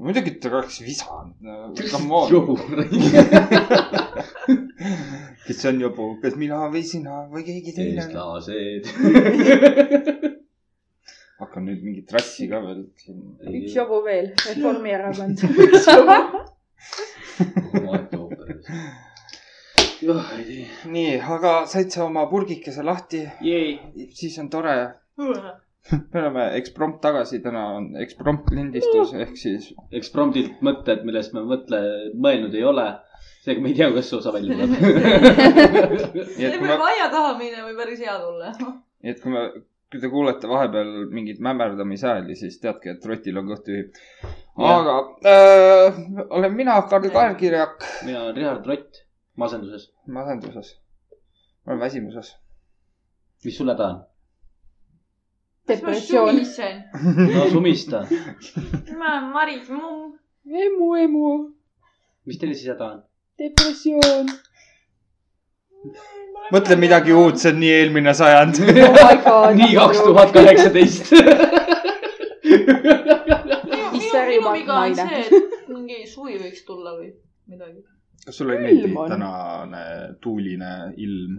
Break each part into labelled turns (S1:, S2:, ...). S1: muidugi ta oleks visanud , come on .
S2: jobu .
S1: kes on jobu , kas mina või sina või keegi teine .
S2: eestlased .
S1: hakkan nüüd mingit rassi ka veel siin .
S3: üks jobu veel , Reformierakond .
S2: jah , ei tea .
S1: nii , aga said sa oma purgikese lahti ,
S2: jäi .
S1: siis on tore . me oleme eksprompt tagasi , täna on eksprompt lindistus ehk siis
S2: ekspromtilt mõtted , millest me mõtle , mõelnud ei ole . seega me ei tea , kas see osa välja tuleb .
S1: nii et
S4: see
S1: kui me
S4: peab , aia taha minema , võib päris hea tulla .
S1: nii et kui me , kui te kuulete vahepeal mingeid mämmerdamishääli , siis teadke , et rotil on kõht tühi .
S2: Jah.
S1: aga äh, olen mina , Karl Kaelkirjak ,
S2: mina olen Richard Rott , masenduses .
S1: masenduses . ma olen väsimuses .
S2: mis sulle ta on ?
S3: depressioon .
S2: no sumista .
S4: ma olen Maris Mumm .
S3: emu , emu ,
S2: mis teil siis häda on ?
S3: depressioon .
S1: mõtle midagi uut , see on nii eelmine sajand .
S3: oh my god .
S2: nii kaks tuhat . kaheksateist .
S4: minu ,
S3: Mis
S4: minu
S3: värvi
S4: minu
S3: ma-
S4: viga on
S3: naine?
S4: see , et mingi suvi võiks tulla või midagi .
S1: kas sulle ei
S3: Ilm
S1: meeldi
S3: on.
S1: tänane tuuline ilm ?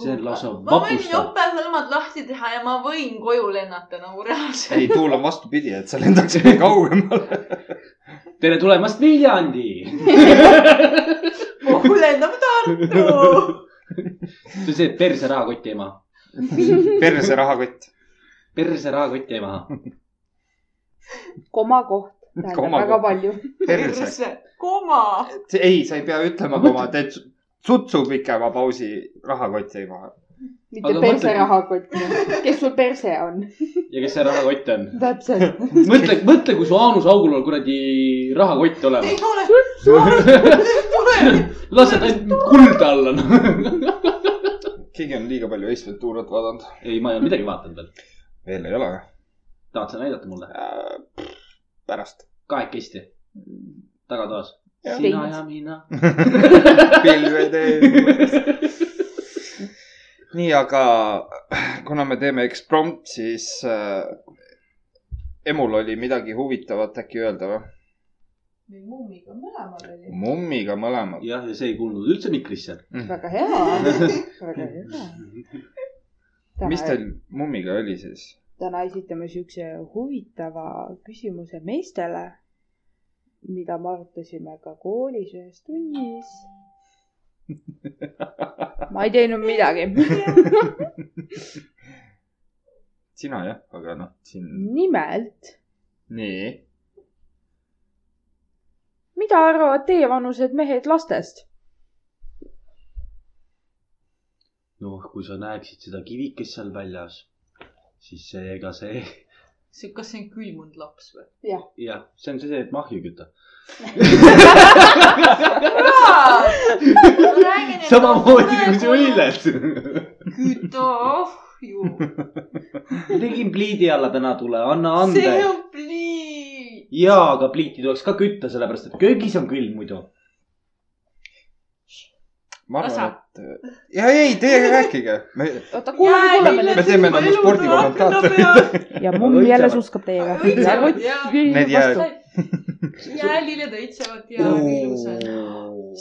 S2: see lausa
S4: ma võin
S2: vapustab .
S4: jopehõlmad lahti teha ja ma võin koju lennata nagu reaalselt .
S1: ei , tuul on vastupidi , et sa lendaksid kaugemale .
S2: tere tulemast Viljandi .
S4: kuhu lendab Tartu ?
S2: see on see perse rahakoti ema ,
S1: perse rahakott .
S2: perse rahakoti ema .
S3: komakoht tähendab
S1: Komakoht.
S3: väga palju .
S1: perse .
S4: koma .
S1: ei , sa ei pea ütlema , kui ma teen su- sutsu pikema pausi rahakotti maha .
S3: mitte
S2: Aga mõtle-
S3: perse rahakott . kes sul perse on ?
S2: ja kes see rahakott on ?
S3: täpselt .
S2: mõtle , mõtle , kui su aanusaugul on kuradi rahakott
S4: ei
S2: olemas .
S4: ole , tuleb .
S2: lased ainult kulda alla noh. no. .
S1: keegi on liiga palju Ace Venturat vaadanud .
S2: ei , ma ei ole midagi vaadanud veel .
S1: veel ei ole .
S2: tahad sa näidata mulle ?
S1: pärast .
S2: kahekesti , tagatoas .
S3: Jah.
S2: sina ja mina .
S1: pilved ees . nii , aga äh, kuna me teeme eksprompt , siis äh, emul oli midagi huvitavat äkki öelda või ?
S4: või Mummiga mõlemad olid .
S1: mummiga mõlemad . Mhm.
S2: jah , ja see ei kuulnud üldse mikrisse .
S3: väga hea , väga hea .
S1: mis teil mummiga oli siis ?
S3: täna esitame siukse huvitava küsimuse meestele , mida me arutasime ka koolis ühes tunnis . ma ei teinud midagi .
S1: sina jah , aga noh , siin .
S3: nimelt ,
S1: nii .
S3: mida arvavad teievanused mehed lastest ?
S2: noh , kui sa näeksid seda kivikest seal väljas , siis see , ega see ,
S4: see , kas see on külmunud laps või ?
S2: jah , see on see , et mahju kütta . samamoodi kui sa . õiled .
S4: küta ahju .
S2: ma tegin pliidi alla täna tule , anna ande
S4: see . on pliit .
S2: jaa , aga pliiti tuleks ka kütta , sellepärast et köögis on külm muidu .
S1: ma
S4: Osa.
S1: arvan , et . ja ei , teie rääkige . me ,
S3: oota , kuulame , kuulame nüüd
S1: me teeme nagu spordikommentaatori. .
S3: ja mumm jälle
S2: Õitsevad.
S3: suskab teiega .
S4: Õitsevad, jaa.
S1: Need jäävad.
S4: jäälile tõitsevad ja väga ilusad .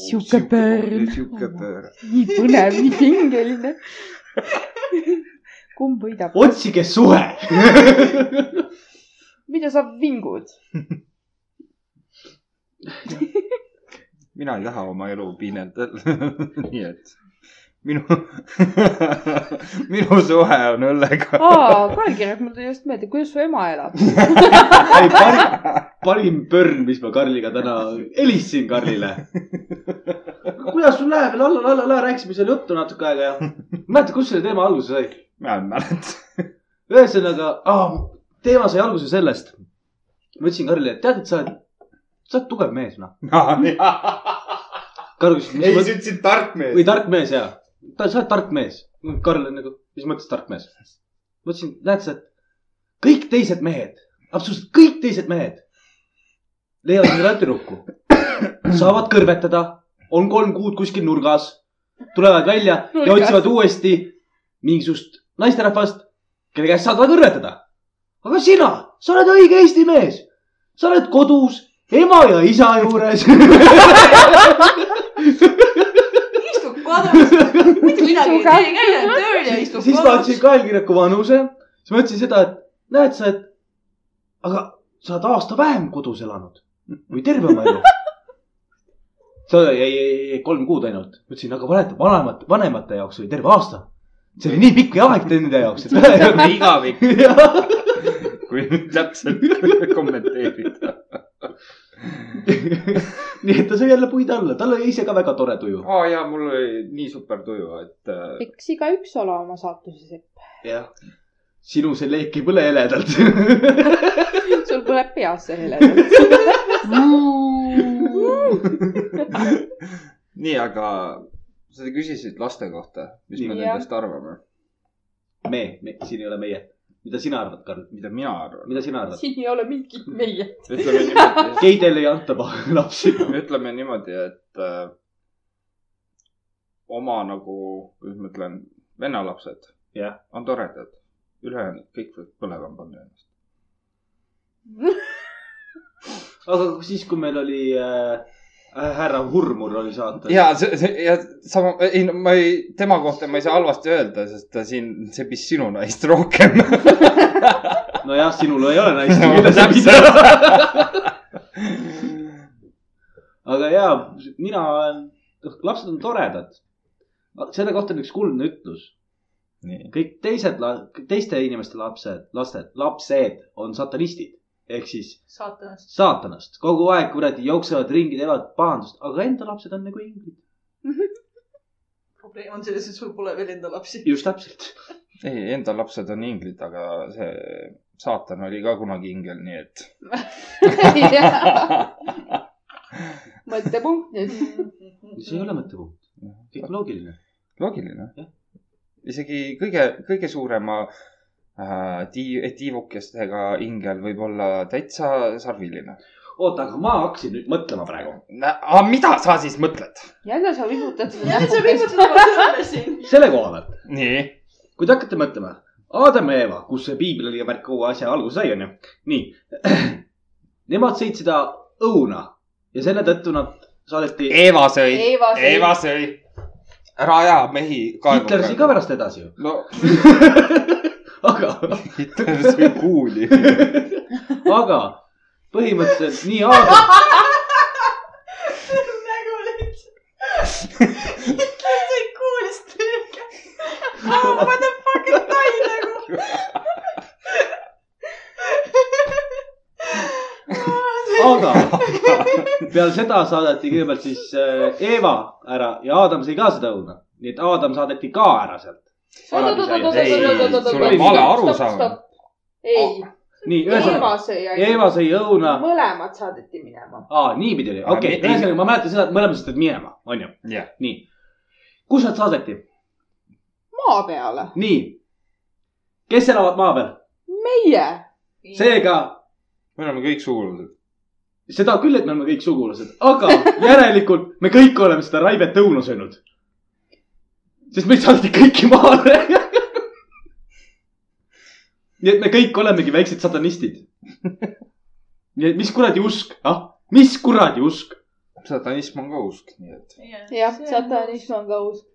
S3: Siuke pöörl.
S1: sihuke pöör .
S3: nii põnev , nii pingeline . kumb võidab ?
S2: otsige suhe .
S3: mida sa vingud ?
S1: mina ei taha oma elu piinelda . nii et minu , minu suhe on õllega .
S3: aa , kaelkirjad , mul tuli just meelde , kuidas su ema elab ?
S2: ei , parim , parim pörn , mis ma Karliga täna helistasin Karlile . kuidas sul läheb , la la la la , rääkisime seal juttu natuke aega ja . mäleta , kust selle teema alguse sai ?
S1: ma ei mäleta .
S2: ühesõnaga , teema sai alguse sellest . ma ütlesin Karlile , et tead , et sa oled , sa oled tugev mees , noh . Karl küsis , mis mõttes .
S1: ütlesid tark
S2: või
S1: mees .
S2: tark mees ja , ta , sa oled tark mees . Karl on nagu , mis mõttes tark mees ? ma ütlesin , näed sa , et kõik teised mehed , absoluutselt kõik teised mehed leiavad endale tüdruku , saavad kõrvetada , on kolm kuud kuskil nurgas , tulevad välja nurgas. ja
S3: Nurgas.
S2: otsivad uuesti mingisugust naisterahvast , kelle käest saavad kõrvetada . aga sina , sa oled õige Eesti mees , sa oled kodus ema ja isa juures .
S4: istub kodus , mitte midagi ei tee , käib ainult tööl ja istub
S2: siis ma andsin
S4: kodus .
S2: ka allkirjaku vanuse , siis ma ütlesin seda , et näed sa , et aga sa oled aasta vähem kodus elanud või terve oma elu . sa ei , ei , ei , ei kolm kuud ainult , ma ütlesin , aga valeta vanemate , vanemate jaoks oli terve aasta . see oli nii pikk aeg nende jaoks , et .
S1: igavik ,
S2: jah ,
S1: kui täpselt kommenteerida .
S2: nii et ta sai jälle puid alla , tal oli ise ka väga tore tuju .
S1: aa jaa , mul oli nii super tuju , et äh,
S5: eks igaüks ole oma saatuse sepp .
S2: jah , sinu see leek ei põle heledalt .
S5: sul põleb peas see hele .
S1: äh, nii , aga sa küsisid laste kohta , mis me
S5: Nii.
S1: nendest arvame ,
S2: me , me , siin ei ole meie . mida sina arvad , Karl ,
S1: mida mina arvan .
S2: mida sina arvad ?
S5: siin ei ole mingit meie .
S1: ütleme niimoodi ,
S2: geidele ei anta pa- lapsi .
S1: ütleme niimoodi , et äh, oma nagu , kuidas ma ütlen , vennalapsed
S2: Jah.
S1: on toredad , ülejäänud kõik võib põlema panna ennast .
S2: aga siis , kui meil oli äh, härra Hurmur oli saates .
S1: ja see , see ja sama , ei no ma ei , tema kohta ma ei saa halvasti öelda , sest ta siin sebis sinu naist rohkem .
S2: nojah , sinul ei ole naist , kelle sa pidad .
S1: täpselt .
S2: aga ja , mina olen , noh , lapsed on toredad . selle kohta on üks kuldne ütlus .
S1: nii ,
S2: kõik teised , teiste inimeste lapsed , lasted , lapsed on satanistid ehk siis
S4: saatanast .
S2: saatanast , kogu aeg kuradi jooksevad ringi , teevad pahandust , aga enda lapsed on nagu inglid .
S4: probleem on selles , et sul pole veel enda lapsi .
S2: just täpselt .
S1: ei , enda lapsed on inglid , aga see saatan oli ka kunagi ingel , nii et .
S5: mõttepunkt nüüd .
S2: see ei ole mõttepunkt , kõik on loogiline .
S1: loogiline
S2: Jah. .
S1: isegi kõige , kõige suurema äh, tii- , tiivukestega ingel võib olla täitsa sarviline .
S2: oota , aga ma hakkasin nüüd mõtlema praegu .
S1: aga mida sa siis mõtled ?
S5: jälle sa vibutad seda
S4: jälle sa
S5: näpukest .
S4: viimati tuled selle siin .
S2: selle koha pealt ,
S1: nii .
S2: kui te hakkate mõtlema , Adam ja Eva , kus see piibel oli ja värk kogu asja alguse sai , onju . nii , nemad sõid seda õuna ja selle tõttu nad saadeti ,
S1: Eeva sõi ,
S5: Eeva ,
S1: Eeva sõi . ära aja mehi
S2: Hitler sõi ka . pärast edasi ju ,
S1: no
S2: aga ,
S1: Hitler sõi kuuli .
S2: aga põhimõtteliselt nii Adam ,
S4: nägu lihtsalt . Hitler sai kuulist tüüga . Oh what the fuck is tai nagu .
S2: aga peale seda saadeti kõigepealt siis äh, Eva ära ja Adam sõi ka seda õuna , nii et Adam saadeti ka ära sealt .
S1: Ei, sul on vale arusaam. .
S5: ei ,
S2: nii ,
S5: Eeva
S2: Oh, ühesõnaga ,
S5: sõi ainult .
S2: Eva sõi õuna ,
S5: mõlemad saadeti minema .
S2: aa , niipidi oli ,
S1: Aga
S2: okei
S1: mitte-
S2: okay. , ühesõnaga ma mäletan seda , et mõlemad said minema , onju .
S1: jah ,
S2: nii , kus nad saadeti ?
S5: maa peale .
S2: nii , kes elavad maa peal ?
S5: meie .
S2: seega ,
S1: me oleme kõik sugulased .
S2: seda küll , et me oleme kõik sugulased , aga järelikult me kõik oleme seda raibet õunu söönud . sest meid saadeti kõiki maale . nii et me kõik olemegi väiksed satanistid . nii et mis kuradi usk , ah , mis kuradi usk ?
S1: satanism on ka usk , nii et .
S5: jah , satanism . on ka uus .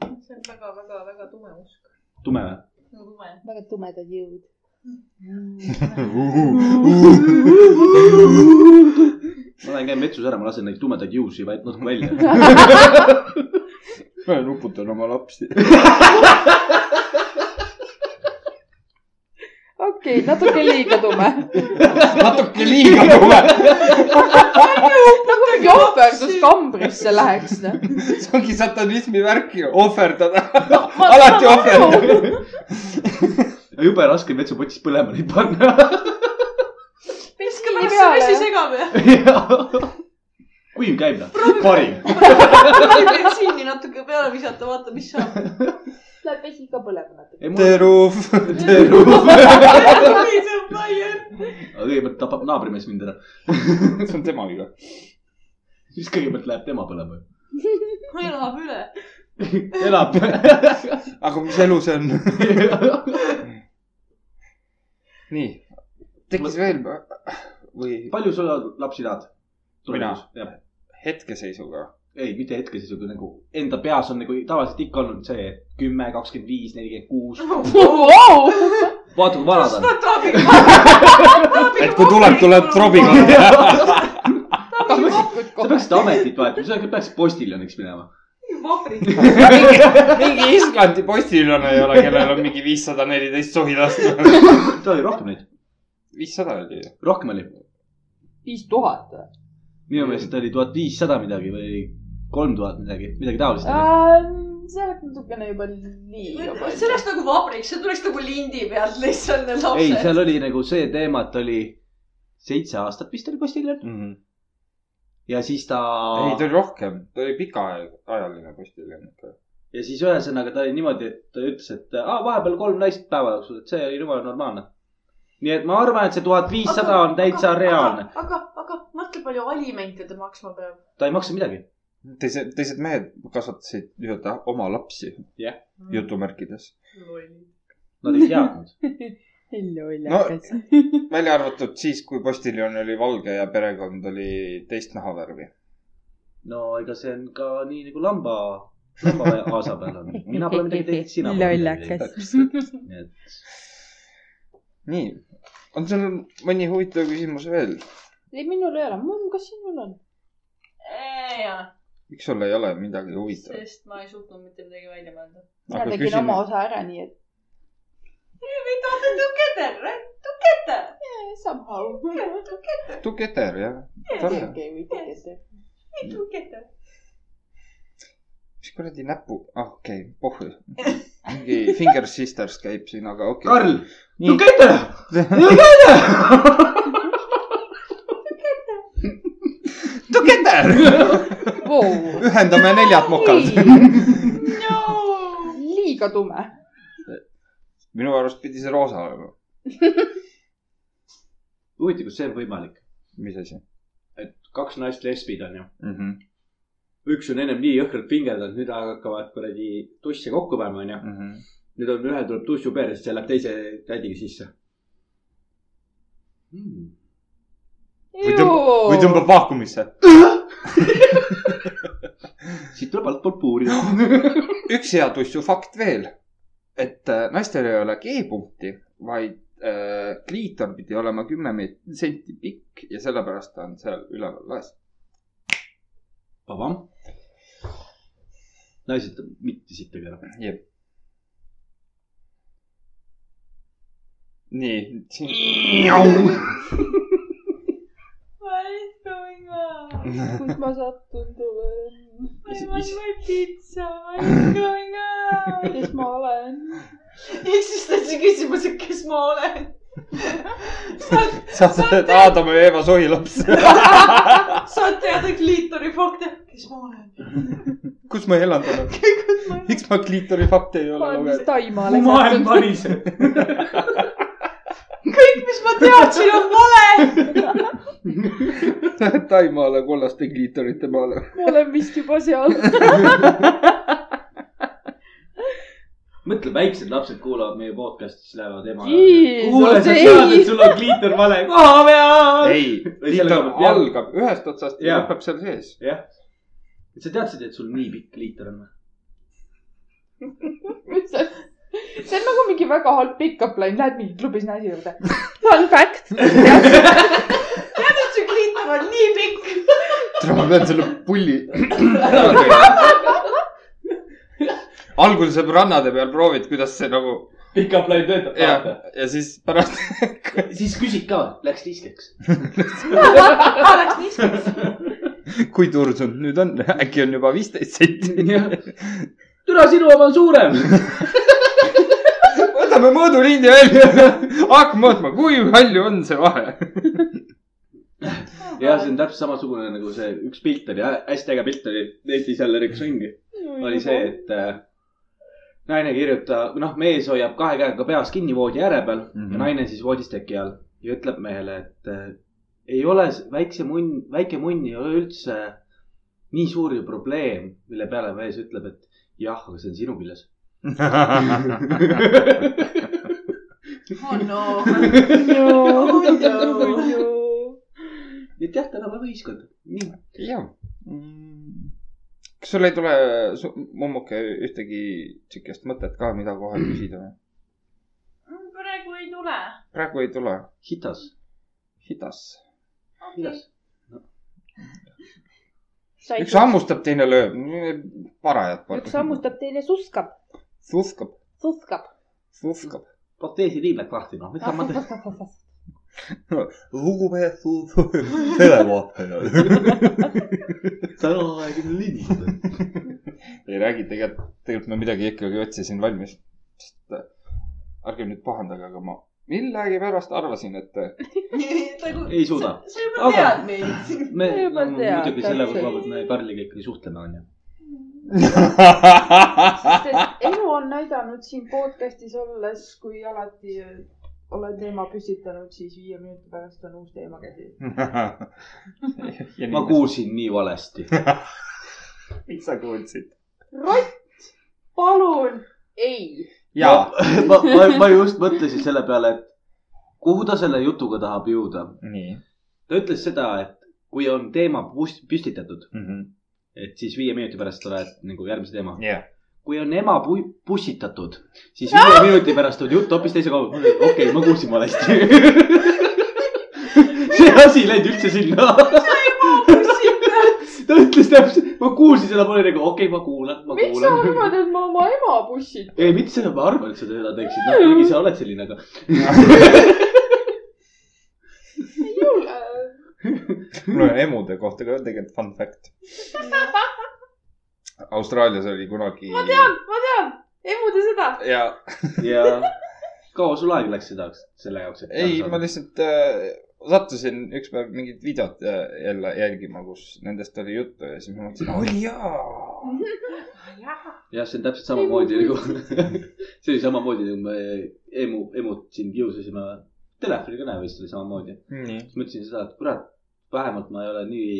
S4: nagu- see on väga-väga-väga tume usk .
S2: tume või ?
S4: no tume .
S5: väga tumedad jõud .
S2: ma lähen käin vetsus ära , ma lasen neid tumedaid juusi vaid natuke välja .
S1: ma nuputan oma lapsi .
S5: okei , natuke liiga tume .
S1: natuke liiga tume .
S5: nagu mingi ohverdus kambrisse läheks . noh.
S1: see ongi satanismi värk ju , ohverdada . alati ohverdada .
S2: jube raske on vetsupotist põlema neid panna .
S4: viska
S5: Nii
S4: pärast see
S5: peale,
S4: vesi
S5: jah.
S4: segab ja
S2: kuiv käib noh , parim .
S4: bensiini natuke peale visata , vaata , mis saab .
S5: Läheb vesi ka põlema natuke .
S1: teruf , teruf .
S4: koliseb laiali .
S2: kõigepealt tapab naabrimees mind ära ,
S1: see on tema viga .
S2: siis kõigepealt läheb tema põlema .
S4: elab üle .
S2: elab .
S1: aga mis elu see on ? nii , tekkis
S2: Ma-
S1: veel või
S2: palju sa lapsi tahad ?
S1: Mina?
S2: jah ,
S1: hetkeseisuga
S2: ei , mitte hetkeseisuga nagu enda peas on nagu tavaliselt ikka olnud see kümme , kakskümmend viis , nelikümmend kuus .
S5: wow! .
S2: vaata , kui vanad on .
S1: et kui tuleb , tuleb trobiga .
S2: sa peaksid , sa peaksid ametit vahetama , sa peaksid postiljoniks minema .
S4: vabrik .
S1: mingi Islandi postiljon ei ole , kellel on mingi viissada neliteist sohi lasta .
S2: tal oli rohkem neid ,
S1: viissada oli ju .
S2: rohkem oli .
S5: viis tuhat või ?
S2: minu meelest oli tuhat viissada midagi või kolm tuhat midagi , midagi taolist .
S5: Ehm, see oleks natukene juba liiga
S4: see
S5: palju .
S4: oleks nagu vabrik , see tuleks nagu lindi pealt lihtsalt need
S2: ei ,
S4: lapsed .
S2: seal oli nagu see teema , et oli seitse aastat vist oli postiljon
S1: ei ,
S2: ja siis ta .
S1: ta oli rohkem , ta oli pikaajaline postiljon ikka .
S2: ja siis ühesõnaga ta oli niimoodi , et ta ütles , et aa , vahepeal kolm naist päeva jooksul , et see oli jumala normaalne . nii et ma arvan , et see tuhat viissada on täitsa reaalne ..
S4: aga , aga mõtle , palju alimente ta maksma peab .
S2: ta ei maksa midagi .
S1: teised , teised mehed kasvatasid nii-öelda oma lapsi
S2: Mm.
S1: jutumärkides .
S2: Nad ei teadnud .
S5: lollakas .
S1: välja arvatud siis , kui postiljon oli valge ja perekond oli teist nahavärvi .
S2: no ega see on ka nii nagu lamba , lamba aasa peal on . mina pole midagi teinud , sina pole midagi teinud .
S5: lollakas .
S2: nii et
S1: nii , on sul mõni huvitav küsimus veel ?
S5: ei , minul ei ole . mum , kas sinul on ?
S4: jaa ,
S1: miks sul ei ole midagi huvitavat ?
S4: sest ma ei suutnud mitte midagi välja mõelda .
S5: mina
S1: Aga
S5: tegin
S1: küsi
S5: oma
S1: nüüd.
S5: osa ära , nii et
S4: We got it together , right ? Together .
S5: eh, somehow .
S1: tuketer jah , tore .
S5: keegi ei tea ,
S4: Together .
S1: mis kuradi näpu , ah okei okay, , pohhu . mingi Finger Sisters käib siin , aga okei okay. .
S2: Karl ,
S1: Nii.
S2: tule ette , tule ette .
S1: tuketer
S5: kes wow. .
S1: ühendame neljad mokad .
S4: no .
S5: liiga tume .
S1: minu arust pidi see roosa olema .
S2: huvitav , kas see on võimalik ?
S1: mis asi
S2: kaks naist lesbid on ju .
S1: mm ? -hmm.
S2: üks on ennem nii jõhkralt pingerdanud , nüüd hakkavad kuradi tusse kokku panema , onju .
S1: Mm -hmm.
S2: nüüd on , ühel tuleb tussu peale , siis see läheb teise tädiga sisse mm. .
S1: või tõmbab ,
S2: Oh.
S1: või tõmbab vaakumisse .
S2: siit tuleb altpoolt puuri .
S1: üks hea tussu fakt veel , et äh, naistel ei ole G-punkti , vaid äh, kliitor pidi olema kümme meet- senti pikk ja sellepärast ta on seal üleval laes .
S2: vabam . naised mitte siit ei pea .
S1: jep . nii ,
S4: What is going on ?
S1: siin .
S5: kus ma sattunud olen ?
S4: ma ei
S1: Is- is-
S4: mõelnud pitsa , what is going on ?
S5: kes ma olen ?
S4: ja siis ta ütles küsimus , et kes ma olen . sa ,
S1: sa oled Aadama ja Eeva sohi laps .
S4: sa tead , et liitori fakte , kes ma olen .
S1: kus ma elan täna ? miks ma kliitori fakte ei
S5: ma
S1: ole
S5: olen vist
S1: lugenud ?
S5: Taimaale
S2: maailm
S5: sattunud .
S2: variseb .
S4: kõik , mis ma teadsin , on vale .
S1: Taimaale kollaste kliitorite maale .
S5: ma olen vist juba seal .
S2: mõtle , väiksed lapsed kuulavad meie podcast'i , siis lähevad ema .
S5: Jeesus,
S2: kuule , sa
S5: ei.
S2: tead , et sul on kliiter vale koha peal .
S1: ei ,
S2: Või selle
S1: kliitor
S2: koha peal-
S1: algab ühest otsast ja
S2: Jaa.
S1: lõpeb seal sees .
S2: jah . sa teadsid , et sul nii pikk kliiter on või ?
S5: see on nagu mingi väga halb pick-up line , lähed mingi klubi sinna asja juurde . Fun fact , tead ,
S4: tead , et su kliitor on nii pikk .
S1: tere , ma pean selle pulli ära tegema . algul sõbrannade peal proovid , kuidas see nagu
S2: pikk aplaid töötab
S1: ja , ja siis pärast
S2: siis küsid ka , läks niiskeks .
S4: oleks niisugune .
S1: kui tursunud nüüd on , äkki on juba viisteist senti .
S2: türa , sinu oma on suurem .
S1: võtame mõõdulindi välja , hakkame mõõtma , kui palju on see vahe .
S2: ja see on täpselt samasugune nagu see üks pilt oli , hästi äge pilt oli , Eestis jälle üks ringi , oli see , et äh, naine kirjuta- , noh , mees hoiab kahe käega peas kinni voodi ääre peal mm
S1: Mhm.
S2: -hmm. ja naine siis voodisteki all ja ütleb mehele , et äh, ei ole s- väikse munn , väike munn ei ole üldse nii suur ju probleem , mille peale mees ütleb , et jah , aga see on sinu küljes .
S4: oh no .
S5: no
S4: Oh no.
S2: et jah , tänapäeva ühiskond . nii .
S1: jah . kas sul ei tule , mummuke , ühtegi siukest mõtet ka , mida kohe küsida või ?
S4: praegu ei tule .
S1: praegu ei tule .
S2: hitas .
S1: hidas .
S2: hitas .
S1: üks . hammustab , teine lööb . parajad .
S5: üks hammustab , teine suskab ,
S1: suhkab ,
S5: suskab .
S1: suhkab .
S2: proteesi liimet lahti , noh , mida ma teen .
S1: lugupeetud televaatajad .
S2: tänaaegne lind .
S1: ei räägi , tegelikult , tegelikult ma midagi ikkagi otsisin valmis . ärge nüüd pahandage , aga ma millegipärast arvasin , et äh,
S2: Ei suuda.
S4: sa juba tead
S2: Aga-
S4: meid .
S2: me
S5: Juba
S2: no,
S5: tead,
S2: muidugi selle
S5: täpselt.
S2: koha pealt me Karliga ikkagi suhtleme , onju .
S5: elu on näidanud siin podcast'is olles , kui alati äh, olen teema püstitanud , siis viie minuti pärast on uus teema käsil .
S2: ma . kuulsin nii valesti .
S1: mis sa kuulsid ?
S5: rott , palun , ei .
S1: jaa ,
S2: ma , ma, ma just mõtlesin selle peale , et kuhu ta selle jutuga tahab jõuda .
S1: nii
S2: ta ütles seda , et kui on teema pust- püstitatud ,
S1: mm . -hmm.
S2: et siis viie minuti pärast tuleb nagu järgmise teema .
S1: Yeah.
S2: kui on ema pu- pussitatud , siis
S5: Ah!
S2: viie minuti pärast on jutt hoopis teise koha peal . okei okay, , ma kuulsin valesti . see asi ei läinud üldse sinna . ta ütles täpselt , ma kuulsin seda , ma olin nagu okei okay, , ma kuulan , ma
S5: miks sa
S2: kuulan .
S5: arvad , et ma oma ema bussin ?
S2: ei , mitte seda , ma arvan , et sa seda teeksid , noh , kuigi sa oled selline , aga
S5: ei ole .
S1: mul on emude kohta ka tegelikult fun fact . Austraalias oli kunagi . ma tean .
S5: ma tean , emuda seda .
S1: ja
S2: ja kaua sul aega läks seda , selle jaoks ?
S1: ei , ma lihtsalt äh, sattusin üks päev mingit videot äh, jälle jälgima , kus nendest oli juttu ja siis ma mõtlesin , oi jaa .
S2: jah , see on täpselt samamoodi nagu , see oli samamoodi nagu me emu , emut siin kiusasime telefonikõne vist oli samamoodi .
S1: nii .
S2: siis mõtlesin seda , et kurat , vähemalt ma ei ole nii ,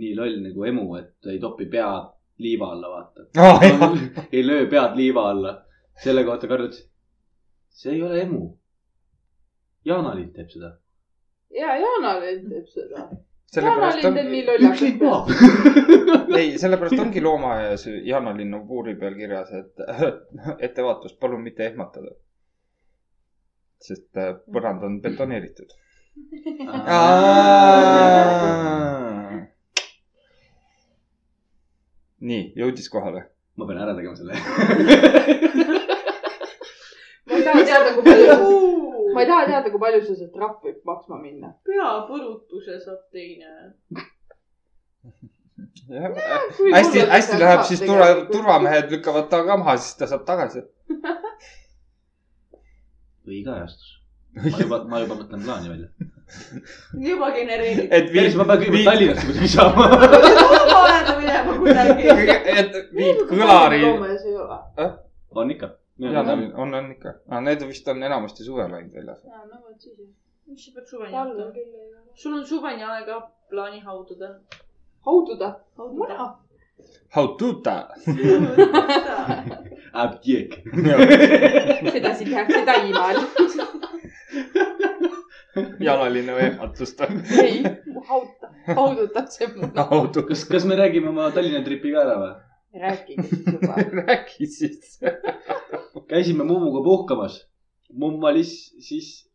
S2: nii loll nagu emu , et ei topi pead liiva alla , vaata .
S1: aa jaa .
S2: ei löö pead liiva alla . selle kohta Karl ütles , see ei ole emu . Jaana-Lind teeb seda .
S5: ja Jana teeb seda .
S1: sellepärast ongi ,
S2: üks lõi maha .
S1: ei , sellepärast ongi loomaaias Jaanalinnu puuri peal kirjas , et ettevaatus , palun mitte ehmatada . sest äh, põrand on betoneeritud . nii , jõudis kohale .
S2: ma pean ära tegema selle .
S5: ma ei taha teada , kui palju , ma ei taha teada , kui palju see see trahv võib maksma minna .
S4: peapõrutuse saab teine .
S1: hästi , hästi läheb , siis turva , turvamehed lükkavad ta ka maha , siis ta saab tagasi .
S2: või igajastus . ma juba , ma juba mõtlen plaani välja .
S4: juba genereerib .
S1: et viib
S2: ma pean kõigepealt
S1: viib-
S2: Tallinnasse muidugi saama .
S4: kuhu oled minema kuidagi ?
S1: et viib kõlari .
S5: Loomes ei ole .
S2: on ikka .
S1: on , on , on ikka . aga need vist on enamasti suvel ainult väljas .
S4: no vot siis . mis sa pead suveni
S5: talvel
S4: hakkama ?
S5: küll ei ole .
S4: sul on suveni aega plaani haududa .
S5: haududa , muna .
S1: How to ta ?
S2: abjeek .
S5: sedasi tehakse Taimaal .
S1: jalaline ehmatust .
S5: ei , hauta , haudutakse muna .
S1: How to .
S2: kas , kas me räägime oma Tallinna tripi ka ära või ?
S5: rääkige siis juba .
S1: räägi siis .
S2: käisime mummuga puhkamas . mumm valis siis ,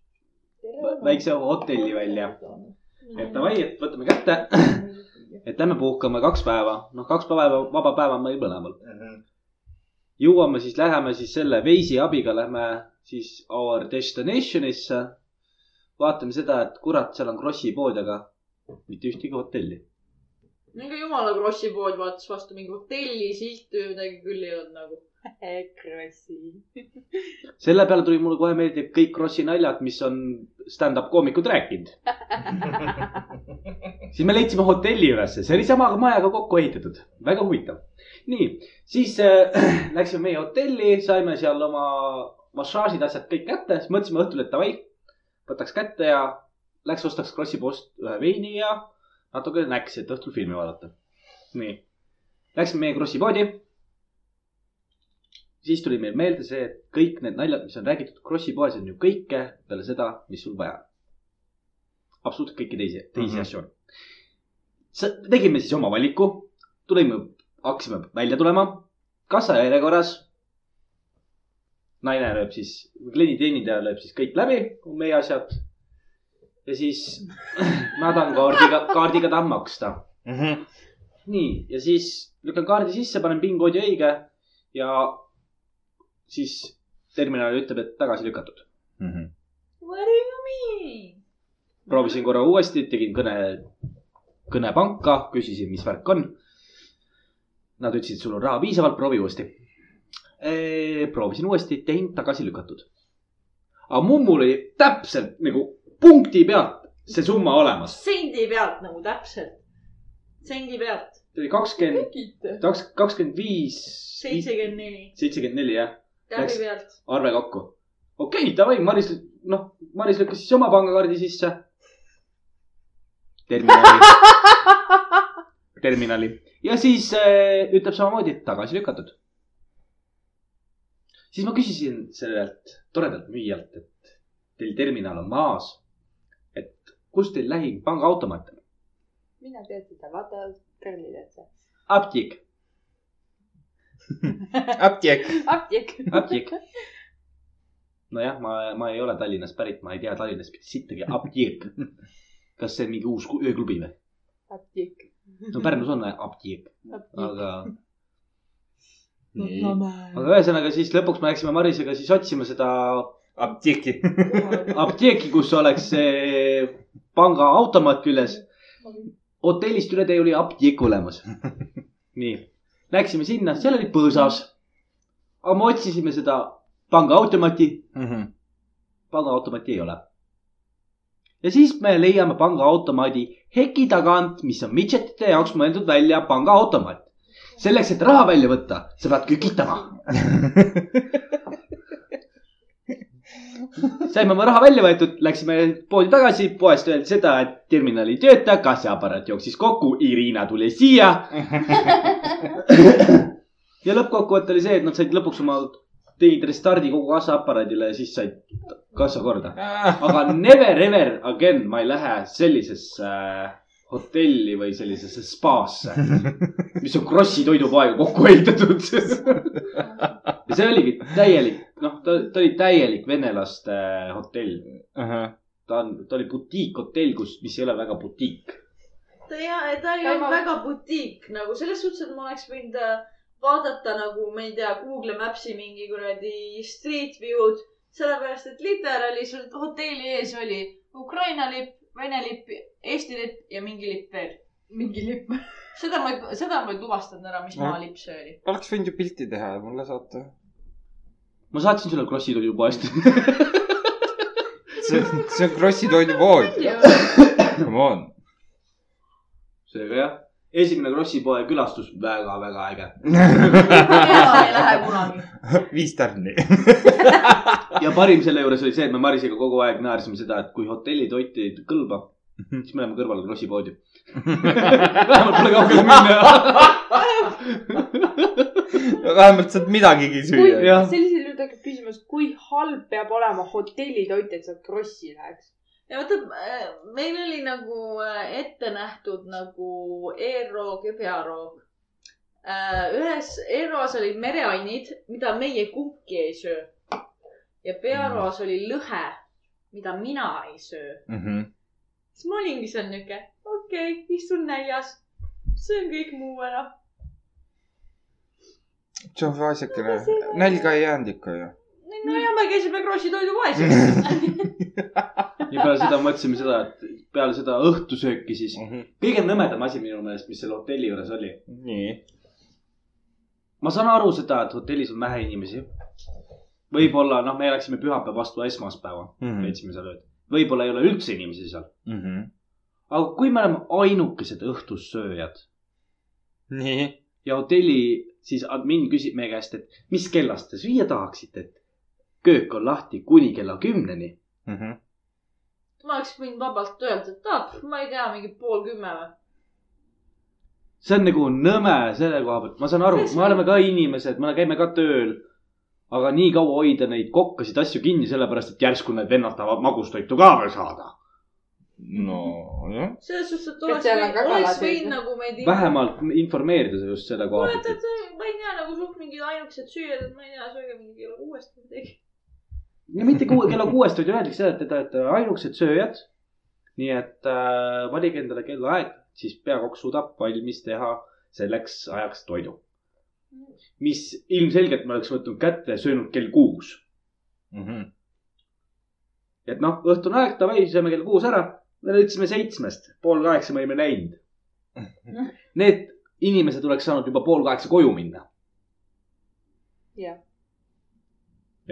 S2: väikse hotelli välja. . et davai , et võtame kätte , et lähme puhkame kaks päeva , noh , kaks päeva , vaba päeva on meil mõlemal . jõuame siis , läheme siis selle veisi abiga , lähme siis our destination'isse . vaatame seda , et kurat , seal on Krossi pood , aga mitte ühtegi hotelli .
S4: mingi jumala Krossi pood vaatas vastu mingi hotellisilt või midagi küll ei olnud nagu .
S5: Krossi .
S2: selle peale tuli mulle kohe meelde kõik Krossi naljad , mis on stand-up koomikud rääkinud . siis me leidsime hotelli ülesse , see oli sama majaga kokku ehitatud , väga huvitav . nii , siis äh, läksime meie hotelli , saime seal oma massaažid , asjad kõik kätte , siis mõtlesime õhtul , et davai , võtaks kätte ja läks ostaks Krossi poest ühe veini ja natuke näksi , et õhtul filmi vaadata . nii , läksime meie Krossi poodi . siis tuli meil meelde see , et kõik need naljad , mis on räägitud Krossi poes , on ju kõike peale seda , mis sul vaja . absoluutselt kõiki teisi , teisi mm
S1: Mhm.
S2: -hmm. asju on . tegime siis oma valiku , tulime , hakkasime välja tulema , kassajärjekorras . naine lööb siis , klienditeenindaja lööb siis kõik läbi , meie asjad . ja siis ma tahan kaardiga , kaardiga tahan maksta Mhm. nii , ja siis lükkan kaardi sisse , panen PIN-koodi õige ja siis terminal ütleb , et tagasi lükatud .
S1: Mhm.
S4: What do you mean ?
S2: proovisin korra uuesti , tegin kõne , kõne panka , küsisin , mis värk on . Nad ütlesid , sul on raha piisavalt , proovi uuesti . proovisin uuesti , tehing tagasi lükatud . aga mummul oli täpselt nagu punkti pealt see summa olemas .
S4: sendi pealt nagu täpselt , sendi pealt ,
S2: see oli kakskümmend ,
S5: tegite ?
S2: kakskümmend viis ,
S4: seitsekümmend neli ,
S2: seitsekümmend neli jah .
S4: täpi
S2: Läks-
S4: pealt .
S2: arve kokku . okei okay, , davai , Maris , noh , Maris lükkas siis oma pangakaardi sisse . terminali , terminali ja siis äh, ütleb samamoodi , et tagasi lükatud . siis ma küsisin sellelt toredalt müüjalt , et teil terminal on maas . et kus teil lähim pangaautomaat on ?
S5: mina tean seda , vaata , Karlil on see .
S2: apteek ,
S1: apteek .
S5: apteek .
S2: apteek . nojah , ma , ma ei ole Tallinnast pärit , ma ei tea Tallinnast mitte sittagi , apteek . kas see on mingi uus ku- ööklubi või ?
S5: apteek .
S2: no Pärnus on apteek ,
S5: apteek .
S2: aga ,
S1: nii ,
S2: aga ühesõnaga siis lõpuks me läksime Marisega siis otsima seda
S1: apteeki .
S2: apteeki , kus oleks see pangaautomaat küljes . hotellist üle tee oli apteek olemas . nii , läksime sinna , seal oli põõsas . aga me otsisime seda pangaautomaati , Mhm. pangaautomaati ei ole . ja siis me leiame pangaautomaadi heki tagant , mis on midžetite jaoks mõeldud välja pangaautomaat . selleks , et raha välja võtta , sa pead kükitama . saime oma raha välja võetud , läksime poodi tagasi , poest öeldi seda , et terminal ei tööta , kassaaparaat jooksis kokku , Irina tuli siia ja lõppkokkuvõte oli see , et nad said lõpuks oma , tegid restardi kogu kassaaparaadile ja siis said kassa korda .
S1: Ah.
S2: aga never ever again ma ei lähe sellisesse äh, hotelli või sellisesse spaasse , mis on Krossi toidupoega kokku ehitatud . ja see oligi täielik , noh , ta , ta oli täielik venelaste hotell . ta on , ta oli butiikhotell , kus , mis ei ole väga butiik .
S4: ta ja , ta ei
S5: Ja
S4: olnud
S5: ma-
S4: väga butiik nagu selles suhtes , et ma oleks võinud äh, vaadata nagu , ma ei tea , Google Maps'i mingi kuradi street view'd , sellepärast et literaali sul hotelli ees oli Ukraina lipp , Vene lipp , Eesti lipp ja mingi lipp veel .
S5: mingi lipp .
S4: seda ma ei , seda ma ei tuvastanud ära , mis
S1: Mhm.
S4: maa lipp see oli .
S1: oleks võinud ju pilti teha ja mulle saata .
S2: ma saatsin sulle Krossi toidupoest .
S1: see , see on Krossi toidupood . Come on .
S2: seega jah , esimene Krossi poe külastus väga-väga äge
S4: mina ei lähe kunagi .
S1: viis tärni .
S2: ja parim selle juures oli see , et me Marisiga kogu aeg naersime seda , et kui hotellitoit ei kõlba , siis me läheme kõrvale Krossi poodi . vähemalt pole kaugele minna .
S1: vähemalt saad midagigi
S5: kui
S1: süüa .
S2: Jah. ,
S5: sellisel juhul tekib küsimus , kui halb peab olema hotellitoit , et sa krossi läheks ?
S4: ja vaata , meil oli nagu äh, ette nähtud nagu eelroog ja pearoog . ühes eelroas olid mereannid , mida meie kumbki ei söö . ja pearoas oli lõhe , mida mina ei söö .
S1: Mhm.
S4: siis ma olingi seal niuke , okei okay, , istun näljas , söön kõik muu ära .
S1: see on vaesekene . nälga ei jäänud ikka ju .
S4: no ja me käisime Krossi toidupoes ju .
S2: ja peale seda mõtlesime seda , et peale seda õhtusööki siis ,
S1: Mhm.
S2: kõige nõmedam asi minu meelest , mis selle hotelli juures oli .
S1: nii .
S2: ma saan aru seda , et hotellis on vähe inimesi . võib-olla , noh , me läksime pühapäeva vastu esmaspäeva ,
S1: Mm. Mhm.
S2: veetsime seal ööd . võib-olla ei ole üldse inimesi seal . aga kui me oleme ainukesed õhtussööjad
S1: nii .
S2: ja hotelli siis admin küsib meie käest , et mis kellast te süüa tahaksite , et köök on lahti kuni kella kümneni .
S1: Mhm.
S4: ma oleks võinud vabalt öelda , et ah , ma ei tea , mingi pool kümme või .
S2: see on nagu nõme selle koha pealt , ma saan aru , me oleme ka inimesed , me käime ka tööl . aga nii kaua hoida neid kokkasid asju kinni , sellepärast et järsku need vennad tahavad magustoitu ka veel saada .
S1: nojah .
S4: selles suhtes , et
S3: Et
S4: oleks
S3: seal on ka
S4: võinud , oleks
S3: kalad
S4: võinud
S3: või-
S4: nagu meid .
S2: vähemalt informeerida sa just selle koha pealt ,
S4: mäletad , ma ei tea nagu suht mingid ainukesed süüjad , et ma ei tea , sööge mingi kella kuuest või midagi .
S2: ja mitte kuue , kella kuuest , vaid öeldakse seda , et te olete ainukesed sööjad . nii et äh, valige endale kellaaeg , siis peakokk suudab valmis teha selleks ajaks toidu . mis ilmselgelt ma oleks võtnud kätte ja söönud kell kuus .
S1: Mhm.
S2: et noh , õhtune aeg , davai , sööme kell kuus ära . me ütlesime seitsmest , pool kaheksa me olime läinud . Need inimesed oleks saanud juba pool kaheksa koju minna .
S3: Jah. .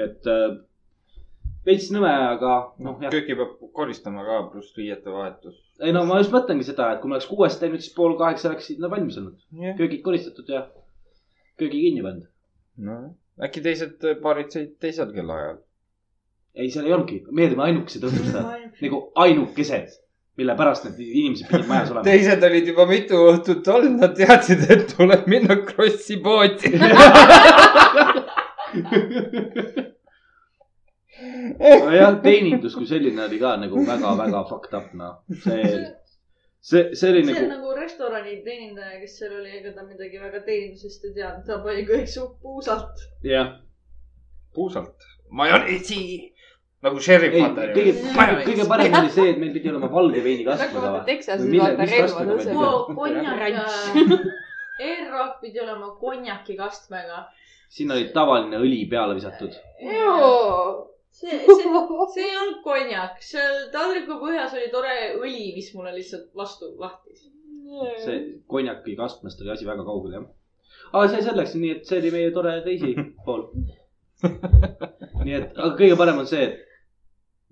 S2: et äh, veits nõme , aga noh , jah .
S1: kööki peab koristama ka , pluss riiete vahetus .
S2: ei no ma just mõtlengi seda , et kui me oleks kuuest läinud , siis pool kaheksa oleksid nad valmis olnud . köögid koristatud ja köögi kinni pandud .
S1: nojah , äkki teised äh, paarid said teisel kellaajal .
S2: ei , seal ei olnudki , me olime ainukesed õhtustajad , nagu ainukesed , mille pärast need inimesed pidid majas olema .
S1: teised olid juba mitu õhtut olnud , nad teadsid , et tuleb minna Krossi poodi .
S2: nojah , teenindus kui selline oli ka nagu väga-väga fucked up , noh . see , see , see oli
S4: see on
S2: nagu ,
S4: nagu restorani teenindaja , kes seal oli , ega ta midagi väga teenindusest ei teadnud , ta pani kõik su puusalt .
S2: jah .
S1: puusalt . majoneesi nagu šerif
S2: ei , kõige , kõige parem oli see , et meil pidi olema valge veini
S3: hakkavad
S2: kasvada
S3: need . Texases
S2: Või mille-
S3: vaata
S2: mis
S3: relva
S2: rasvaga
S3: tõuseb
S2: peeti? .
S4: konjak , R-Rock pidi olema konjaki kastmega .
S2: sinna oli tavaline õli peale visatud .
S4: see , see , see ei olnud konjak , seal taldrikupõhjas oli tore õli , mis mulle lihtsalt vastu lahtis .
S2: see
S1: Mm.
S2: konjaki kastmest oli asi väga kaugel , jah . aga see selleks , nii et see oli meie tore teisi pool . nii et , aga kõige parem on see , et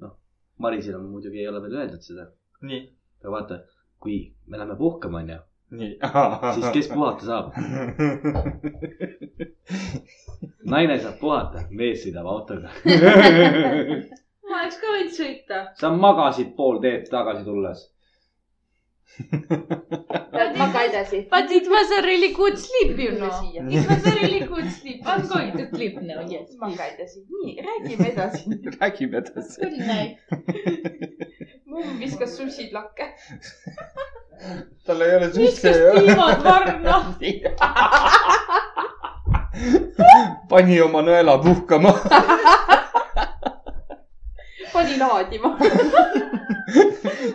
S2: noh , Marisel on muidugi ei ole veel öeldud seda ,
S1: nii ,
S2: aga vaata , kui me läheme puhkama , onju ,
S1: nii .
S2: siis kes puhata saab ? naine saab puhata , mees sõidab autoga .
S4: ma oleks ka võinud sõita .
S2: sa magasid pool teed tagasi tulles .
S3: maga edasi .
S4: But it was a really good sleep , you
S3: Tule
S4: know .
S3: siia.
S4: It was a really good sleep . I m going to sleep now , yes .
S3: maga edasi . nii , räägime edasi .
S1: räägime edasi .
S3: Good night . mumm viskas sussid lakke .
S1: tal ei ole süsse
S4: viskas . tiivad varna .
S1: pani oma nõela puhkama .
S3: pani laadima .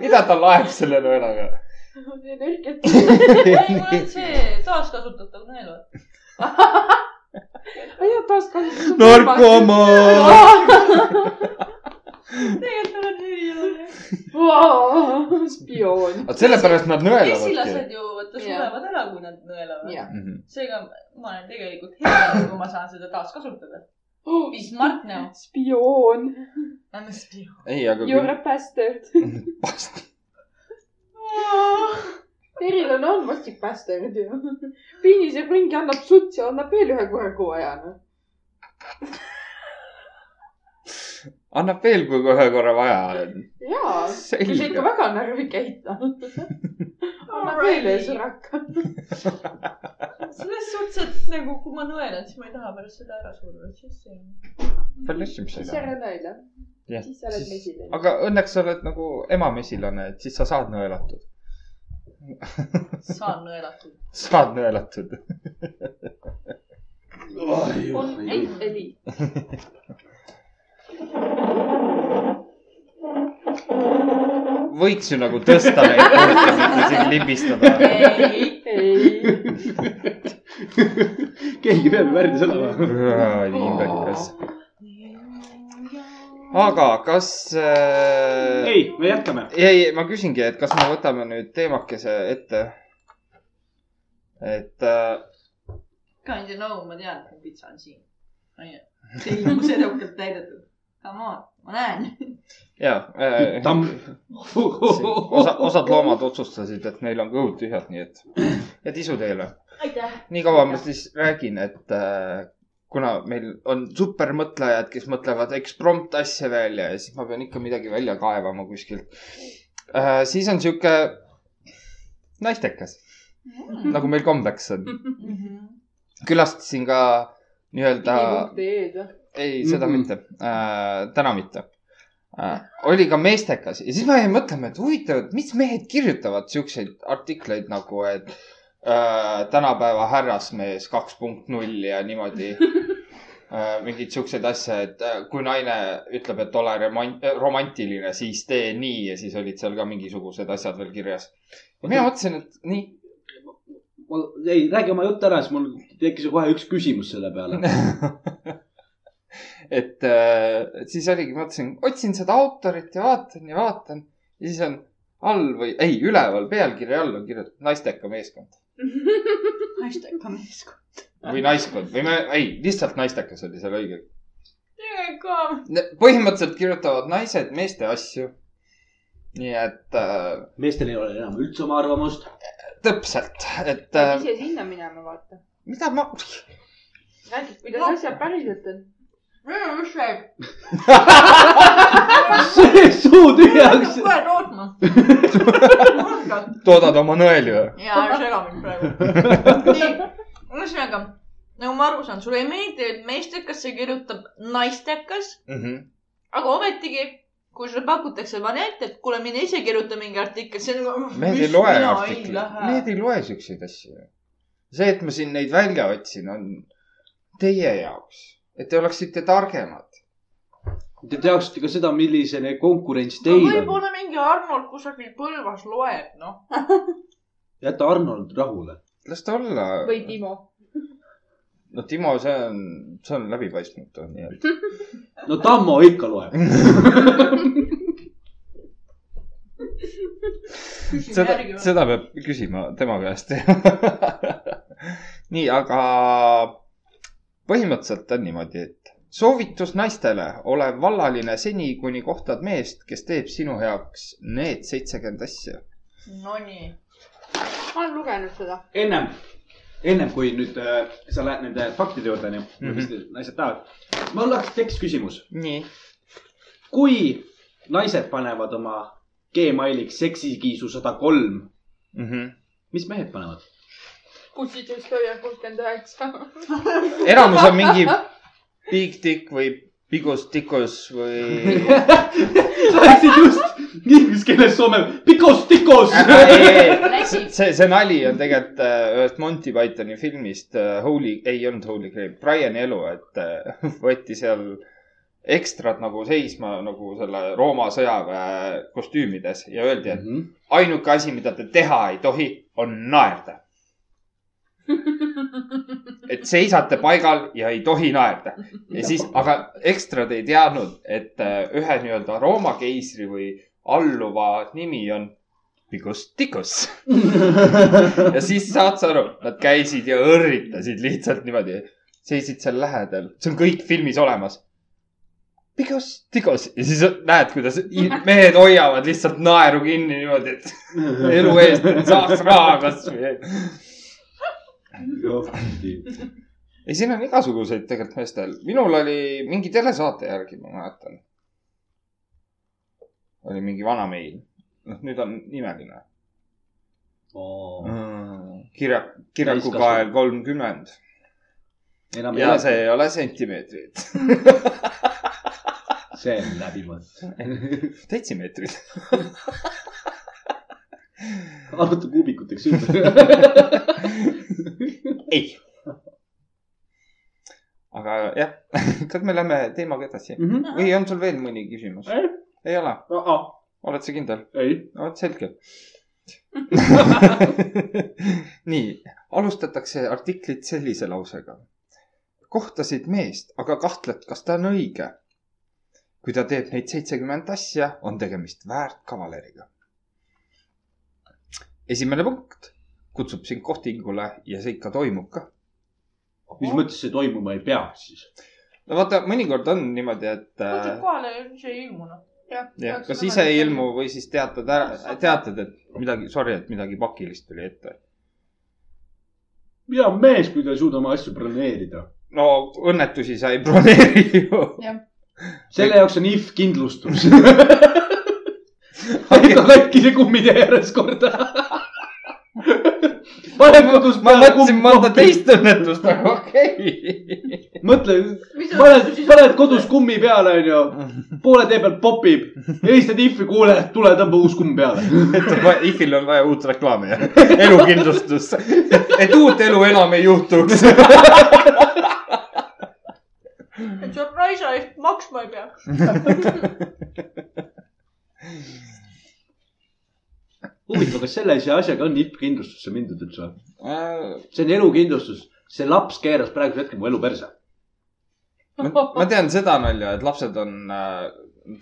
S1: mida ta laeb selle nõelaga ?
S3: nõrgelt .
S4: ei , mul on see taaskasutatav nõel .
S3: ma ei tea , taaskasutus ..
S1: narkomaan .
S4: tegelikult mul on nii .
S3: spioon .
S1: vot sellepärast nad nõelavadki .
S4: mesilased ju vaata
S3: Jaa.
S4: surevad ära , kui nad nõelavad .
S3: jah ,
S1: Mhm.
S4: seega ma olen tegelikult hea , kui ma saan seda taaskasutada . Be smart now .
S3: spioon .
S4: I m a spion .
S1: ei , aga
S3: You are a bastard .
S1: kui past-
S3: Eril on armastik bastard ju . piiniseb ringi , annab suts ja annab veel ühe korra kuu ajana .
S1: annab veel , kui ühe korra vaja on .
S3: jaa , kui sa ikka
S1: selge .
S3: väga närvi käid . annab veel ühe sõraka .
S4: selles suhtes , et nagu kui ma nõelan , siis ma ei taha pärast seda ära suruda , siis see on .
S1: palju asju , mis sa ei
S3: siis
S1: taha .
S3: ära naela .
S1: Jah,
S3: siis sa oled
S1: siis-
S3: mesilane .
S1: aga õnneks sa oled nagu ema mesilane , et siis sa saad nõelatud .
S4: saan nõelatud .
S1: saad nõelatud .
S3: on Eli .
S1: võiks ju nagu tõsta neid korterid , mitte siin libistada .
S4: ei ,
S3: ei .
S2: keegi peab ju värvi sõnama .
S1: kuradi imbekas . aga kas äh... ?
S2: ei , me jätkame .
S1: ei , ma küsingi , et kas me võtame nüüd teemakese ette ? et äh,
S4: kind of know , ma tean , et mu pitsa on siin . onju . tellimus edukalt täidetud . Come on , ma näen .
S1: ja äh, .
S2: tamm .
S1: osa , osad loomad otsustasid , et neil on kõhud tühjad , nii et , et isu teile .
S4: aitäh .
S1: nii kaua ma siis räägin , et äh, kuna meil on supermõtlejad , kes mõtlevad eksprompt asja välja ja siis ma pean ikka midagi välja kaevama kuskilt äh, . siis on sihuke naistekas ,
S4: Mm-hmm.
S1: nagu meil kombeks on . külastasin ka nii-öelda
S3: Eli.ee-d .
S1: ei , seda mm
S2: Mhm.
S1: -mm. mitte äh, , täna mitte äh, . oli ka meestekas ja siis ma jäin mõtlema , et huvitav , et mis mehed kirjutavad siukseid artikleid nagu , et äh, tänapäeva härrasmees kaks punkt null ja niimoodi äh, mingeid siukseid asju , et äh, kui naine ütleb , et ole remont- , romantiline , siis tee nii ja siis olid seal ka mingisugused asjad veel kirjas . mina mõtlesin , et nii
S2: ma , ei , räägi oma jutt ära , siis mul tekkis ju kohe üks küsimus selle peale .
S1: et äh, siis oligi , mõtlesin , otsin seda autorit ja vaatan ja vaatan ja siis on all või ei , üleval pealkirja all on kirjutatud naisteka meeskond
S3: naistega meeskond .
S1: või naiskond või me , ei , lihtsalt naistekas oli seal õige .
S4: tegelikult
S1: põhimõtteliselt kirjutavad naised meeste asju . nii et äh,
S2: meestel ei ole enam üldse oma arvamust .
S1: täpselt , et
S3: peab
S1: äh,
S3: ise sinna minema , vaata .
S1: mida ma ,
S3: räägid , kuidas
S4: No.
S3: asjad päriselt on .
S4: minu just jääb
S2: suu tühjaks .
S4: kohe tootma .
S1: toodad oma nõeli või ?
S4: ja ära sega mind praegu . nii , ühesõnaga nagu ma aru saan , sulle ei meeldi , et meestekas see kirjutab naistekas , aga ometigi , kui sulle pakutakse variante , et kuule , mine ise kirjuta mingi artikkel , see on nagu .
S1: mehed ei loe artikleid , mehed ei loe siukseid asju . see , et ma siin neid välja otsin , on teie jaoks , et te oleksite targemad .
S2: Te teaksite ka seda , milline konkurents
S4: no
S2: teil on .
S4: võib-olla mingi Arnold kusagil Põlvas loeb , noh .
S2: jäta Arnold rahule .
S1: las ta olla .
S3: või Timo .
S1: no Timo , see on , see on läbipaistmatu , nii et .
S2: no Tammo ikka loeb .
S4: küsime
S1: seda
S4: järgi , või ?
S1: seda peab küsima tema käest . nii , aga põhimõtteliselt on niimoodi , et soovitus naistele , ole vallaline seni , kuni kohtad meest , kes teeb sinu heaks need seitsekümmend asja .
S4: Nonii .
S3: ma olen lugenud seda .
S2: ennem , ennem kui nüüd äh, sa lähed nende faktide juurde , onju , mis need naised tahavad . mul oleks tekkis küsimus ,
S1: nii .
S2: kui naised panevad oma Gmailiks seksikiisu sada kolm ,
S1: Mm -hmm.
S2: mis mehed panevad ?
S3: kutsitust hoia kuuskümmend üheksa .
S1: enamus on mingi big dick või bigus tikus või .
S2: sa läksid just inglise keeles soome , pikos-tikos .
S1: see , see nali on tegelikult äh, ühest Monty Pythoni filmist äh, Holy , ei olnud Holy Grail , Brian'i elu , et äh, võeti seal ekstrad nagu seisma nagu selle Rooma sõjaväe kostüümides ja öeldi , et ainuke asi , mida te teha ei tohi , on naerda . et seisate paigal ja ei tohi naerda ja siis , aga ekstrad ei teadnud , et äh, ühe nii-öelda Rooma keisri või alluva nimi on Pigusticus ja siis saad sa aru , nad käisid ja õrritasid lihtsalt niimoodi , seisid seal lähedal , see on kõik filmis olemas . Pigusticus ja siis näed , kuidas i- mehed hoiavad lihtsalt naeru kinni niimoodi , et elu eest , et saaks raha kasvõi . ei , siin on igasuguseid tegelikult meestel . minul oli mingi telesaate järgi , ma mäletan . oli mingi vana meil . noh , nüüd on nimeline
S2: Oh,
S1: mm. . kirjak , kirjakukael kolmkümmend
S2: enam ei
S1: ja
S2: ole ,
S1: see ei ole sentimeetrid ,
S2: see on läbimõeldud .
S1: detsimeetrid .
S2: arvuta kuubikuteks ümber .
S1: ei . aga jah , kas me läheme teemaga edasi
S2: Mhm.
S1: või on sul veel mõni küsimus ? ei ole , oled sa kindel ?
S2: ei ,
S1: vot selge . nii , alustatakse artiklit sellise lausega . kohtasid meest , aga kahtled , kas ta on õige . kui ta teeb neid seitsekümmend asja , on tegemist väärt kavaleriga . esimene punkt , kutsub sind kohtingule ja see ikka toimub ka .
S2: mis mõttes see toimuma ei peaks siis ?
S1: no vaata , mõnikord on niimoodi , et
S4: mõtled
S1: äh,
S4: kohale ja ise ei ilmu , noh .
S1: jah , kas ise ei ilmu või siis teatad ära , teatad , et midagi , sorry , et midagi pakilist tuli ette .
S2: hea mees , kui ta ei suuda oma asju broneerida .
S1: no õnnetusi sa ei broneeri ju .
S2: selle jaoks on if kindlustus . aega katki see kummitee ääres korda . pane kodus
S1: ma mõtlesin mõnda teist õnnetust , aga okei .
S2: mõtle ,
S4: mis
S2: paned , paned kodus kummi peale , onju , poole tee peal popib , helistad IF-i , kuule , tule tõmba uus kumm peale .
S1: et IFil on vaja uut reklaami ja elukindlustust , et uut elu enam ei juhtuks .
S4: et sa raisa eest maksma ei pea .
S2: huvitav , kas selle asja asjaga on IF kindlustusse mindud üldse või ?
S1: ma ,
S2: see on elukindlustus , see laps keeras praegusel hetkel mu elu perse .
S1: ma tean seda nalja , et lapsed on äh,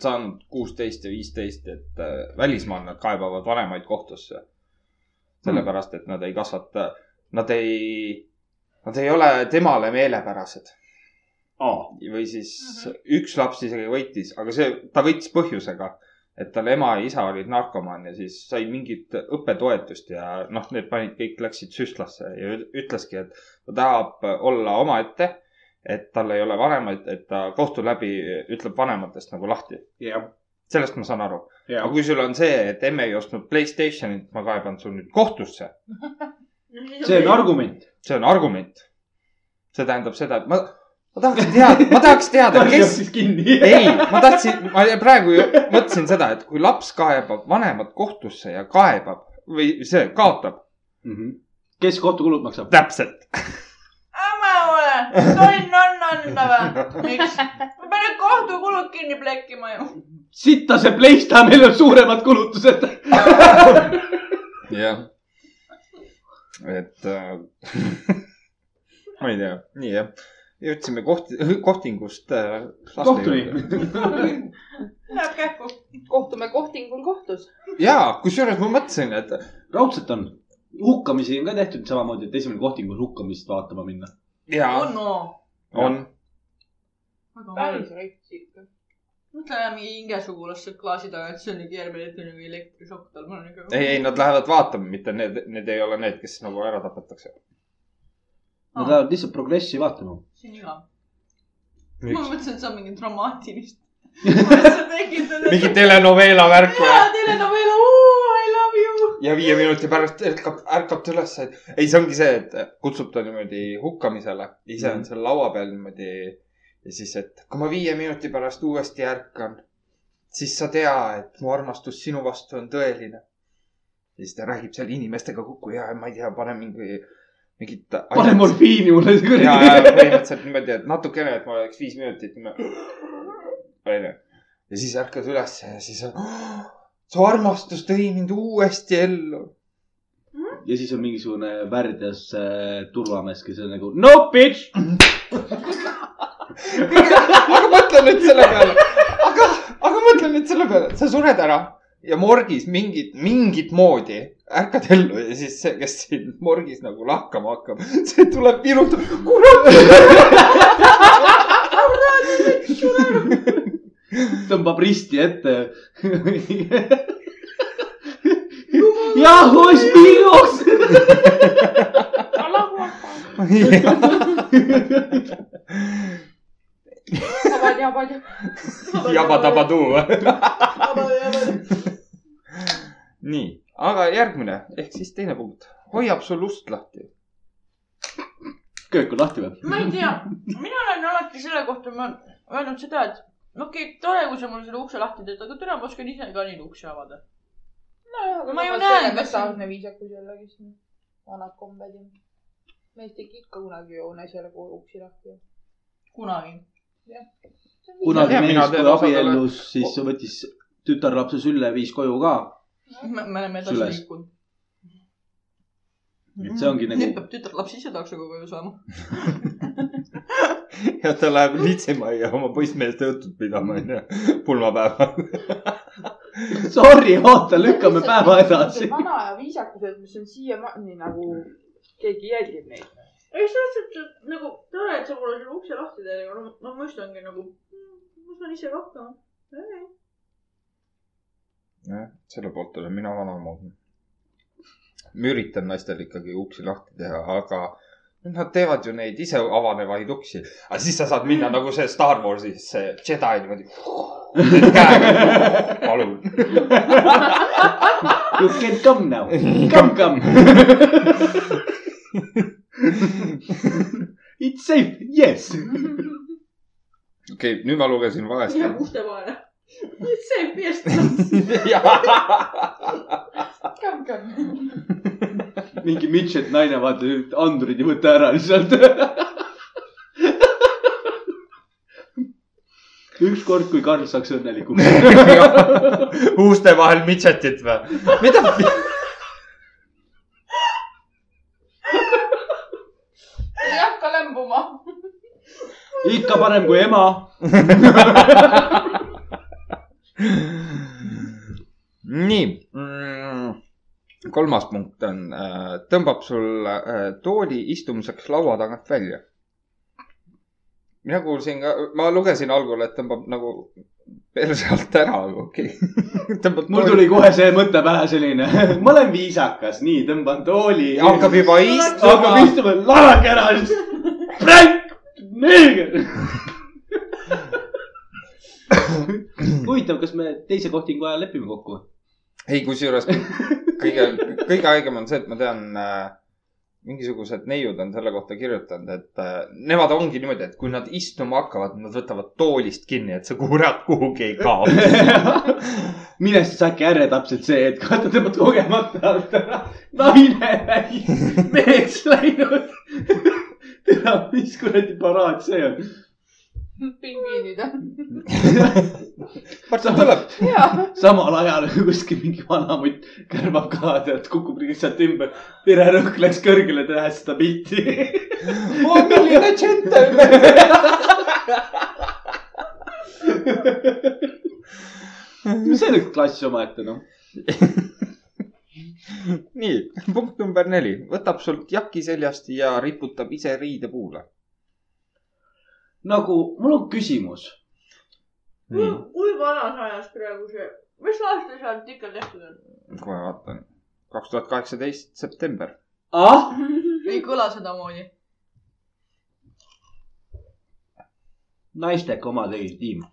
S1: saanud kuusteist ja viisteist , et äh, välismaal nad kaebavad vanemaid kohtusse . sellepärast , et nad ei kasvata , nad ei , nad ei ole temale meelepärased . või siis mm -hmm. üks laps isegi võitis , aga see , ta võitis põhjusega , et tal ema ja isa olid narkomaan ja siis sai mingit õppetoetust ja noh , need panid kõik , läksid süstlasse ja üt- ütleski , et ta tahab olla omaette , et tal ei ole vanemaid , et ta kohtu läbi ütleb vanematest nagu lahti .
S2: jah ,
S1: sellest ma saan aru .
S2: jah
S1: aga . kui sul on see , et emme ei ostnud Playstationit , ma kaeban sul nüüd kohtusse ,
S2: see on . argument .
S1: see on argument . see tähendab seda , et ma , ma tahaks teada , ma tahaks teada , kes ,
S2: siis kinni .
S1: ei , ma tahtsin , ma praegu ju mõtlesin seda , et kui laps kaebab vanemad kohtusse ja kaebab või see kaotab .
S2: Mhm. kes kohtukulud maksab ?
S1: täpselt .
S4: äme ole , tonn on anda või ? miks ? ma pean need kohtukulud kinni plekkima ju .
S2: sitta see Playstation , meil on suuremad kulutused .
S1: jah . et äh, ma ei tea , nii jah . jõudsime koht , kohtingust äh, ..
S2: kohtuni .
S4: Läheb kähku .
S3: kohtume kohtingul kohtus .
S1: jaa , kusjuures ma mõtlesin , et
S2: raudselt on , hukkamisi on ka tehtud samamoodi , et esimene kohting on hukkamist vaatama minna .
S1: jaa ,
S4: Onno .
S1: on .
S4: Oh väga hull .
S3: päris rets ikka .
S4: mõtle ära mingi hingesugulast sealt klaasi taga , et see on nii järgmine , et on nagu elektrišokk tal , ma olen nagu .
S1: ei , ei , nad lähevad vaatama , mitte need , need ei ole need , kes nagu ära tapetakse .
S2: Nad lähevad lihtsalt progressi vaatama .
S4: see on igav . ma
S1: mingi
S4: mõtlesin , et see on mingi dramaatilist . sa tegid .
S1: telenovela värk või
S4: jaa ,? telenovela , I love you .
S1: ja viie minuti pärast ärkab , ärkab ta ülesse , et ei , see ongi see , et kutsub ta niimoodi hukkamisele , ise on
S2: Mhm.
S1: seal laua peal niimoodi . ja siis , et kui ma viie minuti pärast uuesti ärkan , siis sa tea , et mu armastus sinu vastu on tõeline . ja siis ta räägib seal inimestega kokku ja ma ei tea , pane mingi , mingit .
S2: pane morfiini mulle
S1: ja ,
S2: see
S1: ja
S2: kuradi .
S1: põhimõtteliselt niimoodi , et natukene , et ma oleks viis minutit . onju . ja siis ärkad üles ja siis on , su armastus tõi mind uuesti ellu .
S2: ja siis on mingisugune värdjas äh, turvamees , kes on nagu no bitch .
S1: aga mõtle nüüd selle peale , aga , aga mõtle nüüd selle peale , sa sured ära ja morgis mingit , mingit moodi ärkad ellu ja siis see , kes sind morgis nagu lahkama hakkab , see tuleb virutab , kurat .
S2: tõmbab risti ette . jah , ois miinuks .
S3: jabad , jabad , jabad .
S1: jabatabatuu . nii , aga järgmine ehk siis teine punkt , hoiab sul ust lahti .
S2: köök on lahti või ?
S4: ma ei tea , mina olen alati selle kohta ma öelnud seda , et no okei okay, , tore , kui sa mulle selle ukse lahti teed , aga täna ma oskan ise ka neid ukse avada . Ma ju näen, kas-
S3: totaalne viisakus jällegi siin . vanad kombed ja . mees tegi ikka kunagi joones jälle kohe uksi lahti .
S4: kunagi .
S1: Ma
S2: kunagi
S1: tean, mina
S2: mees ,
S1: teen
S2: kui
S1: osadele-
S2: abiellus , siis võttis tütarlapse sülle , viis koju ka .
S4: me me oleme edasi
S2: Süles.
S4: liikunud .
S2: Et see ongi nagu-
S4: nüüd peab tütarlaps ise taksoga koju saama .
S1: ja ta läheb litsema ja oma poissmeeste õhtut pidama onju , pulmapäeval .
S2: Sorry , oota , lükkame päeva edasi .
S3: vana aja viisakused , mis on siiamaani nagu keegi jälgib neid .
S4: ei , selles suhtes , et nagu tore , et sa mulle selle ukse lahti teed , aga no ma mõistangi nagu , ma saan ise ka hakkama .
S1: selle poolt olen mina vanamoodi . ma üritan naistel ikkagi uksi lahti teha , aga nad teevad ju neid ise avanevaid uksi . aga siis sa saad minna nagu see Star Warsis , see Jedi niimoodi . nagu, palun .
S2: You can come now , come , come . It's safe , yes .
S1: okei okay, , nüüd ma lugesin valesti
S4: ja . puhta vaene . see piirstus .
S3: come , come .
S2: mingi midžet naine vaatab , andurid ei võta ära lihtsalt . ükskord , kui Karl saaks õnnelikuks .
S6: uste vahel midžetit või ? mida ?
S3: ei hakka lämbuma .
S2: ikka parem kui ema .
S1: nii mm, . kolmas punkt on , tõmbab sul äh, tooli istumiseks laua tagant välja . mina kuulsin ka , ma lugesin algul , et tõmbab nagu perse alt ära , aga okei okay. . tõmbab
S2: mul tuli . kohe see mõte pähe selline , ma olen viisakas , nii tõmban tooli .
S1: hakkab juba istuma
S2: hakkab . istuma , lavake ära . Frank , neeger . huvitav , kas me teise kohtingu ajal lepime kokku ?
S1: ei , kusjuures kõige , kõige haigem on see , et ma tean äh, , mingisugused neiud on selle kohta kirjutanud , et äh, nemad ongi niimoodi , et kui nad istuma hakkavad , nad võtavad toolist kinni , et see kurat kuhugi ei kao .
S2: mine siis äkki ärre täpselt see , et vaata tõmbad kogemata alt ära . naine läinud , meheks läinud . tea , mis kuradi paraad see on .
S3: pingviinid on .
S1: varsti tuleb .
S3: jaa .
S2: samal ajal kuskil mingi vanamutt kärbab ka , tead , kukub lihtsalt ümber . tere rõhk läks kõrgele , ta näeb seda pilti .
S1: oo , milline džentelmen .
S2: see on üks klass omaette , noh .
S1: nii , punkt number neli , võtab sult jaki seljast ja riputab ise riide puule .
S2: nagu , mul on küsimus .
S1: nii ,
S4: kui vanas ajas praegu see , mis aasta sealt ikka tehtud on ?
S1: kohe vaatan . kaks tuhat kaheksateist september .
S2: ah ,
S3: ei kõla sedamoodi .
S2: naistega oma tegid tiim .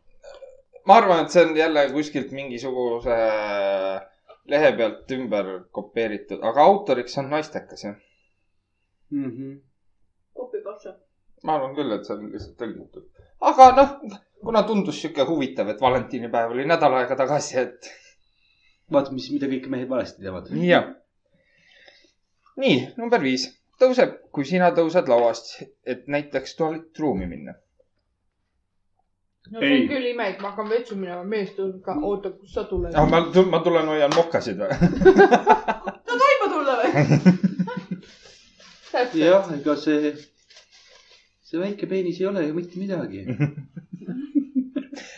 S1: ma arvan , et see on jälle kuskilt mingisuguse lehe pealt ümber kopeeritud , aga autoriks on naistekas jah .
S2: Mhm.
S4: kopipaksa .
S1: ma arvan küll , et see on lihtsalt tõlgitud . aga noh , kuna tundus sihuke huvitav , et valentinipäev oli nädal aega tagasi , et
S2: vaata , mis , mida kõik mehed valesti teevad .
S1: ja . nii , number viis , tõuseb , kui sina tõused lauast , et näiteks tualettruumi minna .
S3: no see on
S2: Ei.
S3: küll ime , et ma hakkan vetsu minema , mees tuleb ka , oota , kus sa tuled .
S1: Ah, ma , ma tulen hoian mokkasid või ?
S3: toime tulla või ? täpselt .
S2: jah , ega see , see väike peenis ei ole ju mitte midagi .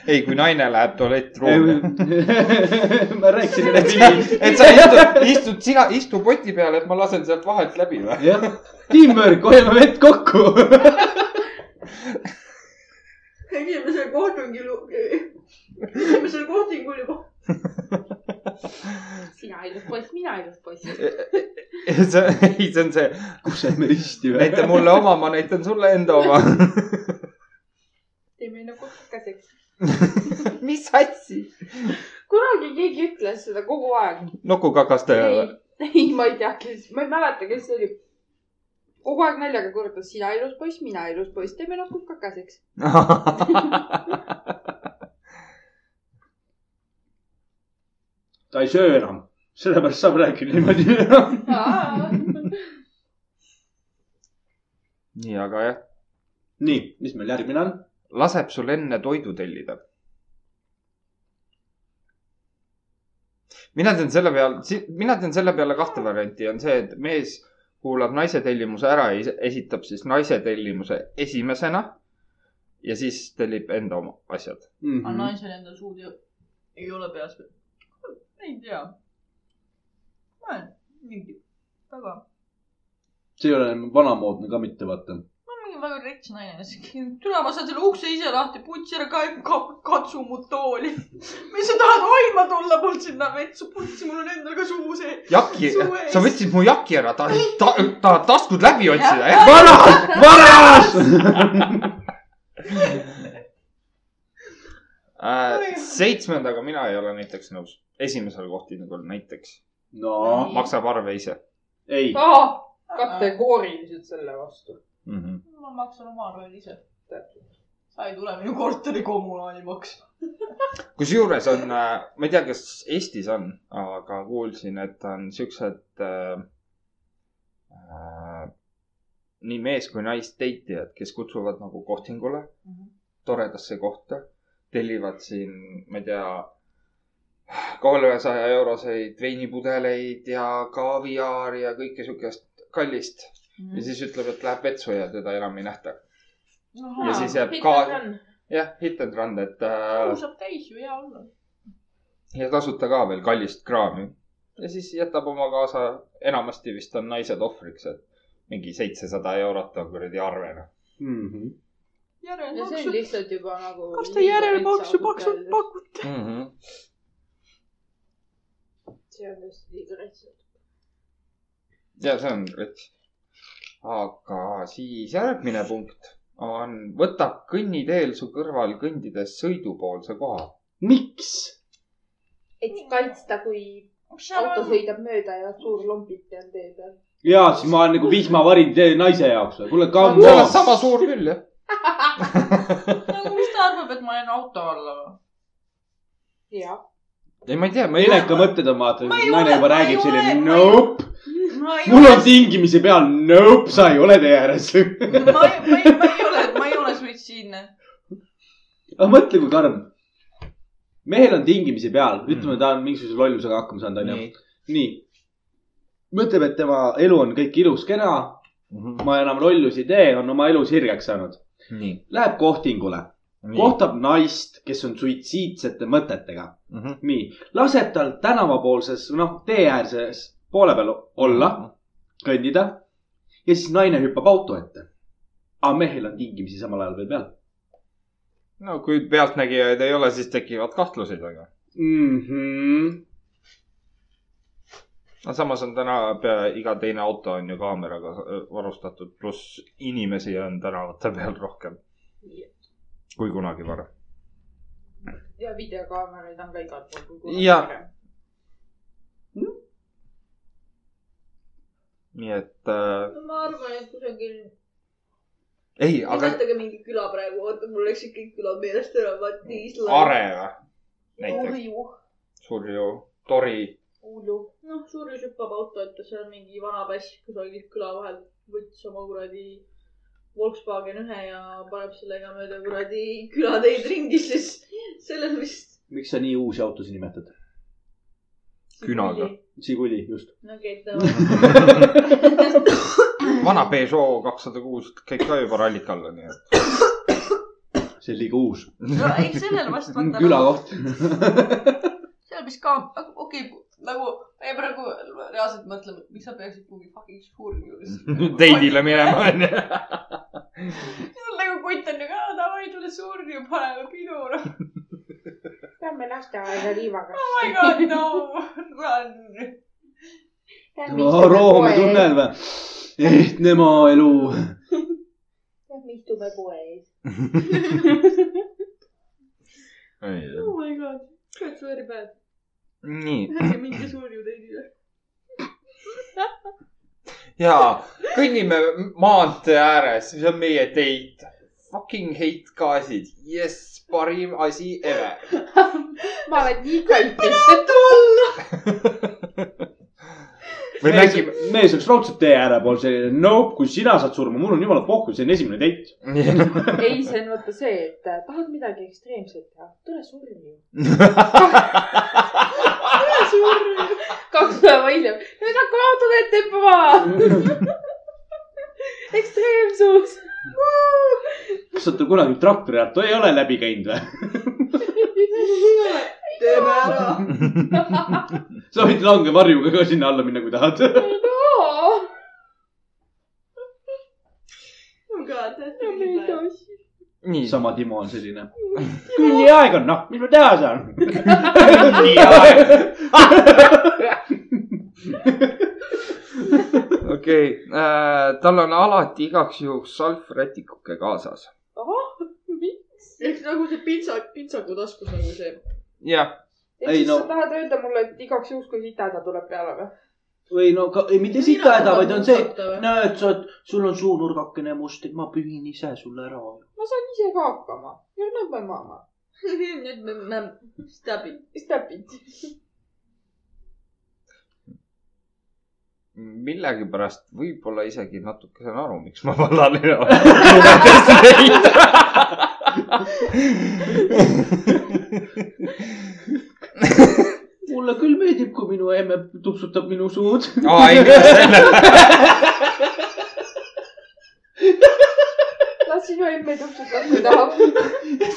S1: ei , kui naine läheb tualettruumi .
S2: ma rääkisin üle tiimi .
S1: et sa istud , istud sina , istu poti peal , et ma lasen sealt vahelt läbi või ?
S2: jah , teamwork , hoiame vett kokku .
S4: esimesel kohtingul , esimesel kohtingul juba .
S3: sina ilus poiss , mina ilus poiss .
S1: see , ei , see on see ,
S2: kuseme risti või ?
S1: näita mulle oma , ma näitan sulle enda oma .
S3: teeme enne kokakeseks .
S1: mis asja ?
S3: kunagi keegi ütles seda kogu aeg .
S1: nokukakastaja
S3: ei
S1: või ?,
S3: ei , ma ei tea , kes , ma ei mäleta , kes see oli . kogu aeg naljaga kordas , sina ilus poiss , mina ilus poiss , nagu teeme nad kukakeseks .
S2: ta ei söö enam , sellepärast saab rääkida niimoodi .
S1: nii , aga jah ,
S2: nii , mis meil järgmine on ?
S1: laseb sul enne toidu tellida . mina teen selle peal , mina teen selle peale kahte varianti , on see , et mees kuulab naise tellimuse ära ja ise- esitab siis naise tellimuse esimesena ja siis tellib enda oma asjad .
S2: Mm.
S4: aga naisel endal suud ei, ei ole peas või ? ei tea . ma olen mingi väga ,
S2: see ei ole enam vanamoodne ka mitte , vaata .
S4: ma olen mingi väga rets naine , tule ma saan selle ukse ise lahti , putsi ära ka, ka , katsu mu tooli . mis sa tahad hoidma tulla mul sinna vetsu , putsi , mul on endal ka suu sees .
S1: jaki
S4: Su ees. ,
S1: sa võtsid mu jaki ära , ta , ta , ta taskud läbi otsida , jah ?
S2: varas , varas .
S1: Äh, seitsmendaga mina ei ole näiteks nõus , esimesel kohtingul näiteks ,
S2: no
S1: maksab arve ise
S2: ei ,
S3: kategooriliselt selle vastu .
S6: -hmm.
S7: ma maksan oma rolli ise . sa ei tule minu korteri kommunaali maksma .
S1: kusjuures on , ma ei tea , kas Eestis on , aga kuulsin , et on siuksed äh, äh, nii mees kui naist teitijad , kes kutsuvad nagu kohtingule mm
S7: Mhm.
S1: -hmm. toredasse kohta , tellivad siin , ma ei tea , kolmesaja euroseid veinipudeleid ja kaaviaari ja kõike siukest kallist mm.
S4: Mhm.
S1: ja siis ütleb , et läheb vetsu ja teda enam ei nähta . ja siis jääb ka , jah , hit and run , et äh,
S7: saab täis ju , hea olla .
S1: ja tasuta ka veel kallist kraami . ja siis jätab oma kaasa , enamasti vist on naised ohvriks , et mingi seitsesada eurot on kuradi arvena .
S3: ja see on
S7: järelmaksu .
S3: lihtsalt juba nagu .
S7: kas te järelmaksu paksu- pakute ?
S1: Mhm.
S3: see on tõesti liiga lihtsalt .
S1: ja see on rets . aga siis järgmine punkt on , võtab kõnniteel su kõrval kõndides sõidupoolse koha .
S2: miks ?
S3: et kaitsta , kui auto sõidab mööda ja suur lombike on tee peal .
S2: jaa , siis ma olen nagu vihmavarin tee naise jaoks või ? kuule , come
S1: sa oled
S2: on .
S1: sama suur küll , jah .
S7: nagu mis ta arvab , et ma jään auto alla või ?
S3: jah .
S1: ei , ma ei tea , ma ei
S2: Eneka mõtted on vaata ,
S7: Ma ei
S2: naine
S7: ole-
S2: juba
S7: ma ei
S2: räägib selline
S7: ole- ma ei-
S2: nope ,
S7: ma ei
S2: mul
S7: ole
S2: on , tingimise peal nope , sa ei ole tee ääres .
S7: ma ei , ma ei , ma ei ole , ma ei ole suitsiidne .
S2: aga mõtle , kui karm . mehel on tingimise peal , ütleme , ta on mingisuguse lollusega hakkama saanud , onju .
S1: nii .
S2: nii . mõtleb , et tema elu on kõik ilus , kena ,
S1: Mhm.
S2: ma enam lollusi ei tee , on oma elus sirgeks saanud .
S1: nii .
S2: Läheb kohtingule , kohtab naist , kes on suitsiidsete mõtetega .
S1: Mhm.
S2: nii , laseb tal tänavapoolses , noh , teeäärses poole peal olla , kõndida ja siis naine hüppab auto ette . aga mehel on tingimisi samal ajal veel peal
S1: no kui pealtnägijaid ei ole , siis tekivad kahtlused , aga .
S2: mm . -hmm.
S1: no samas on täna pea iga teine auto on ju kaameraga äh, varustatud , pluss inimesi on tänavate peal rohkem kui kunagi varem .
S3: ja videokaameraid on ka igal pool .
S1: Jah. . nii et äh,
S4: ma arvan , et kusagil ,
S1: ei , aga
S4: nimetage mingi küla praegu , oota , mul läksid kõik külad meelest ära , vaata Island ,
S1: Are või
S3: Oh
S1: näiteks ,
S4: Ohju ,
S3: uh.
S1: Surju , Tori ,
S4: Uulu , noh , Surjus hüppab auto ette , see on mingi vana pass kusagilt küla vahelt , võttis oma kuradi Volkswagen ühe ja paneb sellega mööda kuradi külateid ringi , siis selles vist .
S2: miks sa nii uusi autosid nimetad ?
S1: Künaga. .
S2: Žiguli , just .
S4: no okei , ta ,
S1: vana Peugeot kakssada kuus käib ka juba rallik alla , nii et
S2: see on liiga uus .
S7: no ei , sellele vast vaata .
S2: külakoht .
S7: seal vist ka , okei okay, , nagu me praegu reaalselt mõtleme , et miks sa peaksid kuhugi fucking suuri juures .
S1: teidile minema on ju .
S7: nagu kutt on ju ka , davai , tule suuri ja paneme pidu . Oh
S3: Lähme lasteaeda liivaga .
S7: my god , no , run .
S2: Roohomme tunnel või ? ehtne maaelu .
S3: Lähme istume poe ees .
S4: oh my god , that's very bad ,
S1: nii ,
S4: ärge minge Surju teidile .
S1: jaa , kõnnime maantee ääres , see on meie teid . Fucking hate gaasid , jess , parim asi ever .
S3: ma olen nii kallis .
S1: või
S2: mees
S1: mängime ,,
S2: mees oleks raudselt tee ääre pool selline , no kui sina saad surma , mul on jumala pohhu , see on esimene teit .
S3: ei , see on vaata see , et äh, tahad midagi ekstreemset teha , tule surju . tule surju . kaks päeva hiljem , nüüd hakkame autod ette hüppama . ekstreemsus .
S2: kas sa oled kunagi traktori alt , ei ole läbi käinud või ?
S4: teeme ära . Oh
S2: sa võid langevarjuga ka sinna alla minna , kui tahad .
S3: no ,
S4: oh god , that's
S3: no me
S4: really
S3: ei
S4: bad .
S3: tohi .
S1: nii ,
S2: sama Timo on selline . küll nii aeg on , noh , mis ma teha saan .
S6: nii aeg .
S1: okei , tal on alati igaks juhuks salvrätikuke kaasas .
S4: ehk nagu see pintsak , pintsaku taskus nagu see .
S1: jah ,
S3: ehk
S2: Ei,
S3: siis
S2: no-
S3: no. sa tahad öelda mulle , et igaks juhuks , kui sita ta tuleb peale või ?
S2: või no ka, ei mitte sikahäda , vaid on see , et näed , sa oled , sul on suu nurgakene must , et ma pühin ise sulle ära .
S3: ma saan ise ka hakkama . You are not my mama .
S4: nüüd me , me , stab it .
S3: Stop it .
S1: millegipärast võib-olla isegi natuke saan aru , miks ma vallaline olen .
S2: mulle küll meeldib , kui minu emme tupsutab minu suud .
S1: aa , ei , mitte selle .
S3: las sinu emme tupsutab , kui tahab .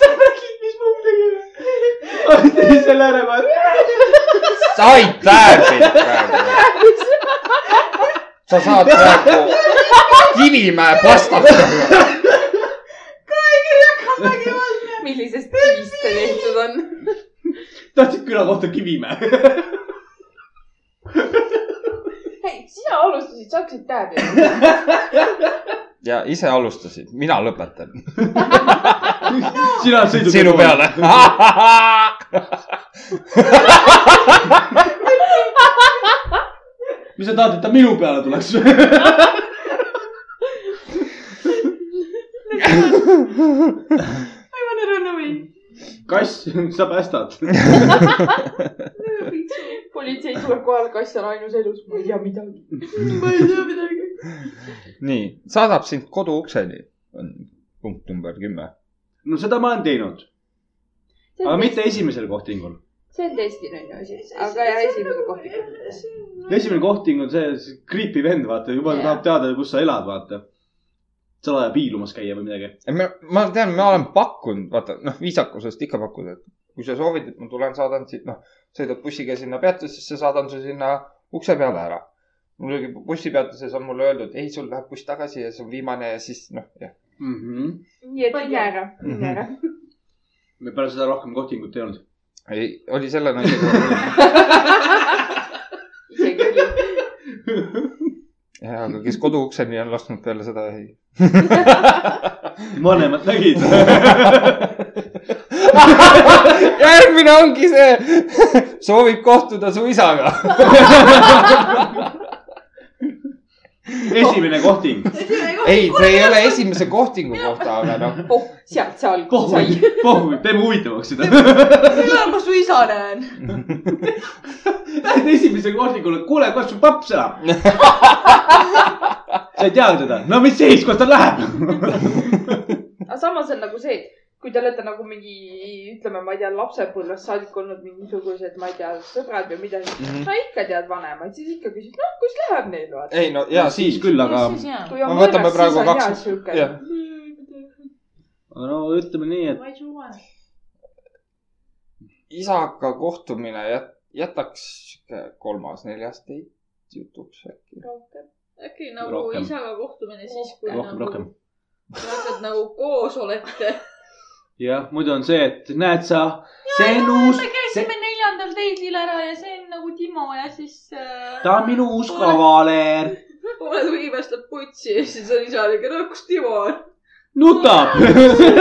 S2: sa räägid , mis ma tegin ? tee selle ära kohe .
S1: said tääbid praegu . sa saad praegu Kivimäe pastast .
S3: millisest kivist see tehtud on ?
S2: tahtsid küla kohta Kivimäe ?
S3: ei , sina alustasid , sa hakkasid tähele .
S1: ja ise alustasid , mina lõpetan .
S2: sina sõidud .
S1: sinu . peale .
S2: mis sa tahad , et ta minu peale tuleks ?
S7: I wanna run away .
S2: kass , sa päästad .
S3: politsei tuleb kohale , kass on ainus elus , ma ei tea midagi .
S7: ma ei tea midagi .
S1: nii , saadab sind koduukseni , on punkt number kümme .
S2: no seda ma olen teinud , aga mitte esimesel kohtingul .
S3: see on testimine asi , aga jah ,
S4: nagu
S3: esimese kohviku .
S2: esimene kohting on see, see creepy vend , vaata , juba yeah.
S7: Jah.
S2: tahab teada , kus sa elad , vaata . salaja piilumas käia või midagi .
S1: ma , ma tean , ma olen pakkunud , vaata noh , viisakusest ikka pakkuda , et kui sa soovid , et ma tulen , saadan siit , noh , sõidad bussiga sinna peatusesse , saadan su sinna ukse peale ära . mul oli bussipeatuses on mulle öeldud , ei , sul läheb buss tagasi ja see on viimane ja siis noh , jah .
S2: mm . -hmm.
S3: nii et mine ära , mine ära .
S2: Mhm. me pärast seda rohkem kohtingut ei olnud .
S1: ei , oli selle naisega .
S3: isegi oli .
S1: jaa , aga kes koduukseni on lasknud peale seda , ei .
S2: vanemad nägid .
S1: järgmine ongi see , soovib kohtuda su isaga .
S2: esimene kohting .
S1: ei , see ei ole esimese kohtingu kohta , aga noh ,
S3: oh , sealt see algus sai .
S2: kohvi , kohvi , teeme huvitavaks seda .
S7: millal ma su isa näen ?
S2: Lähed esimesele kohtingule , kuule , kas su paps elab ? sa ei tea teda , no mis siis , kus ta läheb ?
S3: aga samas on nagu see , kui te olete nagu mingi , ütleme , ma ei tea , lapsepõlvest saadik olnud mingisugused , ma ei tea , sõbrad või midagi mm .
S1: Mhm.
S3: -hmm. sa ikka tead vanemaid , siis ikka küsid , noh , kus läheb neil vaata .
S1: ei no ja siis küll .
S2: küll , aga
S3: kui on
S1: No võtame
S3: võõras ,
S1: praegu
S3: siis on
S1: kaks-
S3: hea siuke .
S1: jah.
S2: no ütleme nii , et
S4: ma ei suva .
S1: isaga kohtumine jät- , jätaks sihuke kolmas-neljas teid jutuks äkki .
S4: äkki nagu
S2: Rohkem.
S4: rohkem. isaga kohtumine siis , kui
S2: rohkem ,
S4: nagu
S2: rohkem .
S4: hakkad nagu koos olete .
S2: jah , muidu on see , et näed sa , see on uus ,
S7: käisime neljandal teisil ära ja see on nagu Timo ja siis äh,
S2: ta on minu uus kavaler ,
S4: poole tunni pärast läheb putsi ja siis on isa niuke , no kus Timo on ?
S2: nutab ,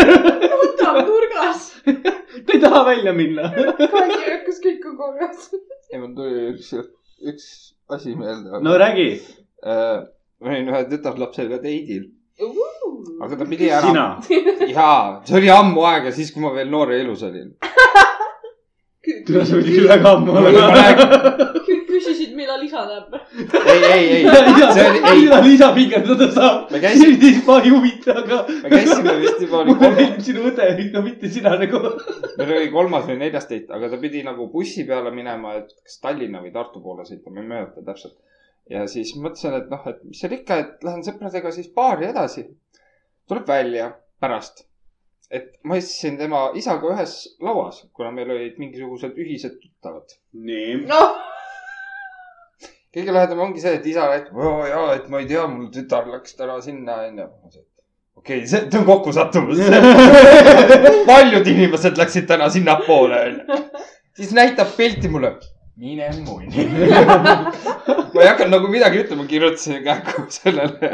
S4: ta on nurgas .
S2: ta ei taha välja minna .
S3: kaheksa hakkas , kõik on korras .
S1: ei , mul tuli üks , üks asi meelde .
S2: no räägi ,
S1: ma olin ühe tütarlapsega teidil , aga ta pidi ära .
S2: sina .
S1: jaa , see oli ammu aega , siis kui ma veel noor ja ilus olin .
S2: tule , sa pidid küll väga ammu
S4: küsisid , millal isa näeb .
S1: ei , ei , ei , see oli , ei ,
S2: mida lisa pikendada saab ?
S1: me käisime ,
S2: ma ei huvita , aga
S1: me käisime vist juba , oli
S2: mulle
S1: kolm ,
S2: meeldib sinu õde , no mitte sina nagu .
S1: meil oli kolmas või neljas teit , aga ta pidi nagu bussi peale minema , et kas Tallinna või Tartu poole sõita , ma ei mäleta täpselt . ja siis mõtlesin , et noh , et mis seal ikka , et lähen sõpradega siis baari edasi . tuleb välja pärast , et ma istusin tema isaga ühes lauas , kuna meil olid mingisugused ühised tuttavad .
S2: nii .
S1: kõige lähedam ongi see , et isa räägib , oo jaa , et ma ei tea , mul tütar läks täna sinna , onju . okei , see see on nagu kokkusattumus . paljud inimesed läksid täna sinnapoole , onju . siis näitab pilti mulle , mine munni . ma ei hakanud nagu midagi ütlema , kirjutasin kähku sellele .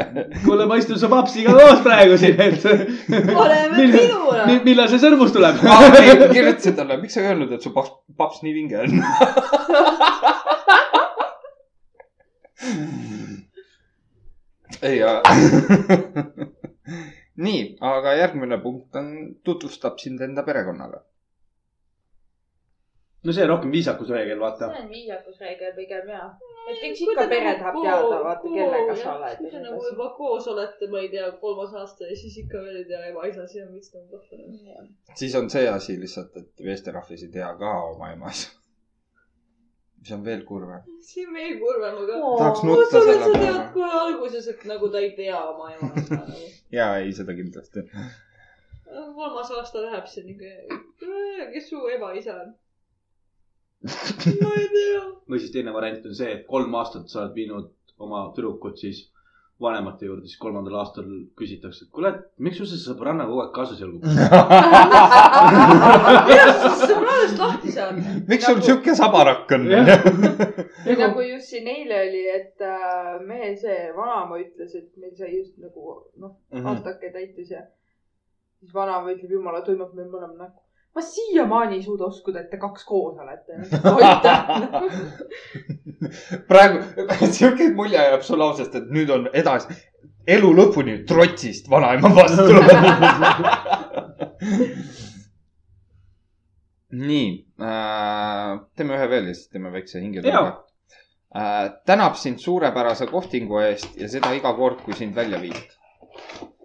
S2: kuule , ma istun su papsiga koos praegu siin , et .
S4: oleme
S2: millal ,
S4: minule .
S2: millal see sõrmus tuleb ?
S1: Ah, kirjutasin talle , miks sa ei öelnud , et su paps , paps nii vinge on ? ei , nii , aga järgmine punkt on , tutvustab sind enda perekonnale .
S2: no see on rohkem viisakus reegel , vaata .
S3: see on viisakusreegel pigem ja . et eks ikka pere tahab
S4: nagu
S3: teada , vaata kellega sa oled
S4: kui
S3: ja
S4: te
S3: nii
S4: nagu
S3: edasi .
S4: juba koos olete , ma ei tea , kolmas aasta ja siis ikka veel ei tea ema isa , see on vist nagu on kahtlane .
S1: siis on see asi lihtsalt , et meesterahvas ei tea ka oma emas . mis on veel kurvem .
S4: see on veel kurvem , aga
S3: Oo.
S1: tahaks
S4: ma
S1: nutta
S4: usun , et
S1: selle
S4: sa tead
S1: peale .
S4: kohe alguses , et nagu ta ei tea oma ema isa .
S1: ja ei , seda kindlasti .
S4: kolmas aasta läheb see nihuke , kes su ema isa on ? ma ei tea .
S2: või siis teine variant on see , et kolm aastat sa oled viinud oma tüdrukut siis vanemate juurde , siis kolmandal aastal küsitakse , et kuule , miks sul see sõbranna kogu aeg kaasas jalgub ?
S4: kuidas sa sõbrannast lahti saad ?
S1: miks
S4: Nagu-
S1: sul sihuke sabarakk on ?
S3: Nagu- või nagu just siin eile oli , et äh, meie see vanaema ütles , et meil sai just nagu noh ,
S1: Mm. Mhm.
S3: aastake täitus ja siis vanaema ütleb , jumala tuimab meil mõlema näkku . ma siiamaani ei suuda uskuda , et te kaks koos olete .
S1: praegu sihuke mulje jääb su lausest , et nüüd on edasi , elu lõpuni trotsist vanaema vastu . nii äh, , teeme ühe veel ja siis teeme väikse hingetõmbe
S2: Jaa. .
S1: Äh, tänab sind suurepärase kohtingu eest ja seda iga kord , kui sind välja viid .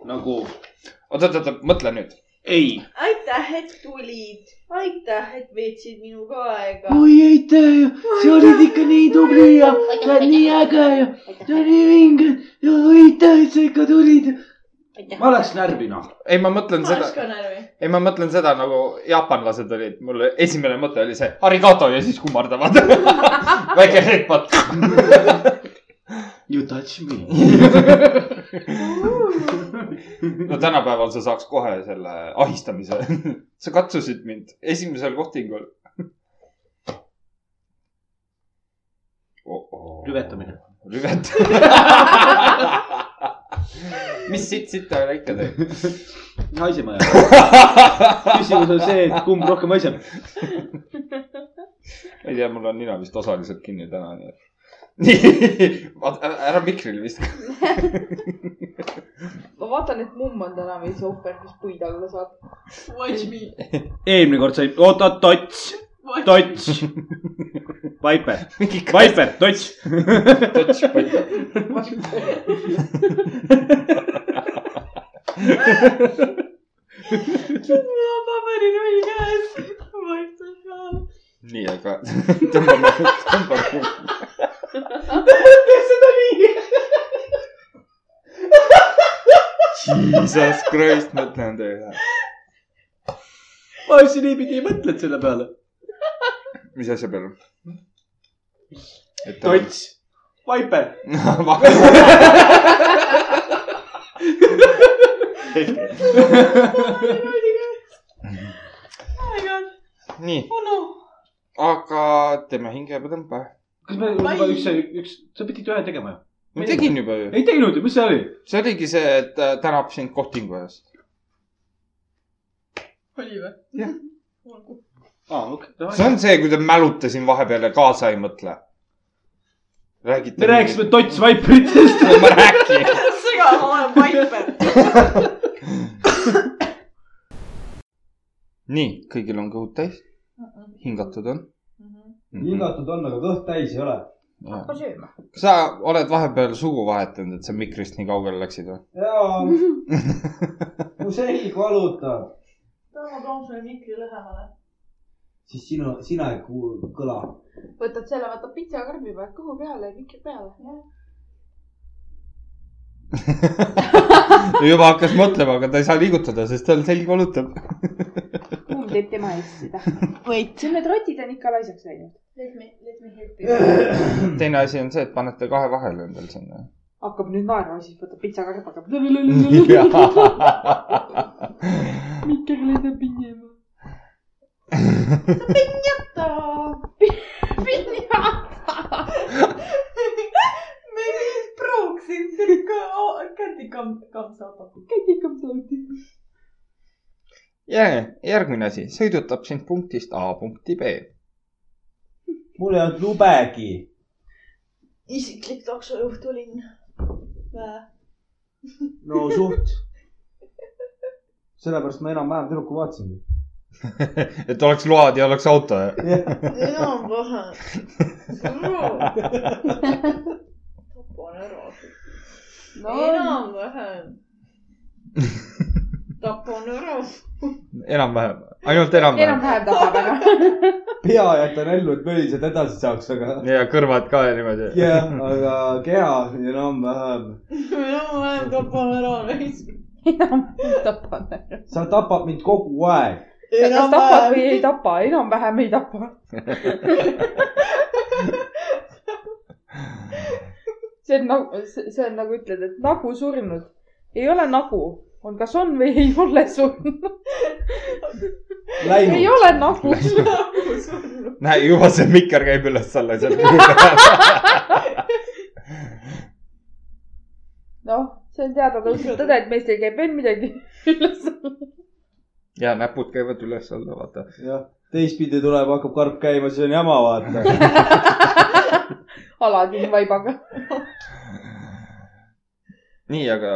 S2: nagu
S1: oot , oot , oot , mõtle nüüd .
S2: ei .
S4: aitäh , et tulid , aitäh , et veetsid minuga aega .
S2: oi aitäh , sa olid ikka nii tubli ja sa oled nii äge ja sa oled nii vinge ja aitäh , et sa ikka tulid . ma oleks närvina .
S1: ei , ma mõtlen
S4: ma
S1: seda
S4: oleks , ka närvi .
S1: ei , ma mõtlen seda nagu jaapanlased olid , mul esimene mõte oli see arigato ja siis kummardavad . väike headbutt .
S2: You touch me .
S1: no tänapäeval sa saaks kohe selle ahistamise . sa katsusid mind esimesel kohtingul .
S2: Rüvetamine. .
S1: rüvetamine mis sitt sitta üle ikka teeb ?
S2: naisema ja küsimus on see , et kumb rohkem naisem .
S1: ma ei tea , mul on nina vist osaliselt kinni täna , nii et . nii , ära mikrile viska .
S3: ma vaatan , et mumm on täna veits ohver , kes puid alla saab .
S4: Watch me .
S2: eelmine kord sai , oota , tots , tots . Vaiper ,
S1: mingi kass .
S2: Vaiper , tots .
S4: mul on paberiroll käes . vastab ka .
S1: nii , aga tõmbame , tõmbame . Jesus Christ , mõtle enda üle .
S2: ma just niipidi ei mõtlenud selle peale .
S1: mis asja peale ? et
S2: tots , Vaiper .
S4: Oh
S1: nii ,
S4: onu .
S1: aga teeme hingepõdõmbe .
S2: kas me juba üks , üks , sa pidid ühe tegema ju ?
S1: ma tegin juba ju .
S2: ei teinud ju , mis see oli ?
S1: see oligi see , et äh, tänab sind kohtingu eest .
S4: oli või ?
S1: Jah. .
S4: olgu .
S2: aa , okei
S1: see . on see , kui te mälute siin vahepeal ja kaasa ei mõtle . räägite .
S2: me rääkisime . tots Vaiperitest .
S1: ma räägin .
S4: segan , ma olen vaiper .
S1: nii , kõigil on kõhud täis , hingatud on . Mhm.
S2: on , aga kõht täis ei ole .
S1: hakka sööma . sa oled vahepeal sugu vahetanud , et sa mikrist nii kaugele läksid või ?
S2: jaa , mu selg valutab .
S4: Tarmo Toom sai mikri lähemale .
S2: siis sinu , sina ei kuulu kõla .
S3: võtad selle , vaata pitsakarbi paned kõhu peale ja mikri peale .
S1: juba hakkas mõtlema , aga ta ei saa liigutada , sest tal selg valutab .
S3: mumm teeb tema eest seda .
S5: võit .
S3: siin need rotid on ikka laisaks läinud .
S4: Let me , let me help you .
S1: teine asi on see , et panete kahe vahele endal sinna .
S3: hakkab nüüd naerma , siis võtab pitsakarb , hakkab . mikker lendab minema .
S4: me nüüd pruuksin siuke Käti kamp , kampsaapa .
S3: kätikam saadi .
S1: ja järgmine asi , sõidutab sind punktist A punkti B .
S8: mul ei olnud lubegi .
S4: isiklik taksojuht olin .
S8: no suht . sellepärast ma enam-vähem tüdruku vaatasingi .
S1: et oleks load ja oleks auto .
S4: enam-vähem . tapan ära . enam-vähem . tapan ära .
S1: enam-vähem , ainult enam-vähem .
S3: enam-vähem tahab , aga .
S8: pea jätan ellu , et mölised edasi saaks , aga .
S1: ja kõrvad ka ja niimoodi . Mhm.
S8: jah , aga keha enam-vähem .
S4: enam-vähem tapan ära .
S3: tapan .
S8: sa tapad mind kogu aeg .
S3: kas tapad või ei tapa , enam-vähem ei tapa . see on nagu , see on nagu ütled , et nagu surnud . ei ole nagu , on kas on või ei ole surnud . ei
S8: Läinud .
S3: ole nagu .
S1: näe , juba see mikker käib üles-alla seal kuu peal .
S3: noh , see on teada tõusnud tõde , et meist ei käi veel midagi üles .
S1: ja näpud käivad üles-alla , vaata .
S8: jah , teistpidi tuleb , hakkab karp käima , siis on jama , vaata .
S3: Aladin vaibaga .
S1: nii , aga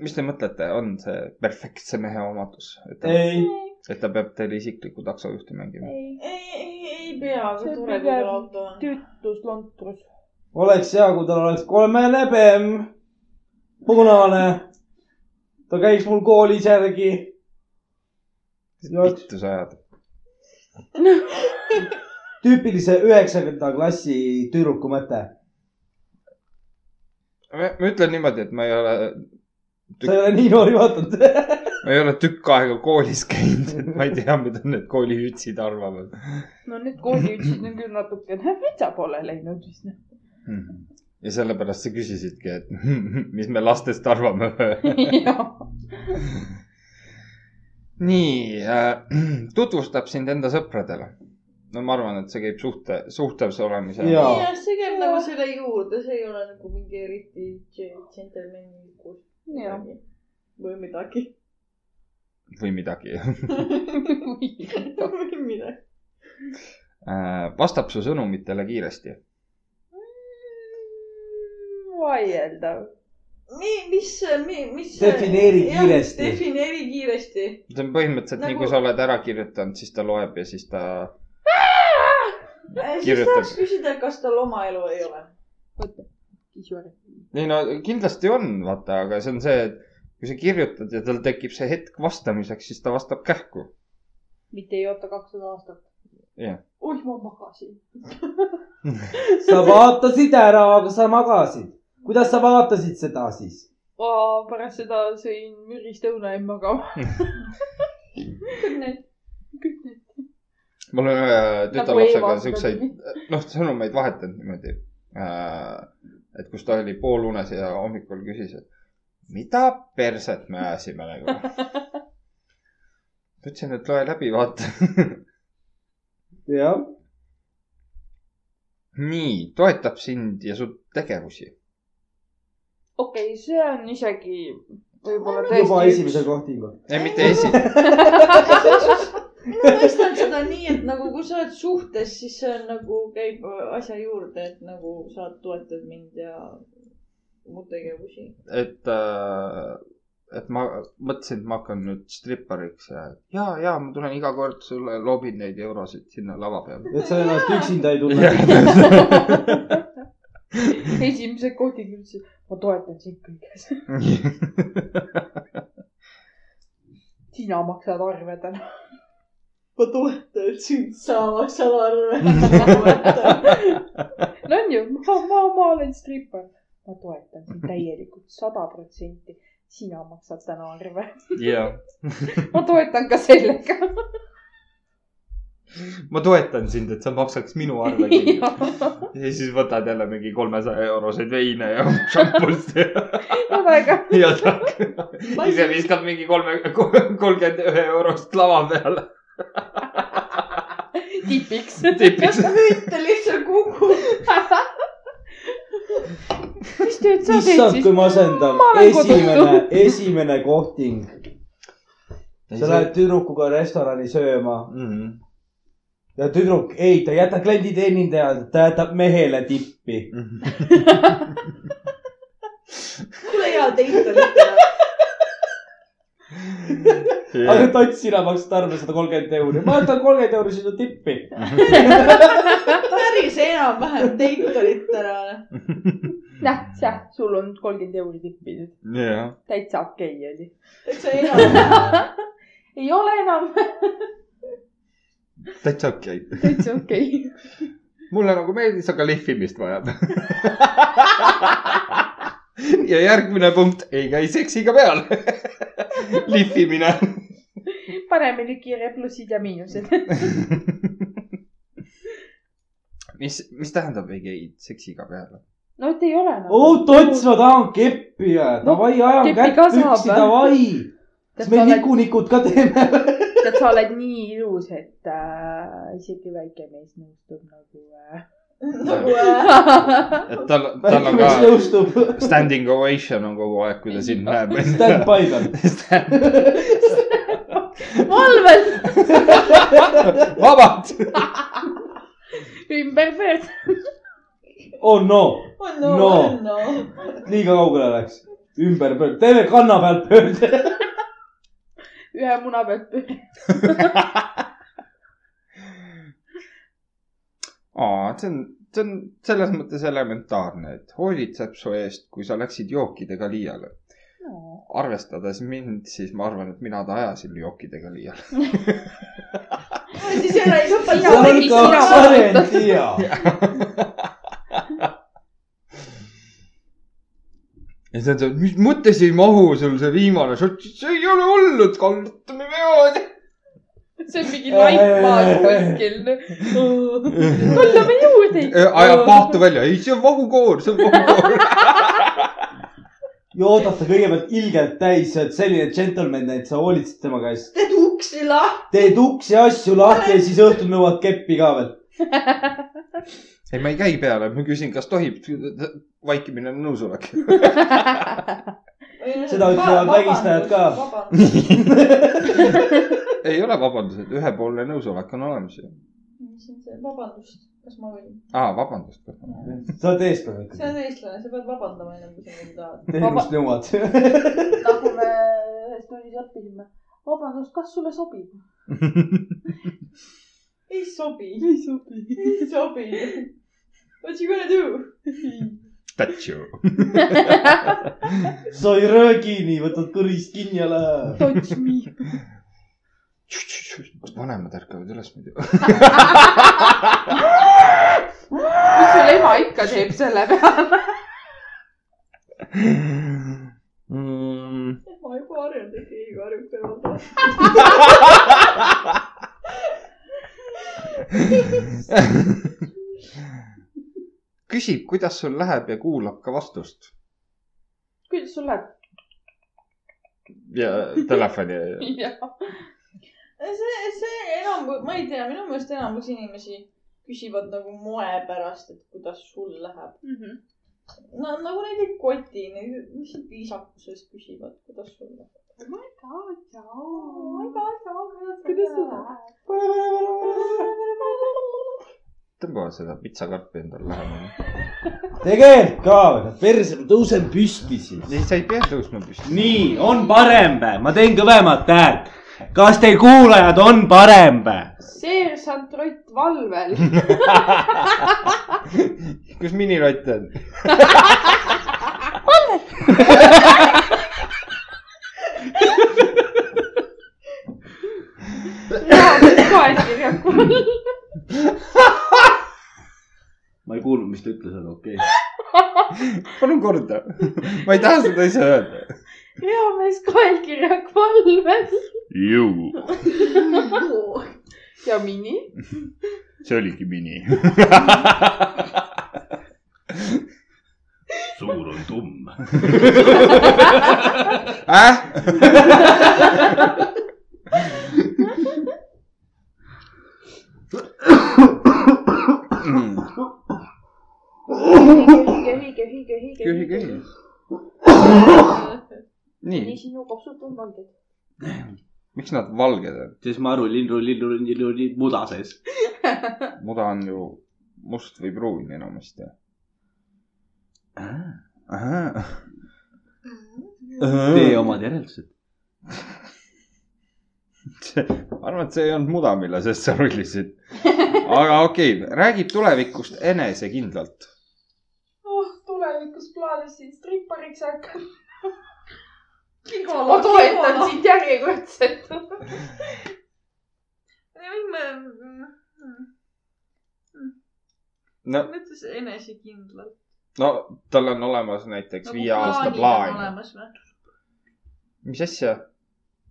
S1: mis te mõtlete , on see perfektse mehe omadus , et ta ,
S8: ei ,
S1: et ta peab teile isiklikku taksojuhti mängima ?
S4: ei , ei , ei pea ,
S3: See on
S4: aga tore , kui
S3: pigem
S4: tal auto on .
S3: tüütus lontrus .
S8: oleks hea , kui tal oleks kolmene bemm , punane . ta käis mul koolis järgi .
S1: vittu sa ajad .
S8: tüüpilise üheksakümnenda klassi tüdruku mõte .
S1: ma ütlen niimoodi , et ma ei ole ,
S8: sa ei ole nii noori vaadanud .
S1: ma ei ole tükk aega koolis käinud , et ma ei tea , mida need koolihütsid arvavad .
S3: no nüüd kooliütsid on küll natukene vitsa poole läinud vist .
S1: ja sellepärast sa küsisidki , et mis me lastest arvame . nii äh, , tutvustab sind enda sõpradele . no ma arvan , et see käib suhte , suhtes olemise .
S8: Jaa.
S4: jah , see käib nagu selle juurde , see ei ole nagu mingi eriti džentelmenlikus
S3: jah .
S4: või midagi .
S1: või midagi .
S4: või midagi .
S1: Äh, vastab su sõnumitele kiiresti .
S3: vaieldav .
S4: nii , mis , mis .
S8: Defineeri kiiresti.
S4: defineeri kiiresti .
S1: see on põhimõtteliselt nagu... nii ,
S4: Nagu-
S1: kui sa oled ära kirjutanud , siis ta loeb ja siis ta .
S4: siis
S1: Kirjutab.
S4: tahaks küsida , kas tal oma elu ei ole .
S1: ei no kindlasti on , vaata , aga see on see , et kui sa kirjutad ja tal tekib see hetk vastamiseks , siis ta vastab kähku .
S3: mitte ei oota kakssada aastat .
S9: oih , ma magasin .
S8: sa vaatasid ära , aga sa magasid . kuidas sa vaatasid seda siis ?
S3: pärast seda sõin mürist õuna ja magama .
S1: ma olen ühe tütarlapsega siukseid ,
S3: Nagu
S1: noh , sõnumeid vahetanud niimoodi . et kus ta oli poolunes ja hommikul küsis , et mida perset me ajasime nagu . ma ütlesin , et loe läbi , vaata .
S8: jah ,
S1: nii , toetab sind ja su tegevusi .
S3: okei , see on isegi võib-olla
S8: juba
S3: tõesti
S8: esimese kohtingu .
S1: ei , mitte esi- ,
S4: mina mõistan seda nii , et nagu kui sa oled suhtes , siis see on nagu käib asja juurde , et nagu sa toetad mind ja mu tegevusi .
S1: et , et ma mõtlesin , et ma hakkan nüüd strippariks ja , ja , ja ma tulen iga kord sulle , loobin neid eurosid sinna lava peale .
S8: et sa ennast üksinda ei tunne .
S3: esimese kohtiga üldse . ma toetan sind kõiges . sina maksad arve täna .
S4: ma toetan sind , sa maksad arve .
S3: no on ju , ma , ma , ma olen strippar . ma toetan sind täielikult , sada protsenti . sina maksad täna arve .
S1: ja
S3: ma toetan ka sellega .
S1: ma toetan sind , et sa maksaks minu arve kinni . ja siis võtad jälle mingi kolmesaja euroseid veine ja šampust ja ,
S3: väga
S1: ja tak- ise viskad mingi kolme , kolmkümmend ühe eurost lava peale .
S3: tipiks .
S1: tipiks .
S4: ta lihtsalt kukub .
S3: mis tööd sa teed
S8: issand ,
S3: siis
S8: kui ? masendav
S3: Ma . olen
S8: esimene , esimene kohting . sa
S1: sa Mhm.
S8: lähed tüdrukuga restorani sööma
S1: mm . -hmm.
S8: ja tüdruk , ei , ta ei jäta kliendi teenindajale , ta jätab mehele tippi .
S1: Mhm.
S5: kuule hea teit oli täna .
S8: aga tots , sina maksad arve sada kolmkümmend euri , ma jätan kolmkümmend euri sinu tippi .
S4: päris enam-vähem teit olid täna .
S3: näh , jah , sul on kolmkümmend euri tippi nüüd .
S1: jah .
S3: täitsa okei okay oli .
S4: täitsa enam-vähem .
S3: ei ole enam
S1: täitsa okei .
S3: täitsa okei okay. .
S1: mulle nagu meeldis , aga lihvimist vajab . ja järgmine punkt , ei käi seksiga peal . lihvimine .
S3: paneme nüüd kiire plussid ja miinused .
S1: mis , mis tähendab ei käi seksiga peale ?
S3: no et ei ole enam
S8: oo , tots , ma tahan keppi , davai , ajame
S3: keppi
S8: kätt
S3: ka saab,
S8: püksi ,
S3: jah.
S8: davai .
S3: Tead,
S8: kas
S3: sa
S8: me
S3: oled-
S8: nikunikud ka teeme või ?
S3: tead , sa oled nii ilus , et äh, isegi väike mees nõustub nagu äh. .
S4: Nagu, äh,
S1: et tal , tal on ka
S8: väikemees nõustub .
S1: standing ovation on kogu aeg , kui ta sind näeb .
S8: Stand by tal .
S3: valvel
S1: vabalt .
S3: ümber pöörd .
S8: oh no ,
S4: on
S8: no,
S4: no
S8: No. ,
S4: on no .
S8: liiga kaugele läks . ümber pöörd , teeme kanna pealt pöörde .
S3: ühe muna pealt pöörd .
S1: aa , see on , see on selles mõttes elementaarne , et hoolitseb su eest , kui sa läksid jookidega liiale . arvestades mind , siis ma arvan , et mina ta ajasin jookidega liiale .
S4: siis ära ei lõpe
S8: seal on
S3: tegid sina
S8: kaks varianti ja .
S1: ja siis on see , mis mõttes ei mahu sul see viimane šot , see ei ole hullud , kallutame peod .
S3: see on mingi laipmaas kuskil . kallame noh. juurde .
S1: ajab Äh, pahtu välja , ei , see on vahukoor , see on vahukoor .
S8: ja oodata kõigepealt ilgelt täis , sa oled selline džentelmen , et sa hoolitsed tema käest .
S4: teed uksi lahti .
S8: teed uksi ja asju lahti ja siis õhtul nõuad keppi ka veel .
S1: ei , ma ei käi peale , ma küsin , kas tohib . vaikimine on nõusolek .
S8: Seda ütlevad vägistajad ka.
S1: ei ole vabandused , ühepoolne nõusolek on olemas ju .
S4: mis on see , vabandust , kas ma võin ?
S1: aa , vabandust .
S8: sa oled eestlane
S4: see
S8: ikkagi .
S4: on eestlane , sa pead vabandama ennem kui sa midagi tahad .
S8: teenust nõuad .
S3: nagu me ühes tunnis õppisime . vabandust , kas sulle sobib ?
S4: ei sobi . ei sobi . ei sobi . What you gonna do ?
S1: Statue .
S8: sa ei röögi nii , võtad kõrist kinni ja lähed .
S3: Touch me .
S1: vanemad ärkavad üles muidu .
S3: mis sul ema ikka teeb selle peale ?
S1: Mm.
S4: ma juba harjunud , et ei harjunud peale .
S1: küsib , kuidas sul läheb ja kuulab ka vastust
S3: kuidas sul läheb ?
S1: ja telefoni .
S4: see , see enam , ma ei tea , minu meelest enamus inimesi küsivad nagu moe pärast , et kuidas sul läheb .
S3: Mhm.
S4: no nagu neid ei koti , neid lihtsalt viisakuses küsivad , kuidas sul läheb .
S3: Oh kuidas sul läheb ?
S1: tõmba seda pitsakarpi endale lähemale .
S8: tegelikult ka , perse , ma tõusen püsti siis .
S1: ei , sa ei pea tõusma püsti .
S8: nii , on parem või ? ma teen kõvemat häält . kas teil kuulajad on parem või ?
S3: seersant Rott Valvel .
S1: kus minilott on ?
S3: koekirjaku .
S2: ma ei kuulnud , mis ta ütles , aga okei
S1: palun korda . ma ei taha seda ise öelda .
S3: reamees koekirjak Valvel .
S1: ju ,
S3: ja Mini .
S1: see oligi mini .
S2: okay. . suur on tumm .
S1: äh ?
S3: hüge , hüge , hüge , hüge ,
S1: köhi , köhi .
S3: nii
S1: nii ,
S3: sinu kopsud on valged .
S1: miks nad valged on ?
S2: siis ma aru , lindu , lindu , lindu , lindu , muda sees .
S1: muda on ju must või pruun enamasti .
S2: tee omad järeldused .
S1: ma arvan , et see ei olnud muda , mille sees sa rullisid . aga okei okay, , räägib tulevikust enesekindlalt .
S3: oh , tulevikus plaanis siin strippariks hakkan .
S7: ma toetan sind .
S3: sind järjekordselt .
S4: mm,
S1: no ,
S4: mõtles enesekindlalt .
S1: no tal on olemas
S4: Nagu
S1: näiteks viie aasta plaan . mis asja ?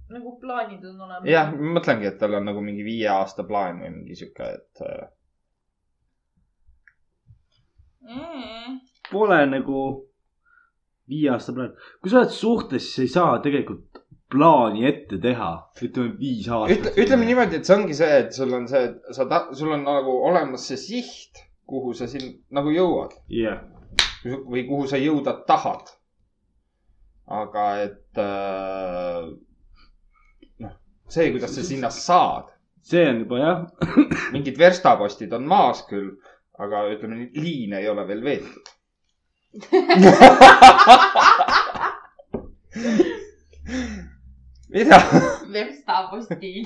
S4: nagu plaanid on olemas .
S1: jah , ma mõtlengi , et tal on nagu mingi viie aasta plaan või mingi sihuke , et äh,
S2: Pole nagu viie aasta plaan . kui sa oled suhtes , siis ei saa tegelikult plaani ette teha . ütleme viis
S1: ütle
S2: aastat .,
S1: ütleme . niimoodi , et see ongi see , et sul on see , et sa ta- , sul on nagu olemas see siht , kuhu sa siin nagu jõuad
S2: jah ,
S1: või kuhu sa jõuda tahad . aga et äh, noh , see , kuidas sa sinna saad ,
S2: see on juba jah ,
S1: mingid verstapostid on maas küll , aga ütleme , liin ei ole veel veetud . mida ?
S7: verstapostid .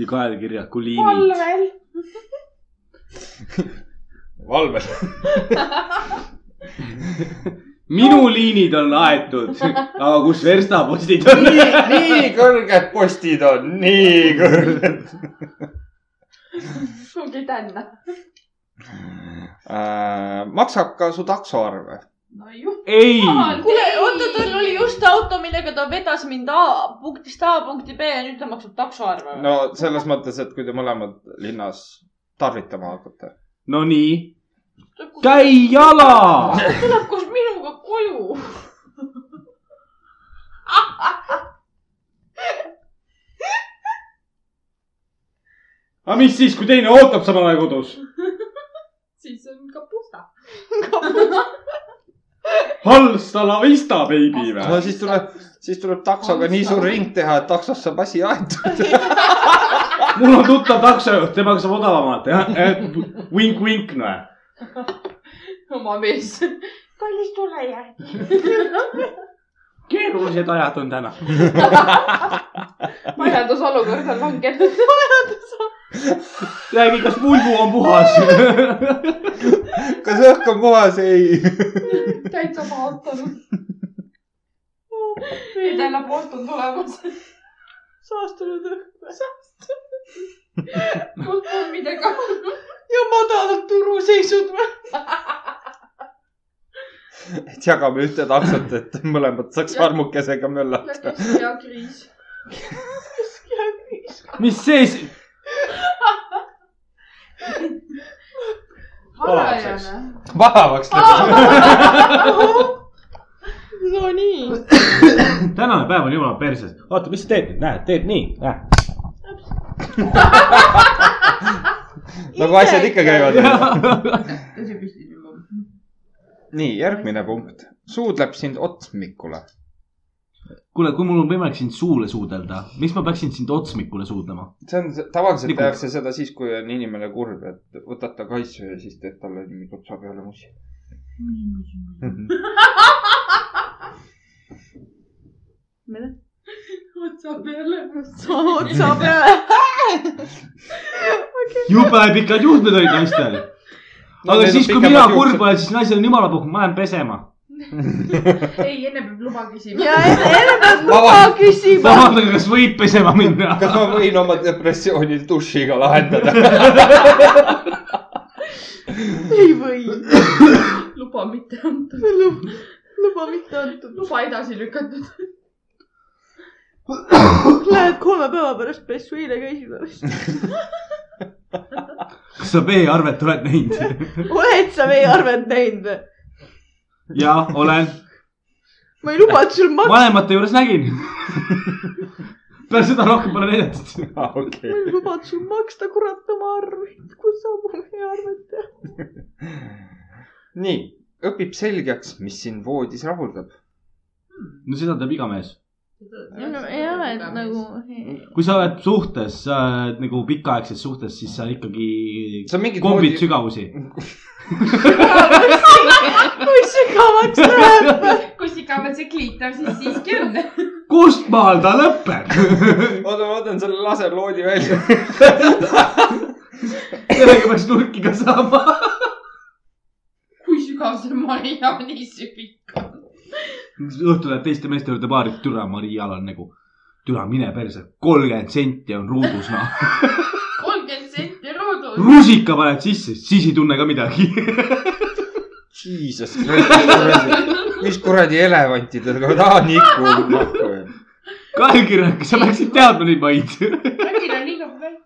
S2: ja kaelkirjad , kuliinid .
S3: palvel .
S1: valves .
S2: minu liinid on aetud , aga kus verstapostid on ?
S1: nii , nii kõrged postid on , nii kõrged .
S3: mingi tänna .
S1: Äh, maksab ka su taksoarve .
S7: no juh- .
S2: ei ,
S4: kuule , oota , tal oli just auto , millega ta vedas mind A punktist A punkti B ja nüüd ta maksab taksoarve
S1: no selles mõttes , et kui te mõlemad linnas tarvitama hakkate .
S2: no nii ,
S4: no, .
S2: käi jala .
S4: tuleb koos minuga koju .
S2: aga mis siis , kui teine ootab samal ajal kodus ?
S3: siis on kapusta .
S2: Halsta la vista , baby või
S1: no ? siis tuleb , siis tuleb taksoga nii suur ring teha , et taksos saab asi aetud .
S2: mul on tuttav taksojuht , temaga saab odavamalt , jah . Vink-vink , noh .
S7: oma mees .
S3: kallis tule järgi .
S2: keerulised ajad on täna .
S3: majandusolukord on langenud .
S2: räägi , kas mulgu on puhas ?
S1: kas õhk on puhas ? ei .
S3: täitsa vaatanud .
S7: täna poolt on tulemas .
S4: saastunud õhk .
S7: mul pole midagi .
S4: ja madalad turuseisud või ?
S1: et jagame ühte taksot , et mõlemad saaks armukesega möllata .
S7: keskkriis .
S2: mis see siis ?
S7: varajane .
S1: vaevaks läbi .
S4: Nonii .
S2: tänane päev on jumala perses . vaata , mis sa teed nüüd , näed , teed nii , näed .
S1: nagu asjad ikka käivad .
S7: tõsi püsti juba .
S1: nii , järgmine punkt . suudleb sind otsmikule .
S2: kuule , kui mul on võimalik sind suule suudelda , miks ma peaksin sind otsmikule suudlema ?
S1: see on , tavaliselt
S2: Nigu.
S1: tehakse seda siis , kui on inimene kurb , et võtad ta kaisu ja siis teed talle nii kutsa peale musi .
S7: otsa peale .
S4: otsa peale .
S2: jube pikad juhtmed olid naistel .
S1: No,
S2: aga
S1: need on
S2: siis , kui
S1: pikemad
S2: mina
S1: juuksed.
S2: kurb olen , siis naisel on jumala puhk , ma lähen pesema .
S7: ei , enne peab luba küsima .
S4: ja enne , enne peab luba küsima .
S2: vabandage , kas võib pesema minna ?
S1: kas ma võin oma depressiooni dušiga lahendada ?
S4: ei või .
S7: luba mitte antud .
S4: luba mitte antud .
S7: luba edasi lükatud .
S4: Lähed kolme päeva pärast pessuile käisid alles .
S2: kas sa veearvet oled näinud ?
S4: oled sa meie arvet näinud või ?
S2: jaa , olen .
S4: ma ei luba , et sul maks- ,
S2: vanemate juures nägin . peale seda rohkem pole näidatud .
S1: okei
S4: ma . ei luba , et sul maksta kurat oma arveid . kus sa mu meie arvet tead ?
S1: nii , õpib selgeks , mis sind voodis rahuldab .
S2: no seda teeb iga mees .
S4: ei ole , et nagu .
S2: kui sa oled suhtes , sa oled nagu pikaaegses suhtes , siis sa ikkagi
S1: see on mingi
S2: kombid . sügavusi .
S4: kui sügavaks läheb .
S10: kus igav see kliitor siis siiski on .
S2: kust maal ta lõpeb ?
S1: oota , ma võtan selle laserloodi välja .
S2: sellega peaks nurki ka saama .
S10: kui sügav see Maria on , nii süpik .
S2: õhtul läheb teiste meeste juurde baari , türa Marial on nagu , türa mine perse , kolmkümmend senti on ruudus noh .
S10: kolmkümmend senti ruudus .
S2: rusika paned sisse , siis ei tunne ka midagi .
S1: Jesus Christ , mis kuradi elevantidega ta noh, nikub nahku .
S2: kaelkirjad , sa peaksid teadma neid maid .
S10: äkki ta on liiga väike .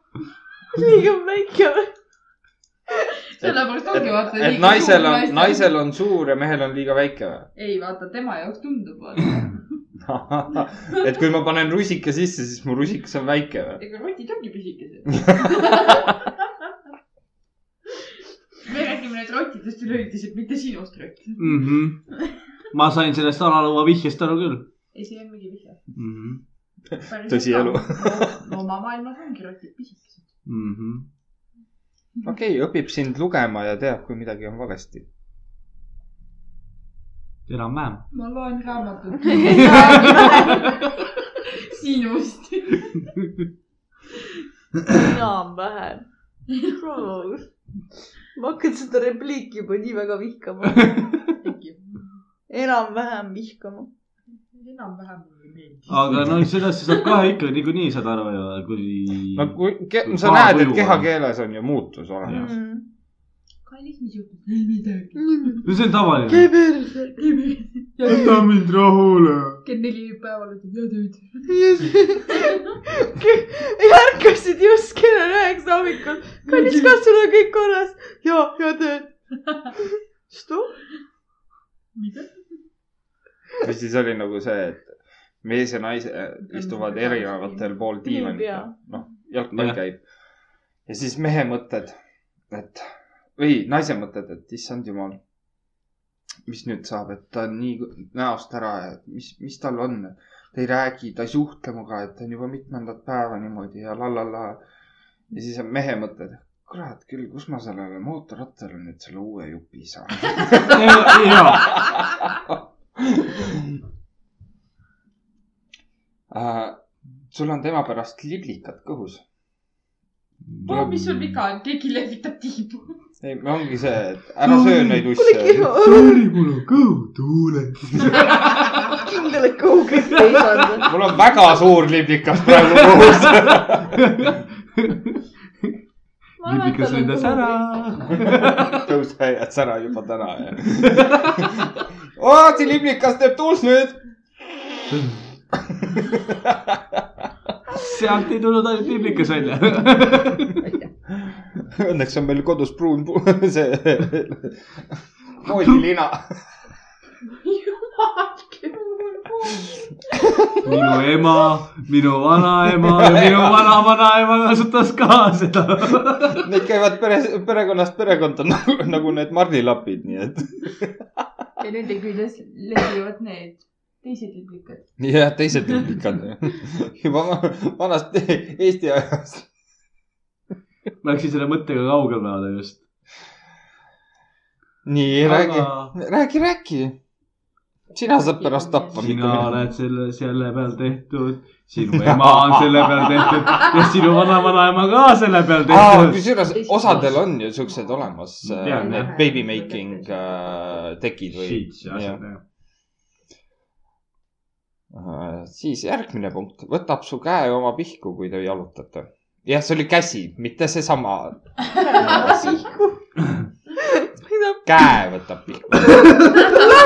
S4: liiga väike või ?
S10: sellepärast ongi vaata .
S1: et naisel on , naisel on suur ja mehel on liiga väike
S10: ei vaata , tema jaoks tundub .
S1: või ? et kui ma panen rusika sisse , siis mu rusikas on väike või ?
S10: ega rotid ongi pisikesed . me räägime nüüd rottidest üleüldiselt , mitte sinust rott .
S2: Mhm. ma sain sellest alalõua vihjest aru küll
S10: ei , see ei olnud mingi vihje .
S2: mm . -hmm.
S1: Tõsielu. .
S10: loomamaailmas ongi rotid pisikesed .
S2: Mm -hmm.
S10: Mhm.
S1: okei okay, , õpib sind lugema ja teab , kui midagi on valesti .
S2: enam-vähem .
S10: ma loen raamatut . sinust .
S4: enam-vähem . ma hakkan seda repliiki juba nii väga vihkama . enam-vähem vihkama .
S10: enam-vähem mulle ei meeldi .
S1: Ah.
S2: aga no sellest sa saad kohe ikka niikuinii saad aru ju , kui
S1: no
S2: no, .
S1: kui ke,
S2: Mm. Kui
S1: sa
S2: paha
S1: näed ,
S2: tuju
S1: et
S2: on.
S1: kehakeeles on ju muutus olemas .
S4: Mm.
S10: kallis , mis juhtus ? ei midagi .
S2: see on tavaline . jäta mind rahule .
S10: kell neli päeval ütleb ja tööd .
S4: ärkasid just kell üheksa hommikul . kallis , kas sul on kõik korras ? ja , ja teed .
S10: mida ?
S1: või siis oli nagu see , et mees ja naise äh, istuvad erinevatel pool diivanit ja noh , jalgpall
S2: Jah.
S1: käib . ja siis mehe mõtted , et või naise mõtted , et issand jumal , mis nüüd saab , et ta on nii näost ära ja et mis , mis tal on . ta ei räägi , ta ei suhtle minuga , et ta on juba mitmendat päeva niimoodi ja la la la . ja siis on mehe mõtted , kurat küll , kus ma sellele mootorrattale nüüd selle uue jupi saan .
S2: jaa ,
S1: Äh, sul on tema pärast liblikad kõhus .
S10: no mis sul viga on , keegi lehvitab tiibu .
S1: ei , ongi see , et ära söö neid usse .
S2: sorry , mul on kõhu tuules .
S4: kindel , et kaugelt ei saanud .
S1: mul on väga suur liblikas praegu kõhus .
S2: libikas lendas ära .
S1: tõuse ja sära juba täna ja . oo , see liblikas teeb tuult nüüd .
S2: sealt ei tulnud ainult libikas välja .
S1: Õnneks on meil kodus pruun puu- see voodilina .
S2: minu ema , minu vanaema ja minu vanavanaema kasutas ka seda .
S1: Need käivad pere , perekonnast perekonda nagu, nagu need marnilapid , nii et .
S10: ja nende küljes lehvivad need teised liblikad .
S1: jah , teised liblikad . juba va- vanast Eesti ajast .
S2: Läksin selle mõttega kaugemale just .
S1: nii , räägi . räägi , räägi . sina saad pärast tappa .
S2: sina oled selle , selle peal tehtud , sinu ema on selle peal tehtud ja sinu vanavanaema ka selle peal
S1: Aa,
S2: tehtud .
S1: kusjuures osadel on ju siuksed olemas ,
S2: Tean,
S1: need
S10: jah.
S1: baby making äh, tekid või . Äh, siis järgmine punkt , võtab su käe oma pihku , kui te jalutate . jah , see oli käsi , mitte seesama käe võtab pihku .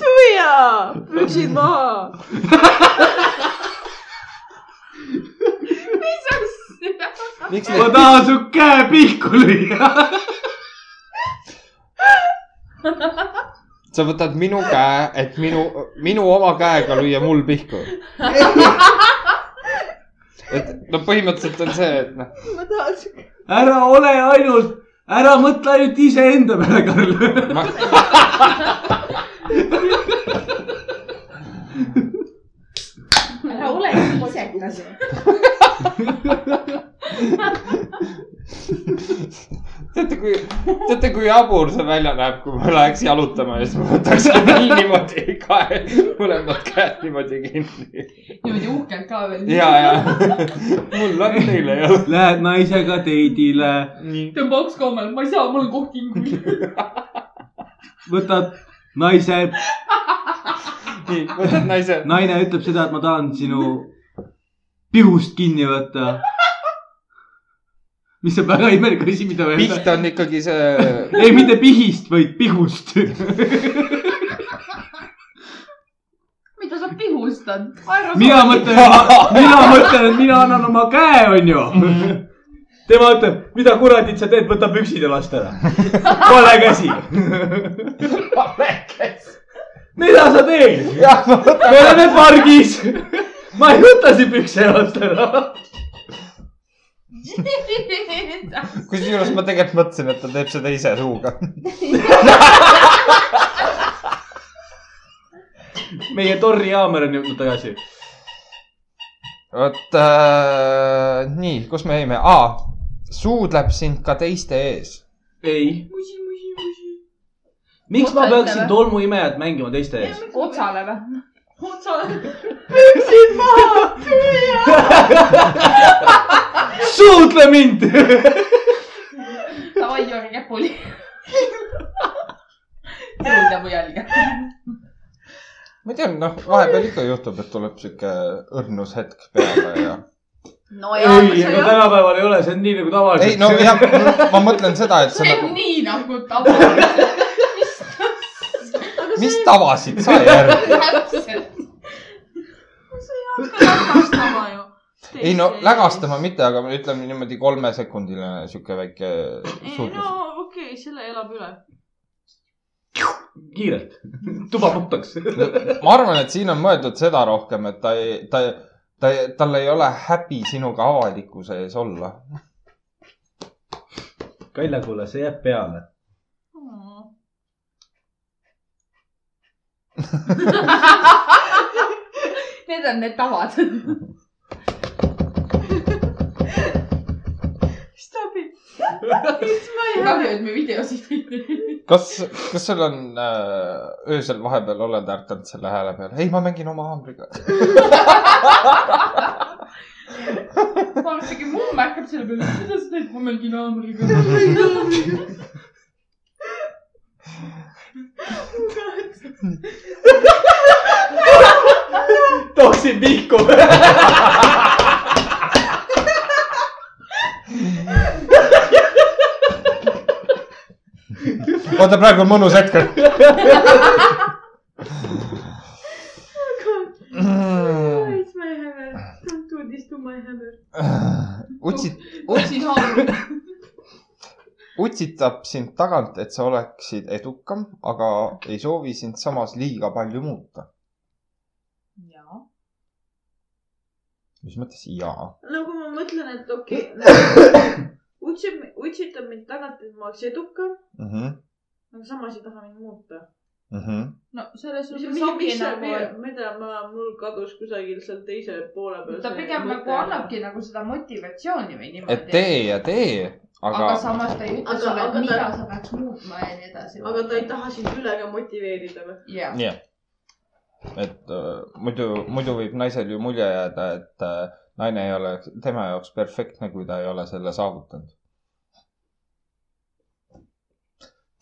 S4: tuia , püksid maha .
S10: mis asja ?
S1: miks
S2: ma
S1: need ,
S2: tahan su käe pihku lüüa .
S1: sa võtad minu käe , et minu , minu oma käega lüüa mul pihku . et no põhimõtteliselt on see , et noh ,
S4: ma tahan siuke .
S2: ära ole ainult , ära mõtle ainult iseenda peale , Karl .
S1: ma ,
S4: ära ole iisekas .
S1: teate , kui , teate , kui jabur see välja näeb , kui ma läheks jalutama ja siis ma võtaks veel niimoodi kae , mõlemad käed niimoodi kinni .
S10: niimoodi uhkelt ka veel .
S1: ja , ja mul on teile ju .
S2: Lähed naisega teidile ,
S10: tõmba oks kaamale , ma ei saa , mul on koht hingul .
S2: võtad naise ,
S1: nii , võtad naise .
S2: naine ütleb seda , et ma tahan sinu nagu pihust kinni võtta . mis on väga imelik asi , mida öelda .
S1: piht on ikkagi see ,
S2: ei , mitte pihist , vaid pihust .
S10: mida sa pihustad ? aero
S2: mina mõtlen , mina mõtlen , et mina annan oma käe , onju . tema ütleb , mida kuradit sa teed , võta püksid ja lasta ära . vale käsi . mida sa teed ? me oleme pargis . ma ei võta siin pükse ja lasta ära .
S1: kusjuures ma tegelikult mõtlesin , et ta teeb seda ise suuga .
S2: meie Torri Jaamer on jõudnud tagasi .
S1: vot äh, nii , kus me jäime ah, ? suudleb sind ka teiste ees .
S2: ei . miks ma peaksin tolmuimejat mängima teiste ees ?
S10: otsale või ?
S2: suudle mind .
S10: davai , joone käpuli . kuulda mu jälge .
S1: ma tean , noh , vahepeal ikka juhtub , et tuleb sihuke õrnus hetk peale ja .
S4: no ja ,
S2: ei , aga tänapäeval ei ole , see on nii nagu tavaliselt .
S1: ei no jah , ma mõtlen seda , et sa
S10: see
S1: nagu
S10: on , nii nagu tavaliselt .
S1: mis tavasid sa järgi .
S10: täpselt .
S7: lägastama
S4: nagu
S7: ju .
S1: ei no . lägastama mitte , aga me ütleme niimoodi kolmesekundiline sihuke väike
S7: ei no .
S1: suudlus
S7: okei okay, , selle elab üle .
S2: kiirelt , tuba puhtaks .
S1: ma arvan , et siin on mõeldud seda rohkem , et ta ei , ta , ta , tal ei ole häbi sinuga avalikkuse ees olla .
S2: Kalja , kuule , see jääb peale .
S10: Need on need tavad .
S7: Stop it .
S10: kahju , et me videosid ei tee .
S1: kas , kas sul on äh, öösel vahepeal oled ärkanud selle hääle peale ? ei , ma mängin oma haamriga .
S10: ma arvan , et äkki mu märkab selle peale , et kuidas sa teed , ma mängin haamriga .
S2: tooksin pihku .
S1: oota , praegu on mõnus hetk .
S7: It's my hammer . Don't do this to my hammer .
S1: utsit- ,
S10: otsin haamriga .
S1: utsitab sind tagant , et sa oleksid edukam , aga ei soovi sind samas liiga palju muuta .
S10: jaa .
S1: mis mõttes jaa ?
S4: nagu ma mõtlen , et okei okay, , utsib , utsitab mind tagant , et ma oleks edukam ,
S1: Mhm,
S4: aga samas ei taha mind muuta .
S10: no selles
S4: mis ,
S10: suhtes
S4: mis ,
S10: ongi
S4: mis see
S10: nagu , et
S4: mida , mida ma , mul kadus kusagil seal teise poole peal .
S10: ta pigem nagu . annabki nagu seda motivatsiooni või niimoodi .
S1: et tee ja tee ,
S10: aga
S1: aga
S10: samas ta ei ütle
S4: Aga-
S10: sulle , et
S4: aga ta-
S10: mida sa peaks muutma ja nii edasi .
S4: aga ta ei . taha sind üle ka motiveerida või ?
S10: jah ,
S1: jah , et äh, muidu , muidu võib naisel ju mulje jääda , et äh, naine ei ole tema jaoks perfektne , kui ta ei ole selle saavutanud .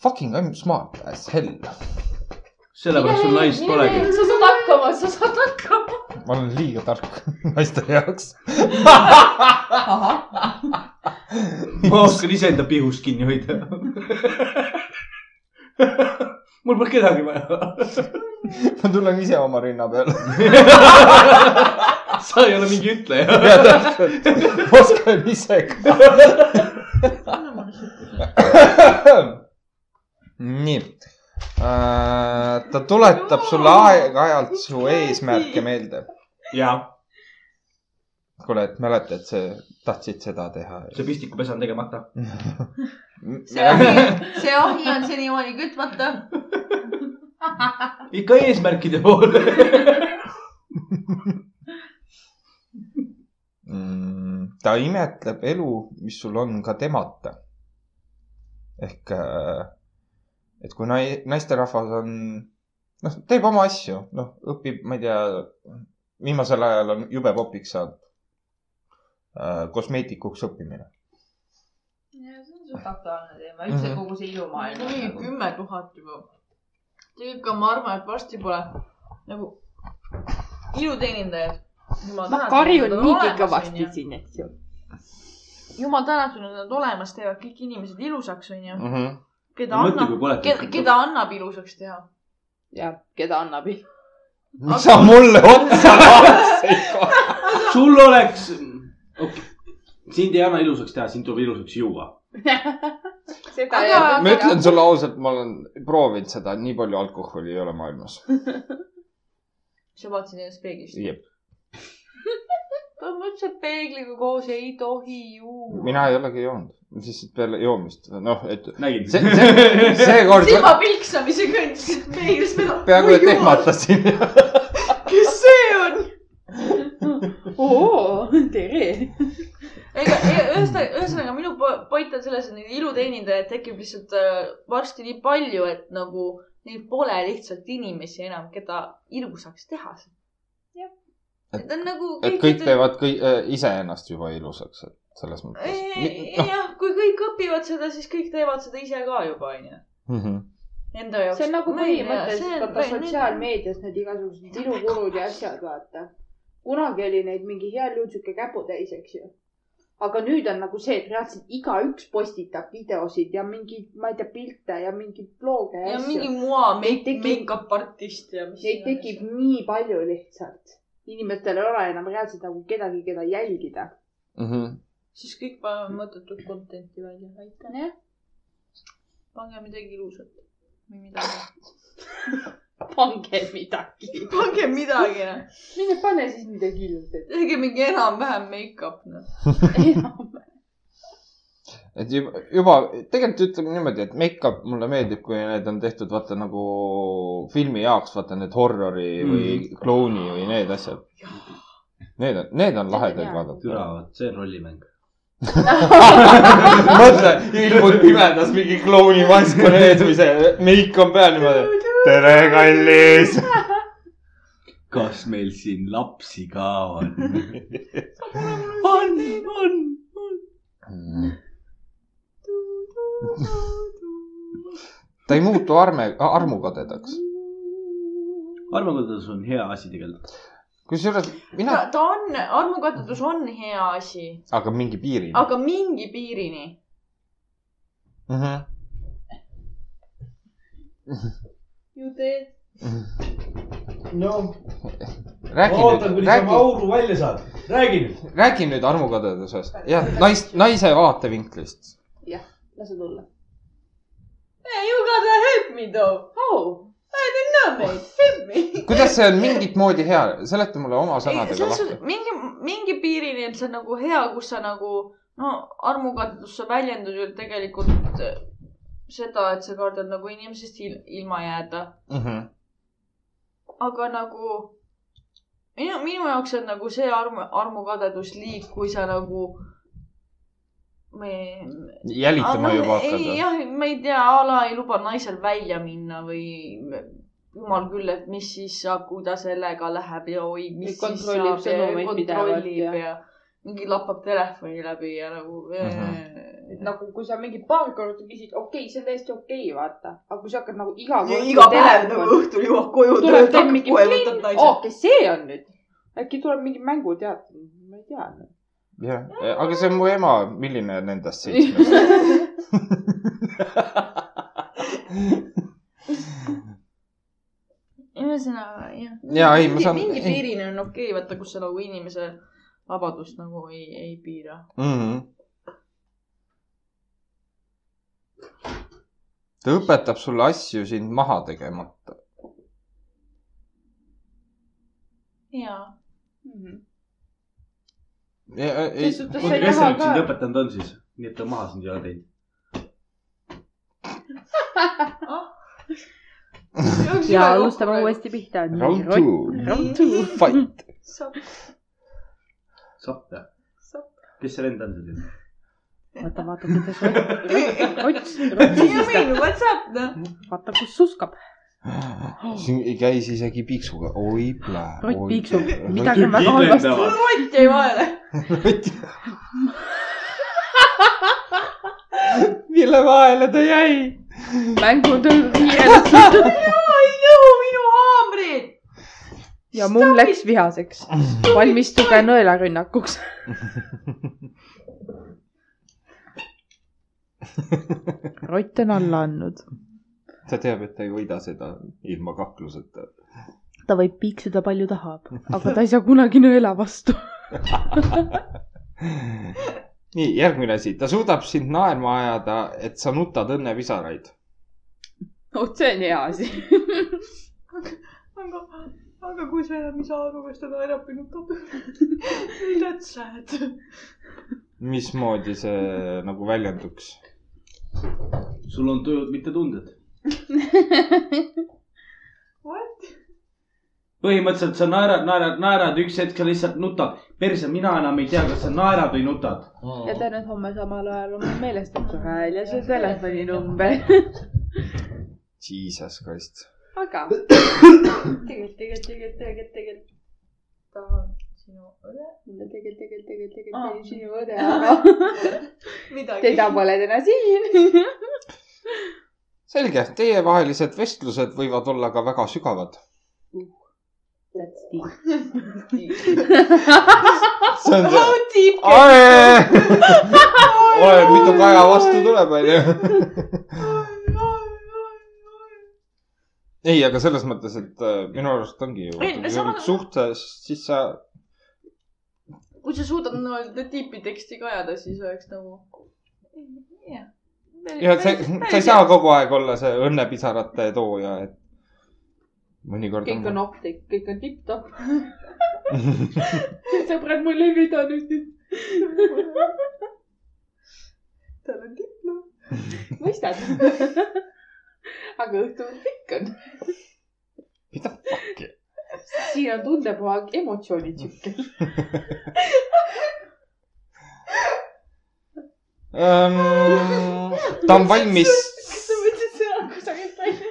S1: Fucking I m smart as hell ,
S2: sellepärast sul naist polegi .
S10: sa saad hakkama , sa saad hakkama .
S1: ma olen liiga tark naiste jaoks .
S10: ahah ,
S2: ma oskan iseenda pihust kinni hoida . mul pole kedagi vaja .
S1: ma tulen ise oma rinna peale .
S2: sa ei ole mingi ütleja .
S1: ja täpselt , ma oskan ise ka . nii , ta tuletab sulle aeg-ajalt su eesmärke meelde .
S2: ja ,
S1: kuule , et mäletad , sa tahtsid seda teha .
S2: see pistikupesa on tegemata .
S7: see ahi , see ahi on senimaani kütmata .
S2: ikka eesmärkide poole .
S1: Mm, ta imetleb elu , mis sul on ka temata . ehk , et kui nai- , naisterahvas on , noh , teeb oma asju , noh , õpib , ma ei tea , viimasel ajal on jube popiks saanud äh, kosmeetikuks õppimine .
S10: see on suht aktuaalne teema , üldse
S1: Mhm.
S10: kogu see ilumaailm .
S4: mingi kümme tuhat juba . tegelikult ka ma arvan , et varsti pole nagu iluteenindajaid .
S5: ma karjun niigi kõvasti . siin , eks ju .
S4: jumal tänatud , et nad olemas teevad kõik inimesed ilusaks , onju .
S1: Mm. Mhm.
S4: keda
S5: noh,
S2: mõtle ,
S4: annab ,
S2: kui põletad
S4: keda , keda annab ilusaks teha .
S5: ja keda annab .
S1: miks sa mulle otsa vaatasid ?
S2: sul oleks , okei , sind ei anna ilusaks teha , sind tuleb ilusaks juua .
S3: seda
S4: Aga-
S3: ei ole .
S1: ma ütlen sulle ausalt , ma olen proovinud seda , nii palju alkoholi ei ole maailmas .
S4: sa vaatasid ennast peeglist .
S1: Jep.
S4: ta on üldse peegliga koos , ei tohi ju .
S1: mina ei olegi joonud , lihtsalt peale joomist , noh , et
S2: nägid ?
S1: see , see , seekord
S4: silmapilksamise kõndsid peeglist , mina .
S1: peaaegu et . ehmatasin .
S4: kes see on ?
S5: oo , tere .
S4: ega ega- ühesõnaga , ühesõnaga minu po- point on selles , et neid iluteenindajaid tekib lihtsalt äh, varsti nii palju , et nagu neil pole lihtsalt inimesi enam , keda ilusaks teha .
S1: Et-
S4: ta on nagu .
S1: et kõik teevad kõik iseennast juba ilusaks , et selles mõttes .
S4: jah , kui kõik õpivad seda , siis kõik teevad seda ise ka juba , onju .
S1: noh ,
S4: Enda jaoks .
S3: see on nagu põhimõtteliselt vaata . sotsiaalmeedias need igasugused ilukulud ja asjad , vaata . kunagi oli neid mingi heal juhul sihuke käputäis , eks ju . aga nüüd on nagu see , et reaalselt igaüks postitab videosid ja mingeid , ma ei tea , pilte ja mingeid blooge ja
S4: ja mingi
S3: asju .
S4: moa
S3: Neid
S4: make-
S3: tekib-
S4: make-up artist ja mis .
S3: Neid tekib . nii palju lihtsalt . inimestel ei ole enam reaalselt nagu kedagi , keda jälgida .
S1: mhm.
S4: siis kõik paneme mõttetut content'i välja , aitäh . pange midagi ilusat või midagi .
S5: pange midagi .
S4: pange midagi , noh .
S3: mine pane siis midagi ilusat .
S4: tehke mingi enam-vähem make-up , noh .
S1: et juba, juba tegelikult ütleme niimoodi , et make-up mulle meeldib , kui need on tehtud vaata nagu filmi jaoks , vaata need horrori mm. või klouni või need asjad . Need on , need on lahedad vaadata .
S2: türa , vot see on rollimäng .
S1: mõtle , ilmud pimedas mingi klouni mask on ees või see meik on peal niimoodi . tere , kallis .
S2: kas meil siin lapsi ka on ?
S1: on , on , on . ta ei muutu arme , armukadedaks .
S2: armukadedus on hea asi tegelikult .
S1: kusjuures mina ,
S4: ta ta on , armukattetus on hea asi ,
S1: aga mingi piirini
S4: aga mingi piirini .
S1: mm . -hmm.
S4: ju teed .
S8: no , ma
S1: räägi nüüd ,
S8: ootan , kuni sa oma
S1: räägi ,
S8: auru välja saad . räägi nüüd .
S1: räägi nüüd armukadedusest ja nais , naise vaatevinklist .
S3: lase tulla .
S4: You gotta help me though .
S3: au ,
S4: no mate , help me .
S1: kuidas see on mingit moodi hea , seleta mulle oma
S4: ei ,
S1: sõnadega
S4: selles suhtes
S1: lahti .
S4: mingi , mingi piirini , et see on nagu hea , kus sa nagu no armukadedus , sa väljendad ju tegelikult äh, seda , et sa kardad nagu inimesest il ilma jääda ,
S1: Mhm.
S4: aga nagu minu , minu jaoks on nagu see arm , armukadedus liig , kui sa nagu me ,
S1: jälitama
S4: Ah, no,
S1: juba
S4: ei
S1: hakata .
S4: jah , ma ei tea , a la ei luba naisel välja minna või jumal küll , et mis siis saab , kui ta sellega läheb ja oi , mis siis
S5: Kontrollib
S4: saab ja
S5: sõnumeid pidevalt ja-
S4: kontrollib ja mingi lappab telefoni läbi ja nagu
S1: Mhm.
S4: mm .
S3: nagu kui sa mingi paar korda küsid , okei okay, , see on täiesti okei okay, , vaata . aga kui sa hakkad nagu iga kord .
S4: iga päev nagu õhtul jõuab koju ,
S3: tuleb teeb mingi klinn ,
S4: Oh!
S3: oo , kes see on nüüd ? äkki tuleb mingi mänguteater , ma ei tea . noh.
S1: jah , aga see on mu ema , milline nendest seitsmest ?
S4: ühesõnaga jah .
S1: Jaa, ei, ma saan-
S4: mingi
S1: ei.
S4: piirini on okei okay, , vaata , kus sa nagu inimese vabadust nagu ei , ei piira .
S1: Mhm. ta õpetab sulle asju sind maha tegemata .
S4: jaa .
S3: Mhm.
S1: ei ,
S2: oota , kes see nüüd sind õpetanud on siis ? nii et ta maha sind ei ole teinud .
S5: ja alustame . uuesti pihta .
S1: round two ,
S5: Round two .
S1: fight .
S2: sapp jah ? kes see vend on selline ?
S5: vaata , vaata , kuidas rott , rots , rotsistab ,
S11: what's up , noh .
S5: vaata , kus suskab .
S1: siin ei käis isegi piiksuga , oi plää .
S5: rott piiksub , midagi on väga halvasti .
S11: rott jäi vahele .
S1: mille vahele ta jäi ?
S5: mängud on kiired
S11: ei nõu minu haamrid .
S5: ja mumm läks vihaseks . valmistuge nõelarünnakuks . rott on alla andnud ,
S1: ta teab , et ta ei võida seda ilma kakluseta .
S5: ta võib piiksuda palju tahab , aga ta ei saa kunagi nõela vastu .
S1: nii , järgmine asi , ta suudab sind naerma ajada , et sa nutad õnnepisaraid .
S5: vot see on hea asi .
S4: aga , aga kui sa enam ei saa aru , kas ta naerab või nutab või that's sad .
S1: mismoodi see nagu väljenduks ?
S2: sul on tujud , mitte tunded .
S4: What ?
S2: põhimõtteliselt sa naerad , naerad , naerad , üks hetk sa lihtsalt nutad . perse , mina enam ei tea , kas sa naerad või nutad .
S5: ja tõenäoliselt homme samal ajal on mul meelestab su hääl ja su telefoninumber .
S1: Jesus Christ .
S5: aga
S4: tegelikult , tegelikult , tegelikult , tegelikult , tegelikult tahan sinu õde .
S5: mulle tegelikult , tegelikult , tegelikult
S4: Aa.
S5: meeldis sinu õde , aga
S4: midagi .
S5: teda pole täna siin .
S1: selge , teievahelised vestlused võivad olla ka väga sügavad .
S5: That's deep .
S1: see on see .
S11: tiib .
S1: oleneb , mitu kaja vastu tuleb , onju . ei , aga selles mõttes , et äh, minu arust ongi ju ,
S11: Ei,
S1: kui sa
S11: sama-
S1: oled suhtes , äh, siis sa
S4: kui sa suudad nii-öelda tiipi teksti ka ajada , siis oleks nagu . jah .
S1: ja sa , sa ei saa . kogu aeg olla see õnnepisarate tooja , et mõnikord
S3: kõik on
S1: on .
S3: optik , kõik on tipp-topp .
S5: sõbrad , mul ei vedanud nüüd .
S3: tal on diplom . mõistad ? aga õhtul pikk on .
S1: mida fuck'i ?
S3: siin on tundepuhang emotsioonitsükkel .
S1: Ehm, ta on valmis ,
S4: kas sa võtsid sõna kusagilt välja ?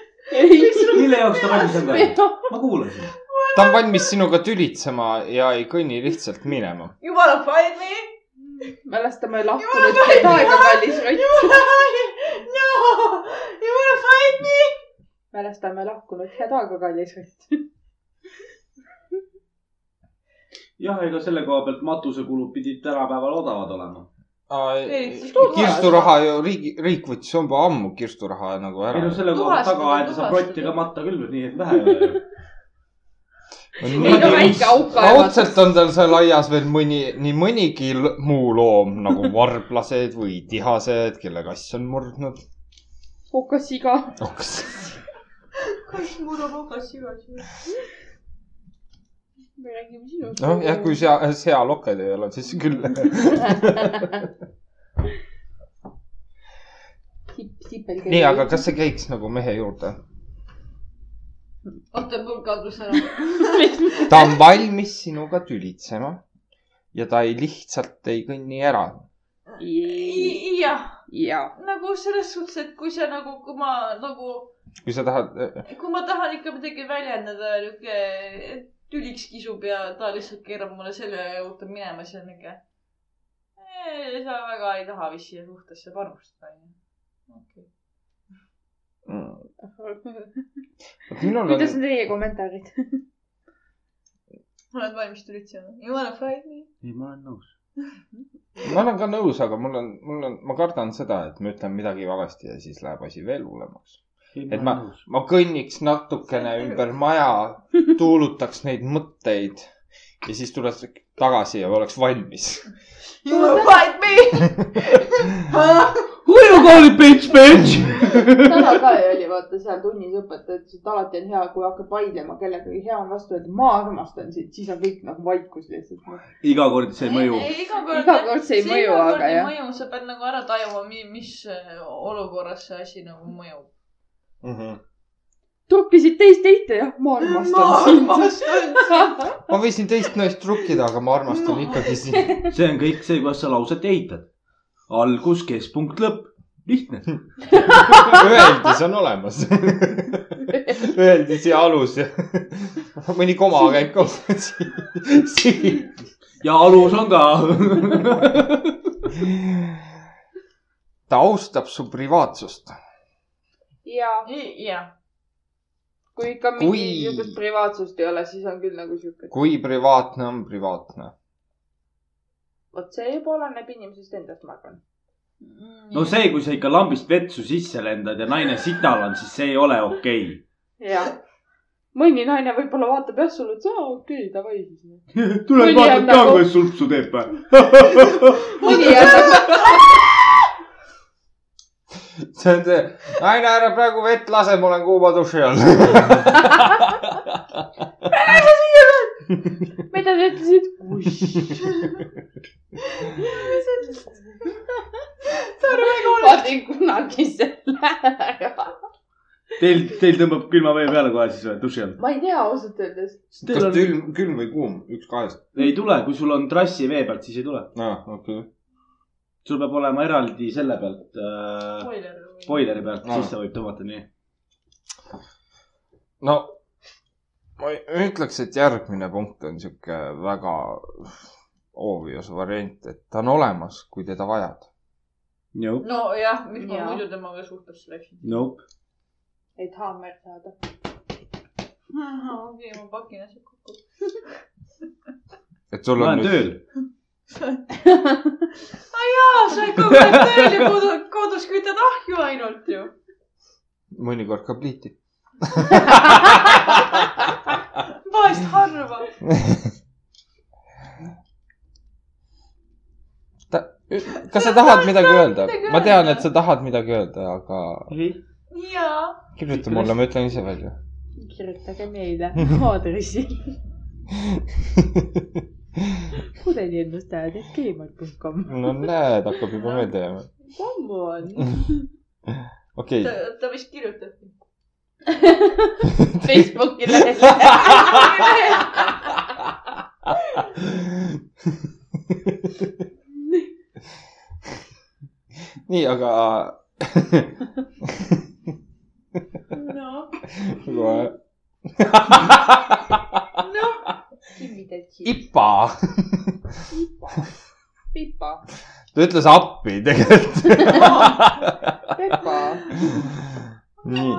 S2: mille jaoks ta valmis on ka ? ma kuulasin .
S1: ta on valmis sinuga tülitsema ja ei kõnni lihtsalt minema .
S4: jumala find me .
S3: mälestame lahkunud aega , kallis Rott .
S4: no , jumala find me .
S3: mälestame lahkunud head aega , kallis Rott .
S2: jah , ega selle koha pealt matusekulud pidid tänapäeval odavad olema .
S1: kirsturaha ju riigi , riik võttis juba ammu kirsturaha nagu
S2: ei no
S1: ära .
S2: selle koha pealt
S4: Tuhastada,
S2: taga aeda saab
S4: tuhastada.
S2: rotti ega matta küll , nii et vähe ei ole .
S3: ei no väike auk kaevas .
S1: kaudselt on tal seal aias veel mõni , nii mõnigi l- muu loom nagu varblased või tihased , kelle kass on murdnud .
S3: hukas iga .
S4: kas mul on okas sigas ?
S3: me räägime sinust .
S1: noh , jah , kui sea , sealokad ei ole , siis küll .
S3: tipp , tippel .
S1: nii , aga kas see käiks nagu mehe juurde ?
S4: oota , mul kadus ära .
S1: ta on valmis sinuga tülitsema ja ta ei lihtsalt ei kõnni ära .
S4: jah ,
S5: ja ,
S4: nagu selles suhtes , et kui sa nagu , kui ma nagu
S1: kui sa tahad , äh,
S4: kui ma tahan ikka midagi väljendada , niuke tüliks kisub ja ta lihtsalt keerab mulle selle juurde minema , siis on niuke . sa väga ei taha vist siia suhtesse panustada , onju .
S1: äh, minul on
S5: kuidas , on teie kommentaarid ?
S4: oled valmis tülitsema ? You wanna fight me ?
S2: ei , ma olen nõus .
S1: ma olen ka nõus , aga mul on , mul on , ma kardan seda , et ma ütlen midagi valesti ja siis läheb asi veel hullemaks . Et ma- ma kõnniks natukene ümber maja , tuulutaks neid mõtteid ja siis tuleks tagasi ja oleks valmis .
S4: You wanna fight me ?
S2: Who you call it bitch , bitch ?
S3: täna ka oli , vaata seal tunnis õpetaja ütles , et alati on hea , kui hakkad vaidlema kellegagi , hea on vastu öelda , ma armastan sind , siis on kõik nagu vaikus lihtsalt .
S2: iga kord see ei mõju .
S4: iga
S3: iga kord see ei mõju , aga
S4: ei
S3: jah .
S4: mõju , sa pead nagu ära äh, tajuma , mis olukorras see asi nagu mõjub .
S3: trukkisid teist teite jah , ma armastan sind .
S1: ma võisin teist naist trukkida , aga ma armastan ikkagi sind .
S2: see on kõik see , kuidas sa lauset ehitad . algus , keskpunkt , lõpp . lihtne .
S1: öeldis on olemas . öeldis ja alus ja mõni koma käib ka siin- siin .
S2: ja alus on ka .
S1: ta austab su privaatsust .
S3: ja
S4: jah ,
S3: kui ikka
S1: Kui-
S3: mingisugust privaatsust ei ole , siis on küll nagu siuke ,
S1: kui privaatne on privaatne ?
S3: vot see juba oleneb inimesest endast , ma arvan .
S4: Mm.
S2: no see , kui sa ikka lambist vetsu sisse lendad ja naine sital on , siis see ei ole okei
S3: jah , mõni naine võib-olla vaatab jah sulle , et aa okei okay, , davai siis .
S2: okay. .
S3: Mõni vaatad on ka, nagu-
S2: kuidas sulpsu teeb või ?
S3: mõni jääb nagu ,
S1: see on see , naine , ära praegu vett lase , ma olen kuuma duši all .
S3: mida sa ütlesid ? kuss . vaatasin kunagi selle ära .
S2: Teil , teil tõmbab külma vee peale kohe siis või , duši all ?
S3: ma ei tea ausalt öeldes .
S1: kas külm , külm või kuum , üks kahest ?
S2: ei tule , kui sul on trassi vee pealt , siis ei tule .
S1: aa , okei .
S2: sul peab olema eraldi selle pealt äh, ,
S4: spoiler .
S2: boileri pealt ,
S1: Aa.
S2: siis ta võib tõmmata nii .
S1: no ma ei- ütleks , et järgmine punkt on sihuke väga obvious variant , et ta on olemas , kui teda vajad .
S2: Nope ,
S4: nojah , miks ma
S3: Jaa.
S4: muidu temaga suhtesse läksin .
S2: nope .
S3: et haamer saada .
S4: okei , ma pakin asjad kokku .
S1: et sul
S2: ma
S1: on
S2: olen tööl .
S4: aa , sa ikka oled tööl ja kodu- kodus kütad ahju ainult ju .
S1: mõnikord ka pliiti .
S4: vahest harva .
S1: kas sa tahad midagi öelda
S4: midagi ?
S1: ma tean ,
S4: öelda.
S1: et sa tahad midagi öelda , aga
S4: jaa .
S1: kirjuta mulle , ma ütlen ise välja .
S5: kirjutage meile aadressi pudeliennustajad , et gmail.com .
S1: no näed , hakkab juba meelde jääma .
S5: ammu on .
S1: okei
S4: ta , ta vist kirjutab .
S3: Facebooki lehes .
S1: nii , aga
S4: noh ,
S1: kohe
S3: kinnitäitsi .
S1: IPA .
S3: pipa .
S1: ta ütles appi tegelikult .
S3: Pepa .
S1: nii ,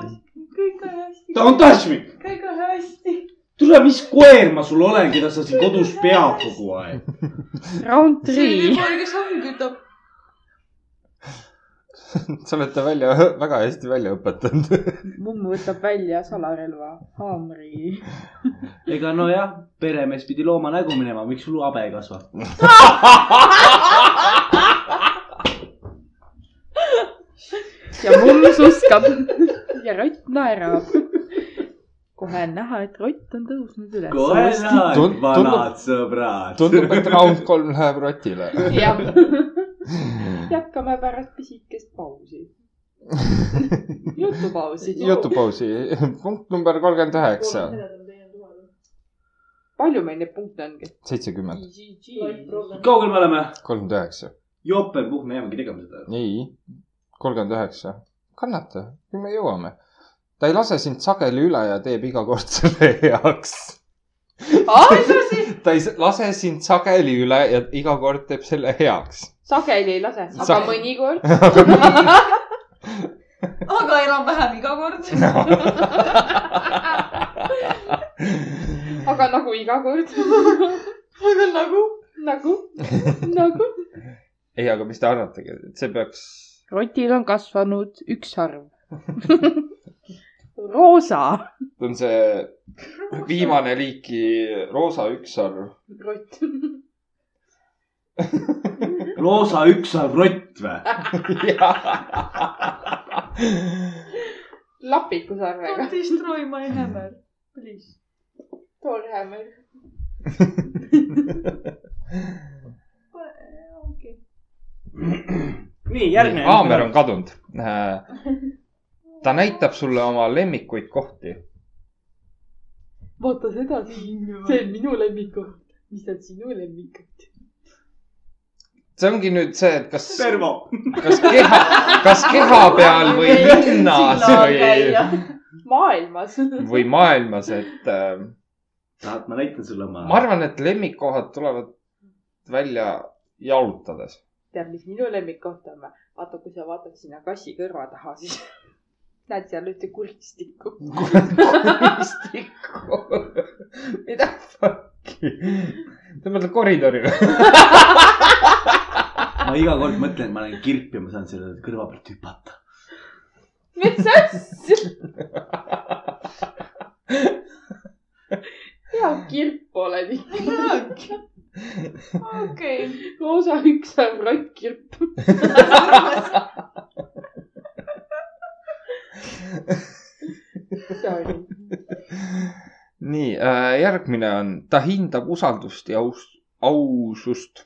S4: kõik on hästi ,
S2: Don't touch me .
S4: kõik on hästi .
S2: tule , mis koer ma sul olen , keda sa siin kodus pead kogu aeg .
S5: Round
S4: see oli
S5: three .
S4: koer , kes ahju kütab .
S1: sa oled ta välja , väga hästi välja õpetanud .
S5: mummu võtab välja salarelva , haamri .
S2: ega nojah , peremees pidi looma nägu minema , miks sul habe ei kasva ?
S5: ja mumm suskab ja rott naerab . kohe on näha , et rott on tõusnud
S2: kohe
S5: üles .
S2: näed
S1: Tund- ,
S2: vanad sõbrad .
S1: tundub , et round kolm läheb rotile .
S5: jah , jätkame pärast pisikest pausi . jutupausi .
S1: jutupausi , punkt number kolmkümmend üheksa ,
S3: palju meil neid punkte ongi ?
S1: seitsekümmend ,
S2: kaugel me oleme ?
S1: kolmkümmend üheksa ,
S2: jope puhk , me jäämegi tegema seda .
S1: ei , kolmkümmend üheksa , kannata , küll me jõuame . ta ei lase sind sageli üle ja teeb iga kord selle heaks . ta ei s- lase sind sageli üle ja iga kord teeb selle heaks .
S3: sageli ei lase , aga
S1: Sa-
S3: mõnikord .
S4: aga enam-vähem iga kord .
S3: aga nagu iga kord . aga nagu ? nagu , nagu .
S1: ei , aga mis te arvategi , et see peaks ,
S5: rotil on kasvanud üks sarv . roosa .
S1: see on see viimane liiki roosa ükssarv .
S3: rott .
S2: roosa ükssarv rott või ?
S3: lapiku sarvega .
S4: Destroy my hammer , please .
S3: toorhämmer .
S4: okei .
S2: nii ,
S1: Äh,
S2: järgmine .
S1: haamer on kadunud . ta näitab sulle oma lemmikuid kohti .
S3: vaata seda , see on minu lemmikkoht . mis on sinu lemmikkoht ?
S1: see ongi nüüd see , et kas ,
S8: Pervo .
S1: kas keha , kas keha peal või linnas või ,
S3: maailmas .
S1: või maailmas , et äh,
S8: tahad , ma näitan sulle oma
S1: ma arvan , et lemmikkohad tulevad välja jalutades .
S3: tead , mis minu lemmikkoht on või ? vaata , kui sa vaatad sinna kassi kõrva taha , siis näed seal ühte kuristikku .
S1: kuristikku . mida fuck'i ? sa mõtled koridori või ?
S8: ma iga kord mõtlen , et ma olen kirp ja ma saan selle kõrva pealt hüpata .
S3: mis asja ? hea kirp oled ikka .
S4: okei ,
S3: roosa hüksav rottkirp . Sorry .
S1: nii , järgmine on , ta hindab usaldust ja aus , ausust .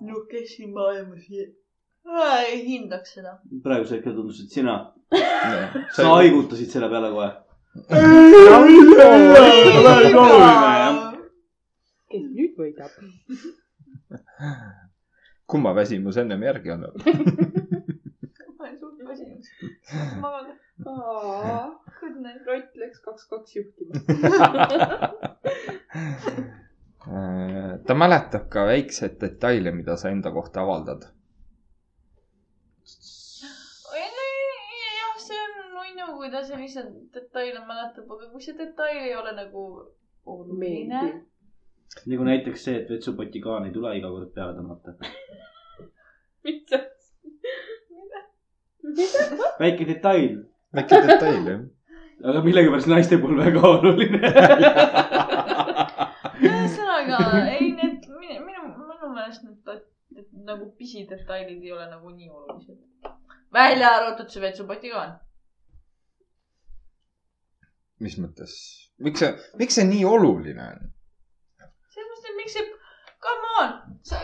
S4: no kes siin maailmas je- Aa, ei hindaks seda .
S8: praegusel hetkel tundus , et sina , sa
S1: sa
S8: haigutasid selle peale kohe .
S3: kes nüüd võidab ?
S1: kumma väsimus ennem järgi annab ?
S4: ma olen suht väsinud . magan . Good night .
S3: rott läks kaks-kaks juhtima .
S1: Äh, ta mäletab ka väikseid detaile , mida sa enda kohta avaldad .
S4: jah , see on nunnu , kui ta selliseid detaile mäletab , aga kui see detail ei ole nagu oluline .
S3: meeldib .
S8: nagu näiteks see , et vetsupoti kaan ei tule iga kord peale tõmmata .
S3: mis asja ?
S8: väike detail ,
S1: väike detail jah .
S8: aga millegipärast naiste puhul väga oluline .
S4: ühesõnaga , ei need , minu , minu meelest need dat- need nagu pisidetailid ei ole nagu nii olulised . välja arvatud see vetsupotikaan .
S1: mis mõttes , miks see , miks see nii oluline on ?
S4: sellepärast , et miks see , come on , sa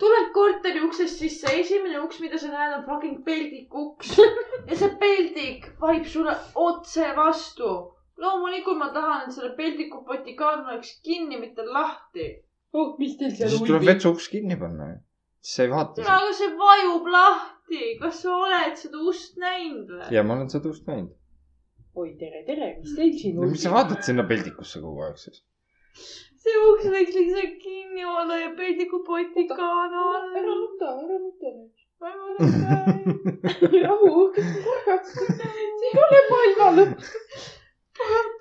S4: tuled korteri uksest sisse , esimene uks , mida sa näed , on fucking peldiku uks ja see peldik vahib sulle otse vastu . loomulikult ma tahan , et selle peldiku potikaan oleks kinni , mitte lahti .
S3: oh , mis teil seal
S1: siis tuleb
S3: uimib ?
S1: vetsu uks kinni panna ju . siis sa ei vaata seda .
S4: aga see vajub lahti , kas sa oled seda ust näinud või ?
S1: ja ma olen seda ust näinud .
S3: oi , tere , tere , mis teil siin
S1: miks sa
S3: uimib ?
S1: vaatad sinna peldikusse kogu aeg siis ?
S4: see uks võiks lihtsalt kinni olla ja peldiku potikaan
S3: ära
S4: all .
S3: nuta , ära nuta nüüd .
S4: ma ei mäleta .
S3: rahu , hakake korraks . see ei ole maailma lõpp .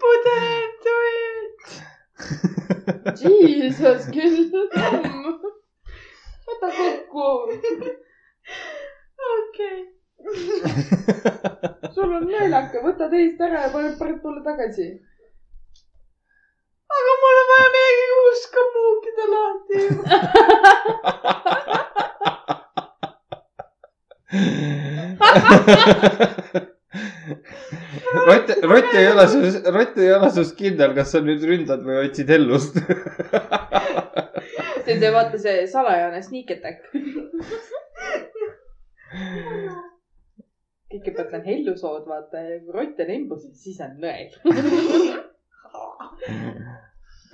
S4: pudel tuli .
S3: Jesus küll , tamm . võta kokku .
S4: okei .
S3: sul on nõelake , võta teist ära ja pane pärast mulle tagasi .
S4: aga mul on vaja midagi uus ka muukida lahti .
S1: Rott , Rott ei ole sus , Rott ei ole sus kindel , kas sa nüüd ründad või otsid ellust .
S3: see on see , vaata see salajane sneak attack . kõigepealt on hellusood , vaata , ja kui rott on imbuses , siis on nõel .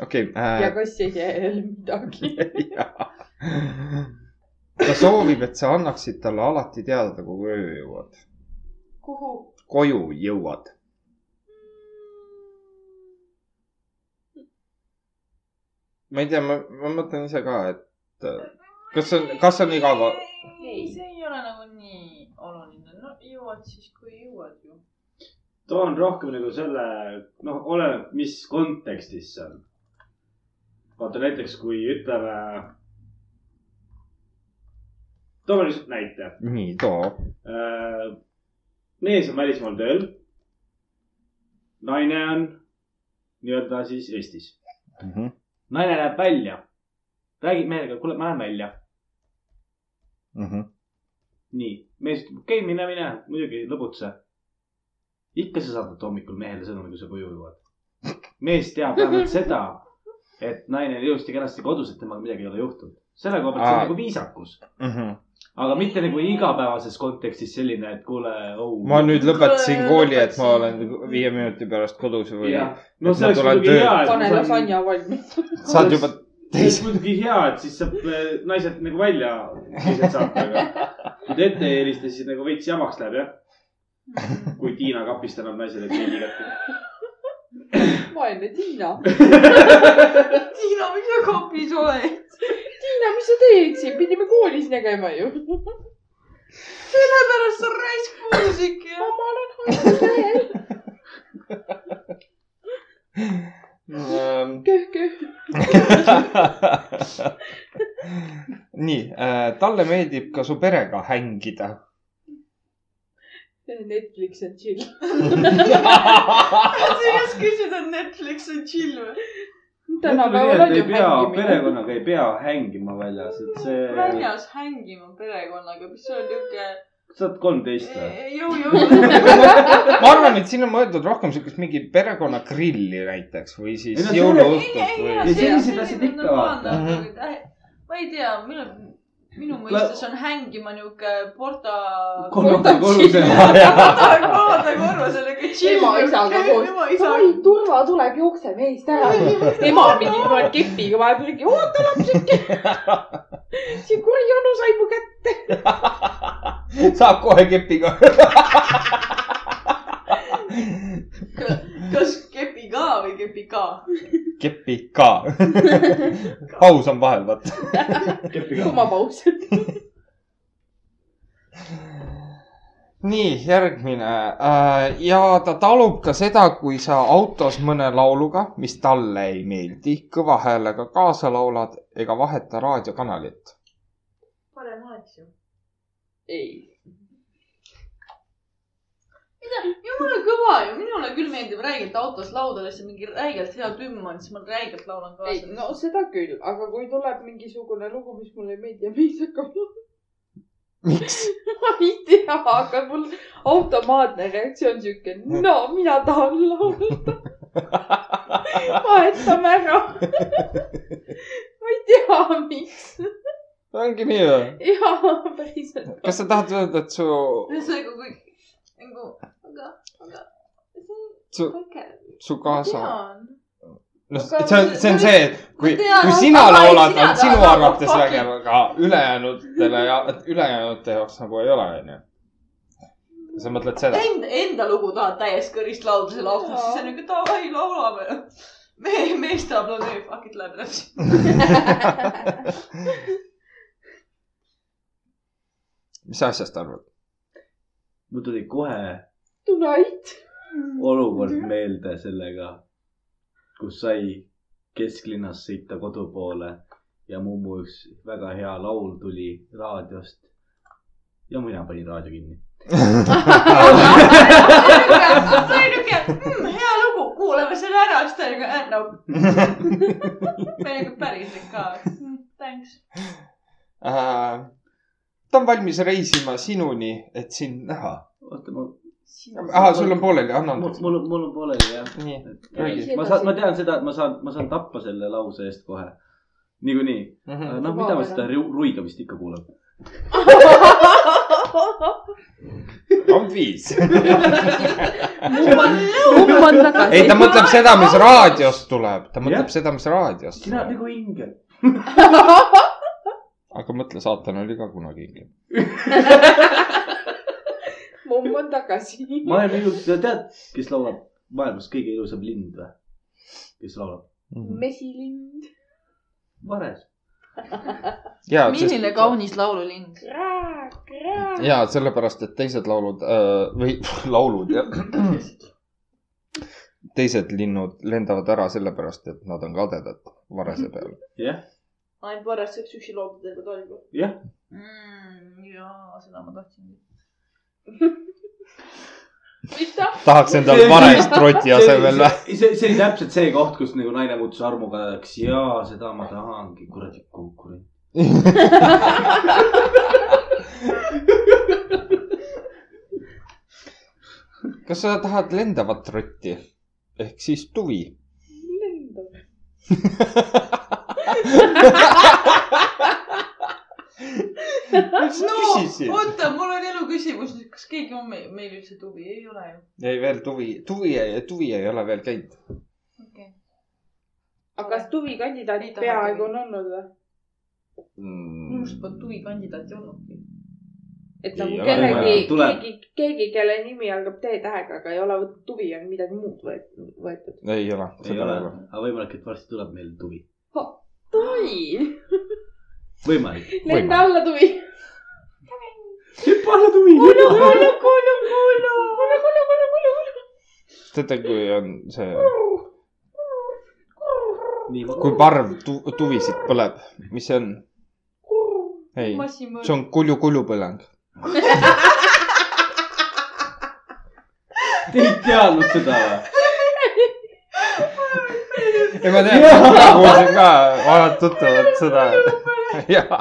S1: okei . äh,
S3: ja kass ei tee jälle midagi .
S1: ta soovib , et sa annaksid talle alati teada , kui koju jõuad .
S4: kuhu ?
S1: koju jõuad . ma ei tea , ma , ma mõtlen ise ka , et äh, kas on , kas on iga va- ,
S4: ei , see ei ole nagu nii oluline . no jõuad siis , kui jõuad ju .
S8: too on rohkem nagu selle , noh , oleneb , mis kontekstis see on . vaata näiteks , kui ütleme . toome lihtsalt näite .
S1: nii too .
S8: mees on välismaal tööl . naine on nii-öelda siis Eestis .
S1: Mhm,
S8: naine läheb välja , räägib mehega , kuule , ma lähen välja .
S1: mhm,
S8: nii , mees ütleb , okei okay, , mine , mine , muidugi lõbutse . ikka sa saadad hommikul mehele sõnumi , kui sa koju jõuad . mees teab vähemalt seda , et naine on ilusti-kenasti kodus , et temaga midagi ei ole juhtunud . selle koha pealt see
S1: Aa. mhm.
S8: on nagu viisakus . aga mitte nagu igapäevases kontekstis selline , et kuule , oh .
S1: ma nüüd lõpetasin kooli , et ma olen viie minuti pärast kodus või
S8: jah , no
S1: et
S8: see
S1: ma
S8: oleks
S1: tulen
S8: muidugi
S1: tööle.
S8: hea .
S3: pane lasanja valmis .
S1: saad juba
S8: see oleks
S1: teise .
S8: muidugi hea , et siis saab äh, naised nagu välja teised saata , aga kui te ette helistasite , siis nagu veits jamaks läheb jah . kui Tiina kapist annab naisele pildi kätte .
S3: vaene Tiina .
S4: Tiina , miks sa kapis oled ?
S3: Tiina , mis sa teed siin , pidime koolis nägema ju .
S4: sellepärast sa raisk muusik ja .
S1: Mm, ähm.
S3: köh-köh .
S1: nii , talle meeldib ka su perega hängida .
S3: Netflix and chill .
S4: sa ei oska küsida , et Netflix on chill või ?
S3: tänapäeval on ju hängimine .
S8: perekonnaga ei pea hängima väljas , et see ,
S4: väljas hängima perekonnaga , mis on niuke
S8: sa oled kolmteist või ?
S4: jõujõu .
S1: ma arvan , et siin on mõeldud rohkem siukest mingi perekonnagrilli näiteks või
S8: Ei
S1: siis
S8: no see-
S1: jõuluõhtut
S8: ei,
S1: või .
S8: ei, sellised asjad ikka
S1: vaata.
S4: ma ei tea , minu , minu mõistes on hängima niuke porta .
S8: kolmanda kolmsena .
S4: porta korrusel , niuke chill .
S3: Ema isaga koos.
S4: ema
S3: oi
S4: isaga ,.
S3: turva tuleb , jookse meist ära . ema pidi kohe kepiga vahepeal mingi , oota lapsike . see kuri onu sai mu kätte .
S1: saab kohe kepiga .
S4: kas kepi ka või kepi ka ?
S1: kepi ka . paus on vahel , vaata .
S3: kumapaus .
S1: nii , järgmine . ja ta talub ka seda , kui sa autos mõne lauluga , mis talle ei meeldi , kõva häälega kaasa laulad ega vaheta raadiokanalit .
S4: parem oleks ju .
S3: ei .
S4: jumala kõva ju , minule küll meeldib räigelt autos laulda , lihtsalt mingi räigelt hea tümm on , siis ma räigelt laulan
S3: ei ,
S4: kaasa .
S3: no seda küll , aga kui tuleb mingisugune lugu , mis mulle ei meeldi ja mees hakkab .
S1: miks ?
S3: ma ei tea , aga mul automaatne reaktsioon siuke , no mina tahan laulda . vahetame ära . ma ei tea , miks .
S1: ongi nii või ?
S3: jaa , päriselt .
S1: kas sa tahad öelda , et su ,
S4: ühesõnaga , kui nagu , aga , aga see on
S1: su ,
S4: väike .
S1: su kaasa ? noh ,
S4: Aga
S1: see on , see on see , et kui ,
S4: tean,
S1: kui
S4: aga-
S1: sina
S4: aga ei,
S1: laulad ,
S4: sina
S1: on sinu
S4: tahad laulda,
S1: arvates
S4: fuck
S1: vägev , aga ülejäänutele ja , ülejäänute jaoks nagu ei ole , onju . sa mõtled seda ?
S4: Enda , enda lugu tahad täies kõrist laulda seal autos , siis on niuke davai , laulame . me , mees tahab laulda , ei fuck it , läheb edasi .
S1: mis sa asjast arvad ?
S8: mul tuli kohe
S3: Tonight .
S8: olukord
S3: Mhm.
S8: meelde sellega , kus sai kesklinnas sõita kodu poole ja mummu üks väga hea laul tuli raadiost . ja mina panin raadio kinni .
S4: nagu, see oli niuke mm, , hea lugu , kuulame selle ära , siis ta oli niuke äh, , no . me olime päriselt ka mm, , thanks .
S1: Äh, ta on valmis reisima sinuni , et sind näha .
S8: oota , ma .
S1: ahah , sul on . pooleli , anna
S8: mul ,
S1: andeks .
S8: mul , mul on pooleli jah .
S1: nii ,
S3: Räägi.
S8: ma saan , ma tean seda , et ma saan , ma saan tappa selle lause eest kohe . niikuinii ,
S4: Äh,
S1: Mhm.
S8: noh , mida ma seda ru- ruigamist ikka kuulan .
S1: round viis .
S3: kumb on tagasi ?
S1: ei , ta mõtleb seda , mis raadiost tuleb , ta mõtleb seda , mis raadiost
S8: sina oled
S1: tuleb .
S8: nagu ingel .
S1: aga mõtle , saatan oli ka kunagi ingel .
S3: kumb on tagasi ?
S8: ma olen ilus , sa tead , kes laulab maailmas kõige ilusam lind või ? kes laulab ?
S1: Mm.
S3: mesilind .
S8: Vares .
S1: ja ,
S4: milline kaunis laululind .
S3: kraak , kraak .
S1: ja sellepärast , et teised laulud öö, või laulud ja teised linnud lendavad ära sellepärast , et nad on kadedad varese peal .
S8: jah ,
S12: ainult varjast saaks üksi loomida terve talv .
S8: jah ,
S4: mm, . jaa , seda ma tahtsingi .
S3: mida ?
S1: tahaks endale varest roti asemel vä ?
S8: see , see, see oli täpselt see koht , kus nagu naine muutus armukadedaks ja seda ma tahangi , kuradi konkurent .
S1: kas sa tahad lendavat rotti ehk siis tuvi ?
S3: lendav .
S8: miks
S1: sa küsisid .
S4: oota , mul on eluküsimus nüüd , kas keegi on meil, meil üldse tuvi , ei ole ju .
S13: ei veel tuvi , tuvi , tuvi ei ole veel käinud .
S4: okei okay. ,
S3: aga kas tuvi
S4: Ei
S3: kandidaat
S4: taha
S3: peaaegu
S4: tuvi.
S3: on olnud või ?
S1: Mm.
S4: minu arust polnud tuvi kandidaati olnudki .
S3: et
S1: Ei
S3: nagu
S1: ole.
S3: kellegi ,
S2: Tuleb.
S3: keegi , keegi , kelle nimi algab T-tähega , aga ei ole võt- tuvi , on midagi muud võet- võetud .
S1: ei ole ,
S2: ei
S1: seda nagu.
S2: ole
S1: ei , ole .
S2: aga võimalik , et varsti tuleb meil tuvi .
S3: tuvi ,
S2: võimalik .
S3: lenda alla tuvi .
S2: hüppa alla tuvi .
S1: teate , kui on see ,
S2: nii , ma
S1: kui parv tu, tuvisid põleb , mis see on ? ei ,
S4: massimõõt
S1: see on kulju-kulju põleng .
S2: te ei teadnud seda või ?
S1: ei , ma tean , mina kuulsin ka , vanad tuttavad seda . jaa .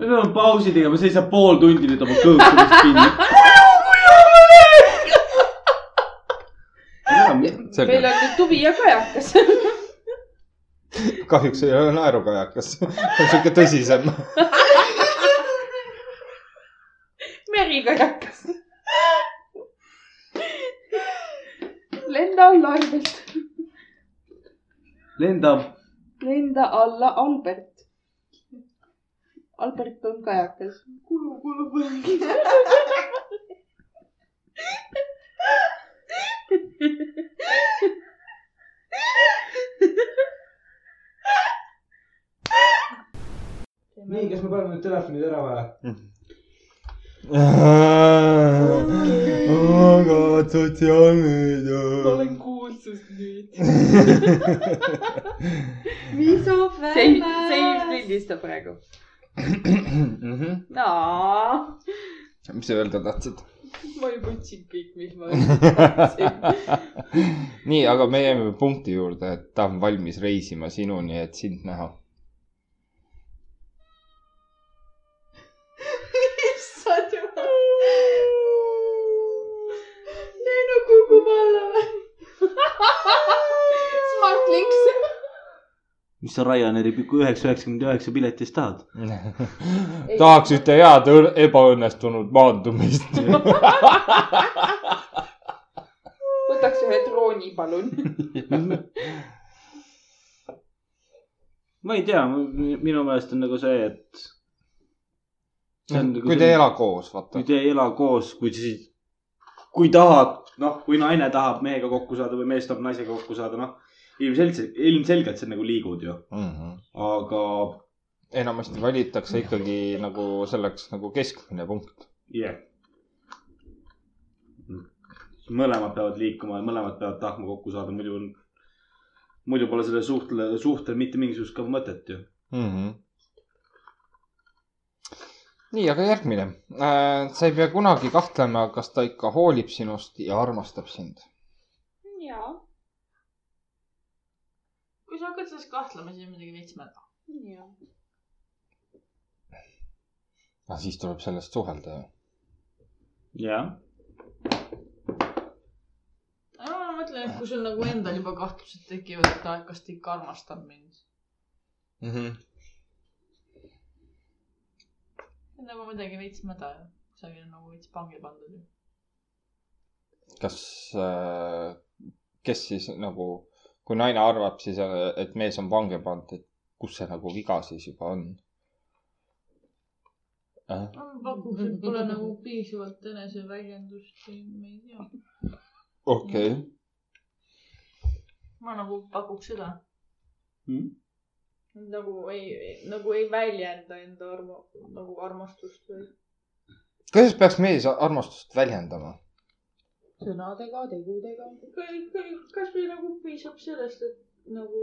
S2: me peame pausi tegema , sa ei saa pool tundi nüüd oma kõhutamist kinni .
S3: meil
S1: selge ,
S3: on nüüd tuvi ja kajakas .
S1: kahjuks ei ole naerukajakas , see on siuke tõsisem .
S3: merikajakas . lenda alla Albert ,
S2: lendab
S3: lenda alla Albert . Albert on kajakas .
S8: nii , kas me paneme nüüd telefonid ära või ?
S1: aga sotsiaalmeedia .
S14: kuulsus nüüd .
S3: see ei , see ei lindista praegu .
S1: Mhm.
S3: aa ,
S1: mis sa öelda tahtsid ?
S14: ma juba ütlesin kõik , mis ma .
S1: nii , aga me jääme punkti juurde , et ta on valmis reisima sinuni , et sind näha .
S4: issand jumal . lennu kukub alla või ?
S3: Smartlinks .
S2: mis sa Ryanairi pikku üheksa , üheksakümmend üheksa pileti eest tahad ?
S1: tahaks ühte head õr- ebaõnnestunud maandumist .
S14: nagu
S3: võtaks ühe drooni , palun .
S2: ma ei tea , minu meelest on nagu see , et .
S1: Mm,
S2: nagu
S1: kui te ei ela koos , vaata
S2: kui . te ei ela koos , kui siis , kui tahad , noh , kui naine tahab mehega kokku saada või mees tahab naisega kokku saada , noh . ilmselgelt , ilmselgelt sa nagu liigud ju , aga
S1: Mhm. enamasti valitakse ikkagi nagu selleks nagu keskmine punkt .
S2: jah yeah. . mõlemad peavad liikuma ja mõlemad peavad tahtma kokku saada , muidu on , muidu pole sellel suhtel , suhtel mitte mingisugust ka mõtet ju .
S1: Mhm. nii , aga järgmine . sa ei pea kunagi kahtlema , kas ta ikka hoolib sinust ja armastab sind .
S3: jaa ,
S4: kui sa hakkad sellest kahtlema , siis on midagi veits mäda .
S3: jaa .
S1: no Ah, siis tuleb sellest suhelda ju .
S2: jah .
S4: ma mõtlen , et kui sul nagu endal juba kahtlused tekivad , et ah, kas ta ikka armastab mind .
S1: Mhm.
S4: see on nagu midagi veits mäda ju . sa oled nagu veits pange pandud ju .
S1: kas , kes siis nagu , kui naine arvab siis , et mees on vange pannud , et kus see nagu viga siis juba on äh? ?
S4: no ma pakuks , et pole nagu piisavalt eneseväljendust või ma ei tea .
S1: okei okay. ,
S4: ma nagu pakuks seda Hmm?
S2: Mhm.
S4: nagu ei , nagu ei väljenda enda armu , nagu armastust või
S1: kuidas peaks mees armastust väljendama ?
S3: sõnadega , tegudega .
S4: kõik , kõik , kasvõi nagu piisab sellest , et nagu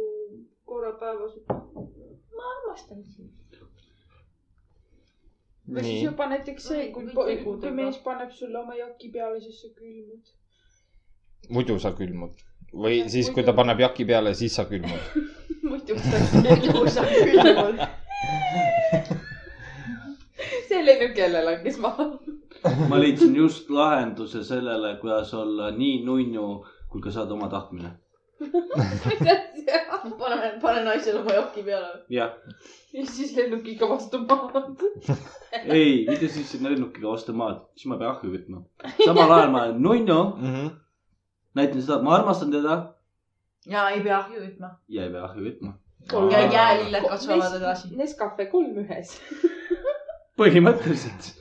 S4: korra päevas , et ma armastan sind .
S3: või siis
S1: nii ,
S3: juba näiteks see , kui , kui mees paneb sulle oma jaki peale , siis sa külmud .
S1: muidu sa külmud või siis , kui ta paneb jaki peale , siis sa külmud .
S3: muidu sa ilusad külmud . selline , kellel on , kes ma .
S2: ma leidsin just lahenduse sellele , kuidas olla nii nunnu ,
S8: kui ka saad oma tahtmine .
S3: mis asja ?
S15: pane , pane naisele oma joki peale .
S8: jah ,
S3: ja siis lennukiga vastu maad .
S8: ei , mitte siis sinna lennukiga vastu maad , siis ma pean ahju kütma . samal ajal ma olen nunnu ,
S1: Mhm.
S8: näitan seda , et ma armastan teda
S4: ja ei pea ahju kütma .
S8: ja ei pea ahju kütma .
S4: ja jäälilled kasvavad edasi .
S3: Nescafe kolm ühes .
S8: põhimõtteliselt .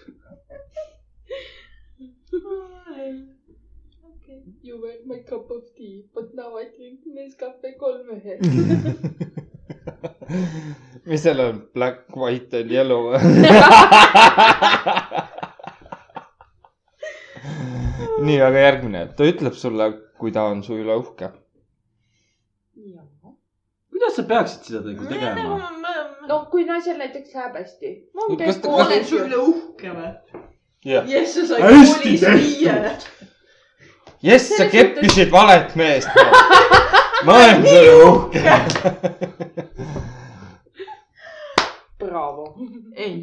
S3: You were my cup of tea , but now I drink Nescafe kolm ühes .
S1: mis seal on , black , white and yellow ? nii , aga järgmine , ta ütleb sulle , kui ta on su üle uhke .
S8: kuidas sa peaksid seda nagu tegema ?
S4: ma
S3: noh , kui naisel näiteks läheb hästi .
S1: Kas ta- kas-
S4: olen su üle uhke või ?
S1: jah .
S4: jess , sa said
S1: Hästi
S4: koolis viie .
S1: jess , sa
S3: Selles
S1: keppisid valet meest . ma olen su üle uhke .
S3: Bravo .
S4: ei ,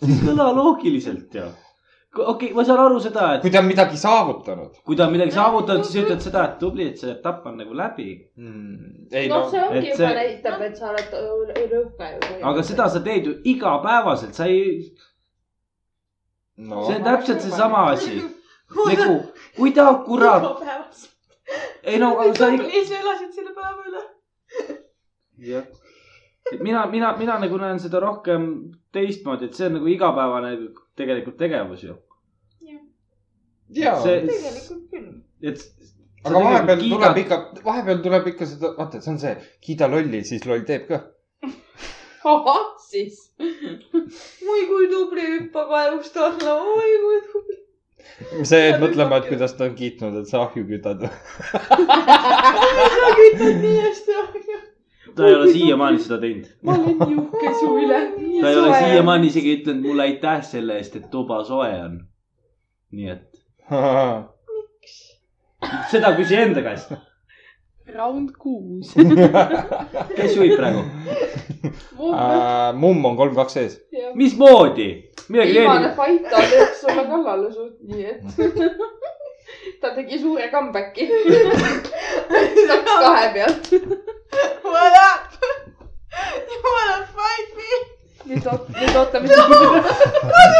S8: siis kõla loogiliselt ju . okei okay, , ma saan aru seda , et
S1: kui ta on midagi saavutanud
S8: kui ta on midagi saavutanud , siis ütled seda , et tubli , et see etapp on nagu läbi .
S1: mm, . ei
S3: noh ,
S1: no,
S3: see ongi
S8: et
S3: juba
S8: see-
S3: näitab , et sa oled õh- rõhve ju .
S8: aga seda . sa teed ju igapäevaselt , sa ei ,
S1: no.
S8: see on täpselt seesama asi . nagu , kui ta kurat ,
S4: igapäevaselt .
S8: ei no , aga sa ei .
S4: tublis elasid selle päeva üle .
S8: jah . mina , mina , mina nagu näen seda rohkem teistmoodi , et see on nagu igapäevane tegelikult tegevus ju .
S1: jaa
S8: see , nagu
S3: tegelikult küll .
S8: et .
S1: aga vahepeal tuleb . ikka , vahepeal tuleb ikka seda , vaata , see on see , kiida lolli , siis loll teeb ka .
S3: ahah , siis .
S15: oi kui tubli hüppa kaelust alla , oi kui tubli .
S1: sa jäid mõtlema , et kuidas ta on kiitnud , et sa ahju kütad või ?
S15: sa kütad nii hästi ahju .
S8: ta ei ole siiamaani seda teinud .
S3: ma olen nii uhke su üle .
S8: ta ei ole . siiamaani isegi ütelnud mulle aitäh selle eest , et tuba soe on . nii et seda küsi enda käest ,
S3: Round kuus .
S8: kes juhib praegu ,
S1: mumm on kolm , kaks ees .
S8: mismoodi , midagi
S3: viimane
S8: teenib .
S3: fight ta teeb sulle kallale suht , nii et ta tegi suure comeback'i . läks kahe pealt .
S4: What up ? You wanna fight me ?
S3: nüüd oot- , nüüd ootame siis .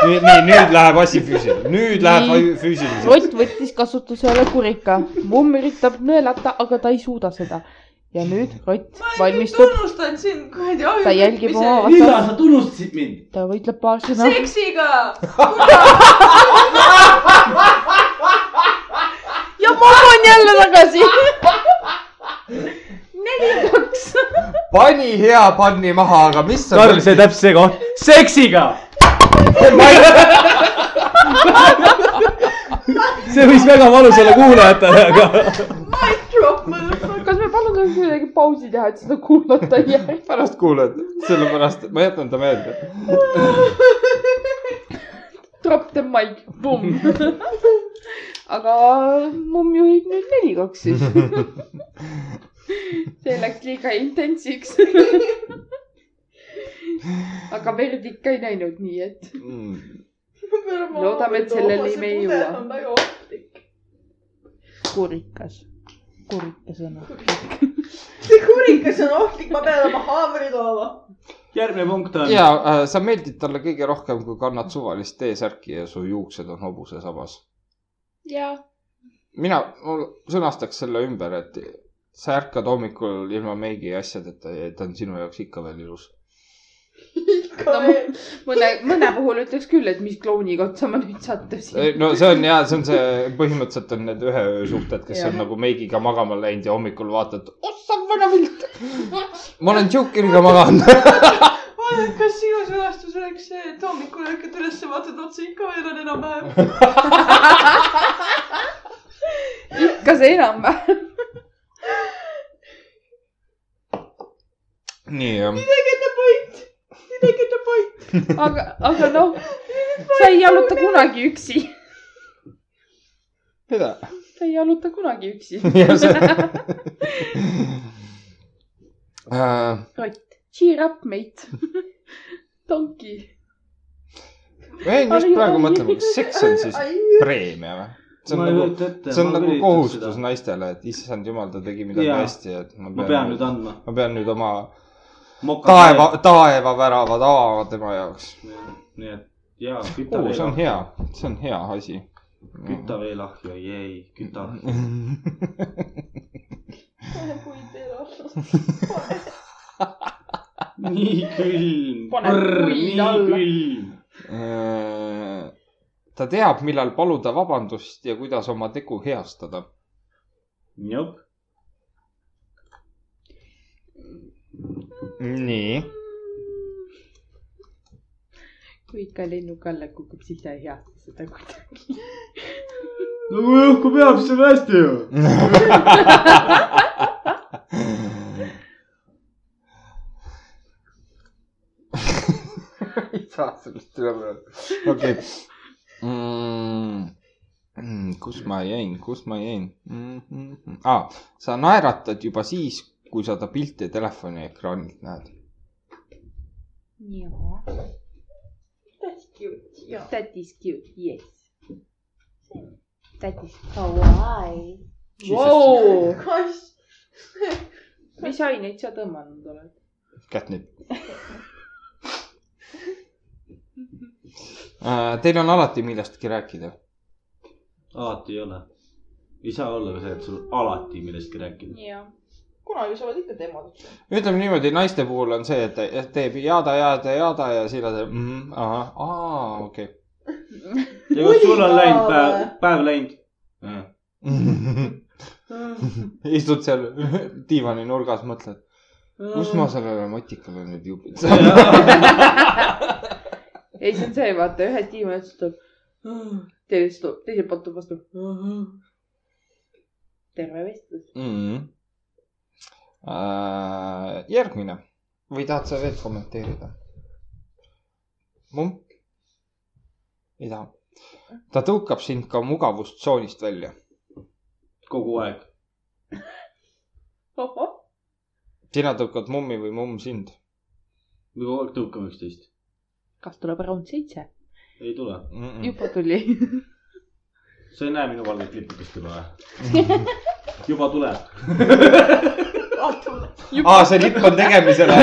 S1: nii , nüüd läheb asi füüsiliseks , nüüd läheb
S5: Nii.
S1: asi füüsiliseks .
S5: Rott võttis kasutusele kurika . mumm üritab nõelata , aga ta ei suuda seda . ja nüüd Rott valmistub ,
S4: tunnustan sind kuradi ahju .
S5: ta jälgib oma
S8: millal
S5: vastast ,
S8: sa tunnustasid mind ?
S5: ta võitleb paar sõna .
S3: noh.
S4: seksiga .
S5: ja mumm on jälle tagasi .
S1: pani hea panni maha , aga mis sa .
S8: Karl , see täpselt see koht , seksiga . see võis väga valus olla kuulajatele , aga .
S3: kas me palun saaks kuidagi pausi teha , et seda kuulata ei jää ?
S1: pärast kuulad , sellepärast et ma jätan ta meelde .
S3: Drop the mic , boom . aga mumm juhib nüüd neli kaks siis . see läks liiga intensiks . aga verd ikka ei näinud , nii et
S1: Mm.
S3: Loodame, et selleni me ei jõua.
S15: jõua .
S5: kurikas , kurika sõna .
S15: see kurikas on ohtlik , ma pean oma haamri tooma .
S8: järgmine punkt on .
S1: ja äh, sa meeldid talle kõige rohkem , kui kannad suvalist T-särki ja su juuksed on hobuse sabas .
S3: ja
S1: mina mul sõnastaks selle ümber , et sa ärkad hommikul ilma meigi ja asjadeta ja ta on sinu jaoks ikka veel ilus .
S3: no, mu- mõne , mõne puhul ütleks küll , et mis klouniga otsa ma nüüd sattusin .
S1: no see on ja see on see , põhimõtteliselt on need ühe öö suhted , kes
S3: Jah.
S1: on nagu meigiga magama läinud ja hommikul vaatad , ossa vana vilt . ma olen Jokeriga maganud .
S4: vaadake , kas sinu sõnastus oleks see , et hommikul ärkad üles , vaatad otsa , ikka veel on enam-vähem .
S3: ikka see enam-vähem .
S1: nii jah ,
S3: aga , aga noh , sa ei jaluta kunagi üksi .
S1: mida ?
S3: sa ei jaluta kunagi üksi .
S1: ja see . ma
S3: Cheer up , mate . Donkey .
S1: jäin just praegu mõtlema , kas seks on siis preemia või ? see on
S2: ma ei
S1: nagu ,
S2: kujuta ette .
S1: see on nagu kohustus seda. naistele , et issand jumal , ta tegi midagi
S2: Jaa.
S1: hästi , et ma
S2: ma pean nüüd andma .
S1: ma pean nüüd oma taeva , taevaväravad avama tema jaoks .
S2: nii et jaa , küta
S1: oo ,
S2: veel
S1: see on
S2: ahju ,
S1: hea , see on hea asi .
S2: küta veel ahju , ei , ei , küta ahju .
S4: kui teil on .
S2: nii külm ,
S3: Pane puid
S2: nii
S3: alla.
S2: külm .
S1: Äh, ta teab , millal paluda vabandust ja kuidas oma tegu heastada .
S2: jah ,
S1: nii .
S5: kui ikka lennuk alla kukub , siis ta ei heasta seda kuidagi .
S2: no kui õhku peab , siis on hästi ju .
S1: ei saa sellest üle mõelda . okei mm, . kus ma jäin , kus ma jäin mm, ? Mm, mm. ah, sa naeratad juba siis , kui sa ta pilti telefoni ekraanilt näed .
S5: jah ,
S4: That's cute . jaa .
S5: that is cute , yes . oh, That is kawaii . Wow.
S4: kass .
S5: mis aineid sa tõmmanud oled ?
S1: kätnib . Äh, Teil on alati millestki rääkida .
S2: alati ei ole . ei saa olla ka see , et sul alati millestki rääkida .
S5: jah .
S16: kunagi saavad ikka teemad .
S1: ütleme niimoodi , naiste puhul on see , et ta- et teeb jada , jada , jada ja siis ta teeb mm, ahah , aa , okei
S2: ja kas sul on läinud päev , päev läinud ?
S1: okay. . istud seal diivani nurgas , mõtled , kus ma sellele matikale nüüd jupin saan .
S5: ei , see on see , vaata , ühe tiimi otsustab . Hm, teine istub , teiselt poolt tuleb vastu . terve vestlus .
S1: Mhm. Äh, järgmine või tahad sa veel kommenteerida ? mump ? ei taha . ta tõukab sind ka mugavustsoonist välja .
S2: kogu aeg .
S1: sina tõukad mummi või mumm sind ?
S2: me kogu aeg tõukame üksteist .
S5: kas tuleb round seitse ?
S2: ei tule .
S1: Mhm.
S5: juba tuli .
S2: sa ei näe minu valget lipukest juba või ? juba tuleb .
S1: aa , see lipp on tegemisele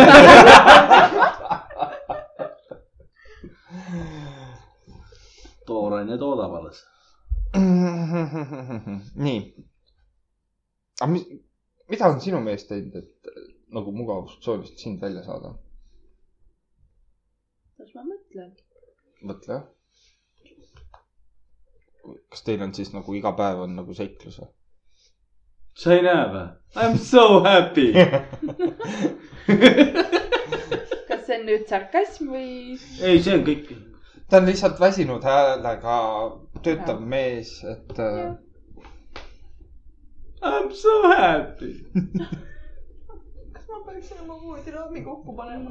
S2: tooraine toodab alles .
S1: nii . aga mis , mida on sinu mees teinud , et äh, nagu mugavustsoonist sind välja saada ?
S5: las ma mõtlen .
S1: mõtle . kas teil on siis nagu iga päev on nagu seiklus või ?
S2: sa ei näe või ? I am so happy .
S5: kas see on nüüd sarkasm või ?
S2: ei , see on kõik .
S1: ta on lihtsalt väsinud häälega töötav mees , et äh,
S2: I am so happy .
S4: kas ma peaksin oma voodiraami kokku panema ?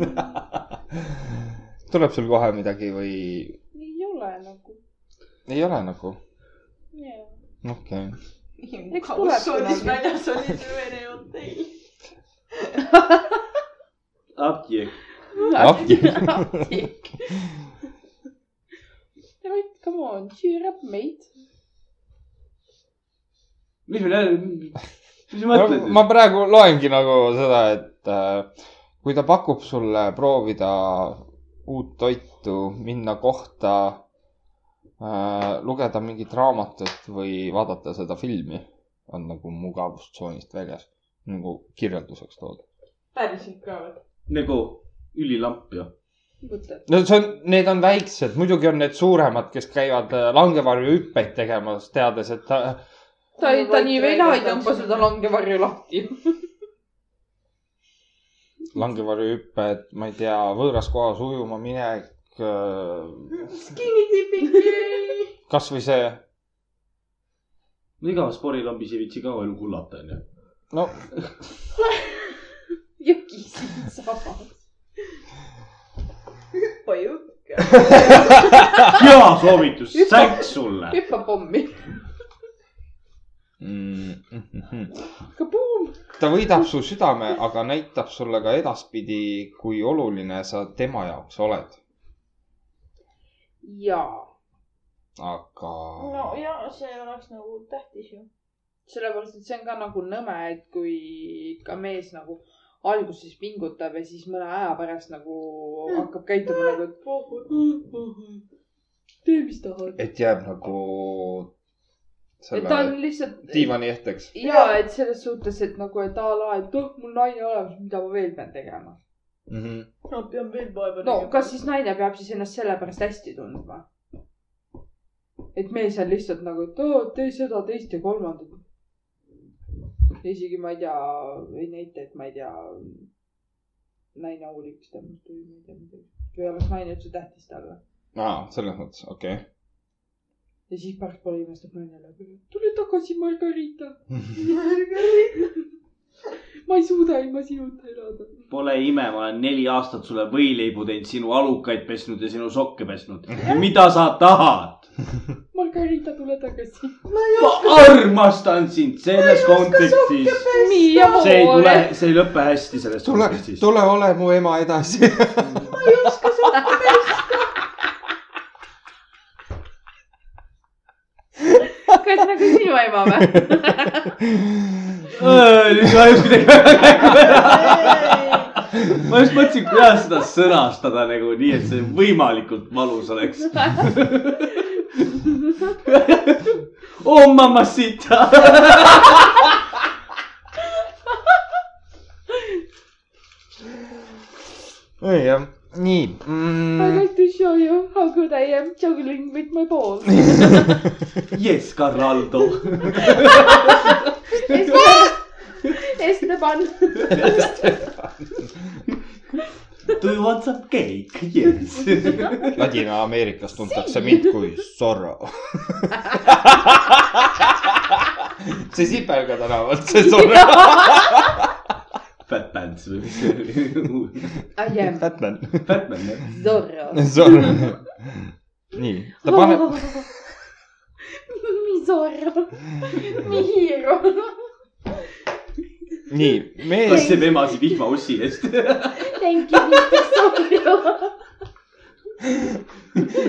S1: tuleb sul kohe midagi või
S5: ei ole nagu .
S1: ei ole nagu ? okei okay. .
S5: Eks tuleb
S4: mugavustsoonist
S5: kunagi.
S4: väljas oli see Vene hotell .
S2: apteek .
S5: apteek . Right , come on , cheer up , mate .
S2: mis me näeme , mis sa mõtled ?
S1: ma praegu loengi nagu seda , et äh, kui ta pakub sulle proovida uut toitu , minna kohta äh, , lugeda mingit raamatut või vaadata seda filmi , on nagu mugavustsoonist väljas , nagu kirjelduseks toodud .
S4: päriselt ka või ?
S2: nagu ülilamp ju .
S5: mõtle ,
S1: no see on , need on väiksed , muidugi on need suuremad , kes käivad äh, langevarjuhüppeid tegemas , teades , et äh, ta...
S5: ta ei , ta nii vena ei tõmba seda langevarju lahti .
S1: langevarjuhüpped , ma ei tea , võõras kohas ujuma minek . kasvõi
S4: Skinny dipping , yay .
S1: see ,
S2: no iga spordilambis ei viitsi kaua elu kullata , onju .
S1: no
S5: jõgi siin sabas .
S4: hüppa jutt .
S2: hea soovitus , sänk sulle .
S5: hüppa pommi .
S1: mm, .
S5: kabuum .
S1: ta võidab su südame , aga näitab sulle ka edaspidi , kui oluline sa tema jaoks oled .
S5: jaa .
S17: aga
S4: no ja see oleks nagu tähtis ju .
S3: sellepärast , et see on ka nagu nõme , et kui ka mees nagu alguses pingutab ja siis mõne aja pärast nagu
S5: Hm.
S3: hakkab käituma nagu , et
S18: tee , mis tahad .
S17: et jääb nagu
S3: et
S17: selle
S3: ta on lihtsalt .
S17: diivani ehteks .
S3: ja et selles suhtes , et nagu , et a la , et oh , mul naine olemas , mida ma veel pean tegema .
S1: Mm-hmm.
S4: no pean veel vaeva
S3: no kas siis naine peab siis ennast sellepärast hästi tundma ? et mees on lihtsalt nagu , et oo , tee seda , teist ja kolmandat . ja isegi ma ei tea , ei näita , et ma ei tea , naine uuriks temast või ma ei tea midagi . või oleks naine üldse tähtis talle .
S17: aa , selles mõttes , okei okay. .
S3: ja siis pärast pole imestab naine läbi , et tule tagasi , Margarita . ma ei suuda ilma sinuta elada .
S2: Pole ime , ma olen neli aastat sulle võileibu teinud , sinu alukaid pesnud ja sinu sokke pesnud . mida sa tahad ?
S3: Margarita , tule tagasi .
S2: ma armastan sind selles kontekstis .
S3: Miia
S2: see ei
S3: Moore
S2: tule , see ei lõpe hästi selles
S1: tule ,
S2: kontekstis .
S1: tule ole mu ema edasi .
S3: kas nagu sinu ema või ?
S2: nüüd kahjuks kuidagi väga käiku ära . ma just mõtlesin , kuidas seda sõnastada nagu nii , et see võimalikult valus oleks . oh mamacita .
S1: jah , nii
S3: I
S1: mm, .
S3: like to show you how good I am juggling with my balls .
S2: Yes , Carraldo .
S3: Esteban ,
S2: Do you want some cake ? Yes .
S1: Ladina-Ameerikas tuntakse mind kui Zorro . see Sipelga tänavalt , see Zorro .
S2: Fat Pants või mis see oli ?
S3: I am
S1: Batman .
S2: Batman jah .
S3: Zorro .
S1: Zorro . nii , ta paneb ,
S3: mi Zorro , mi Hiro .
S1: nii , mees ,
S2: kassib emasid vihmaussi eest .
S3: Thank you , Mr Zorro .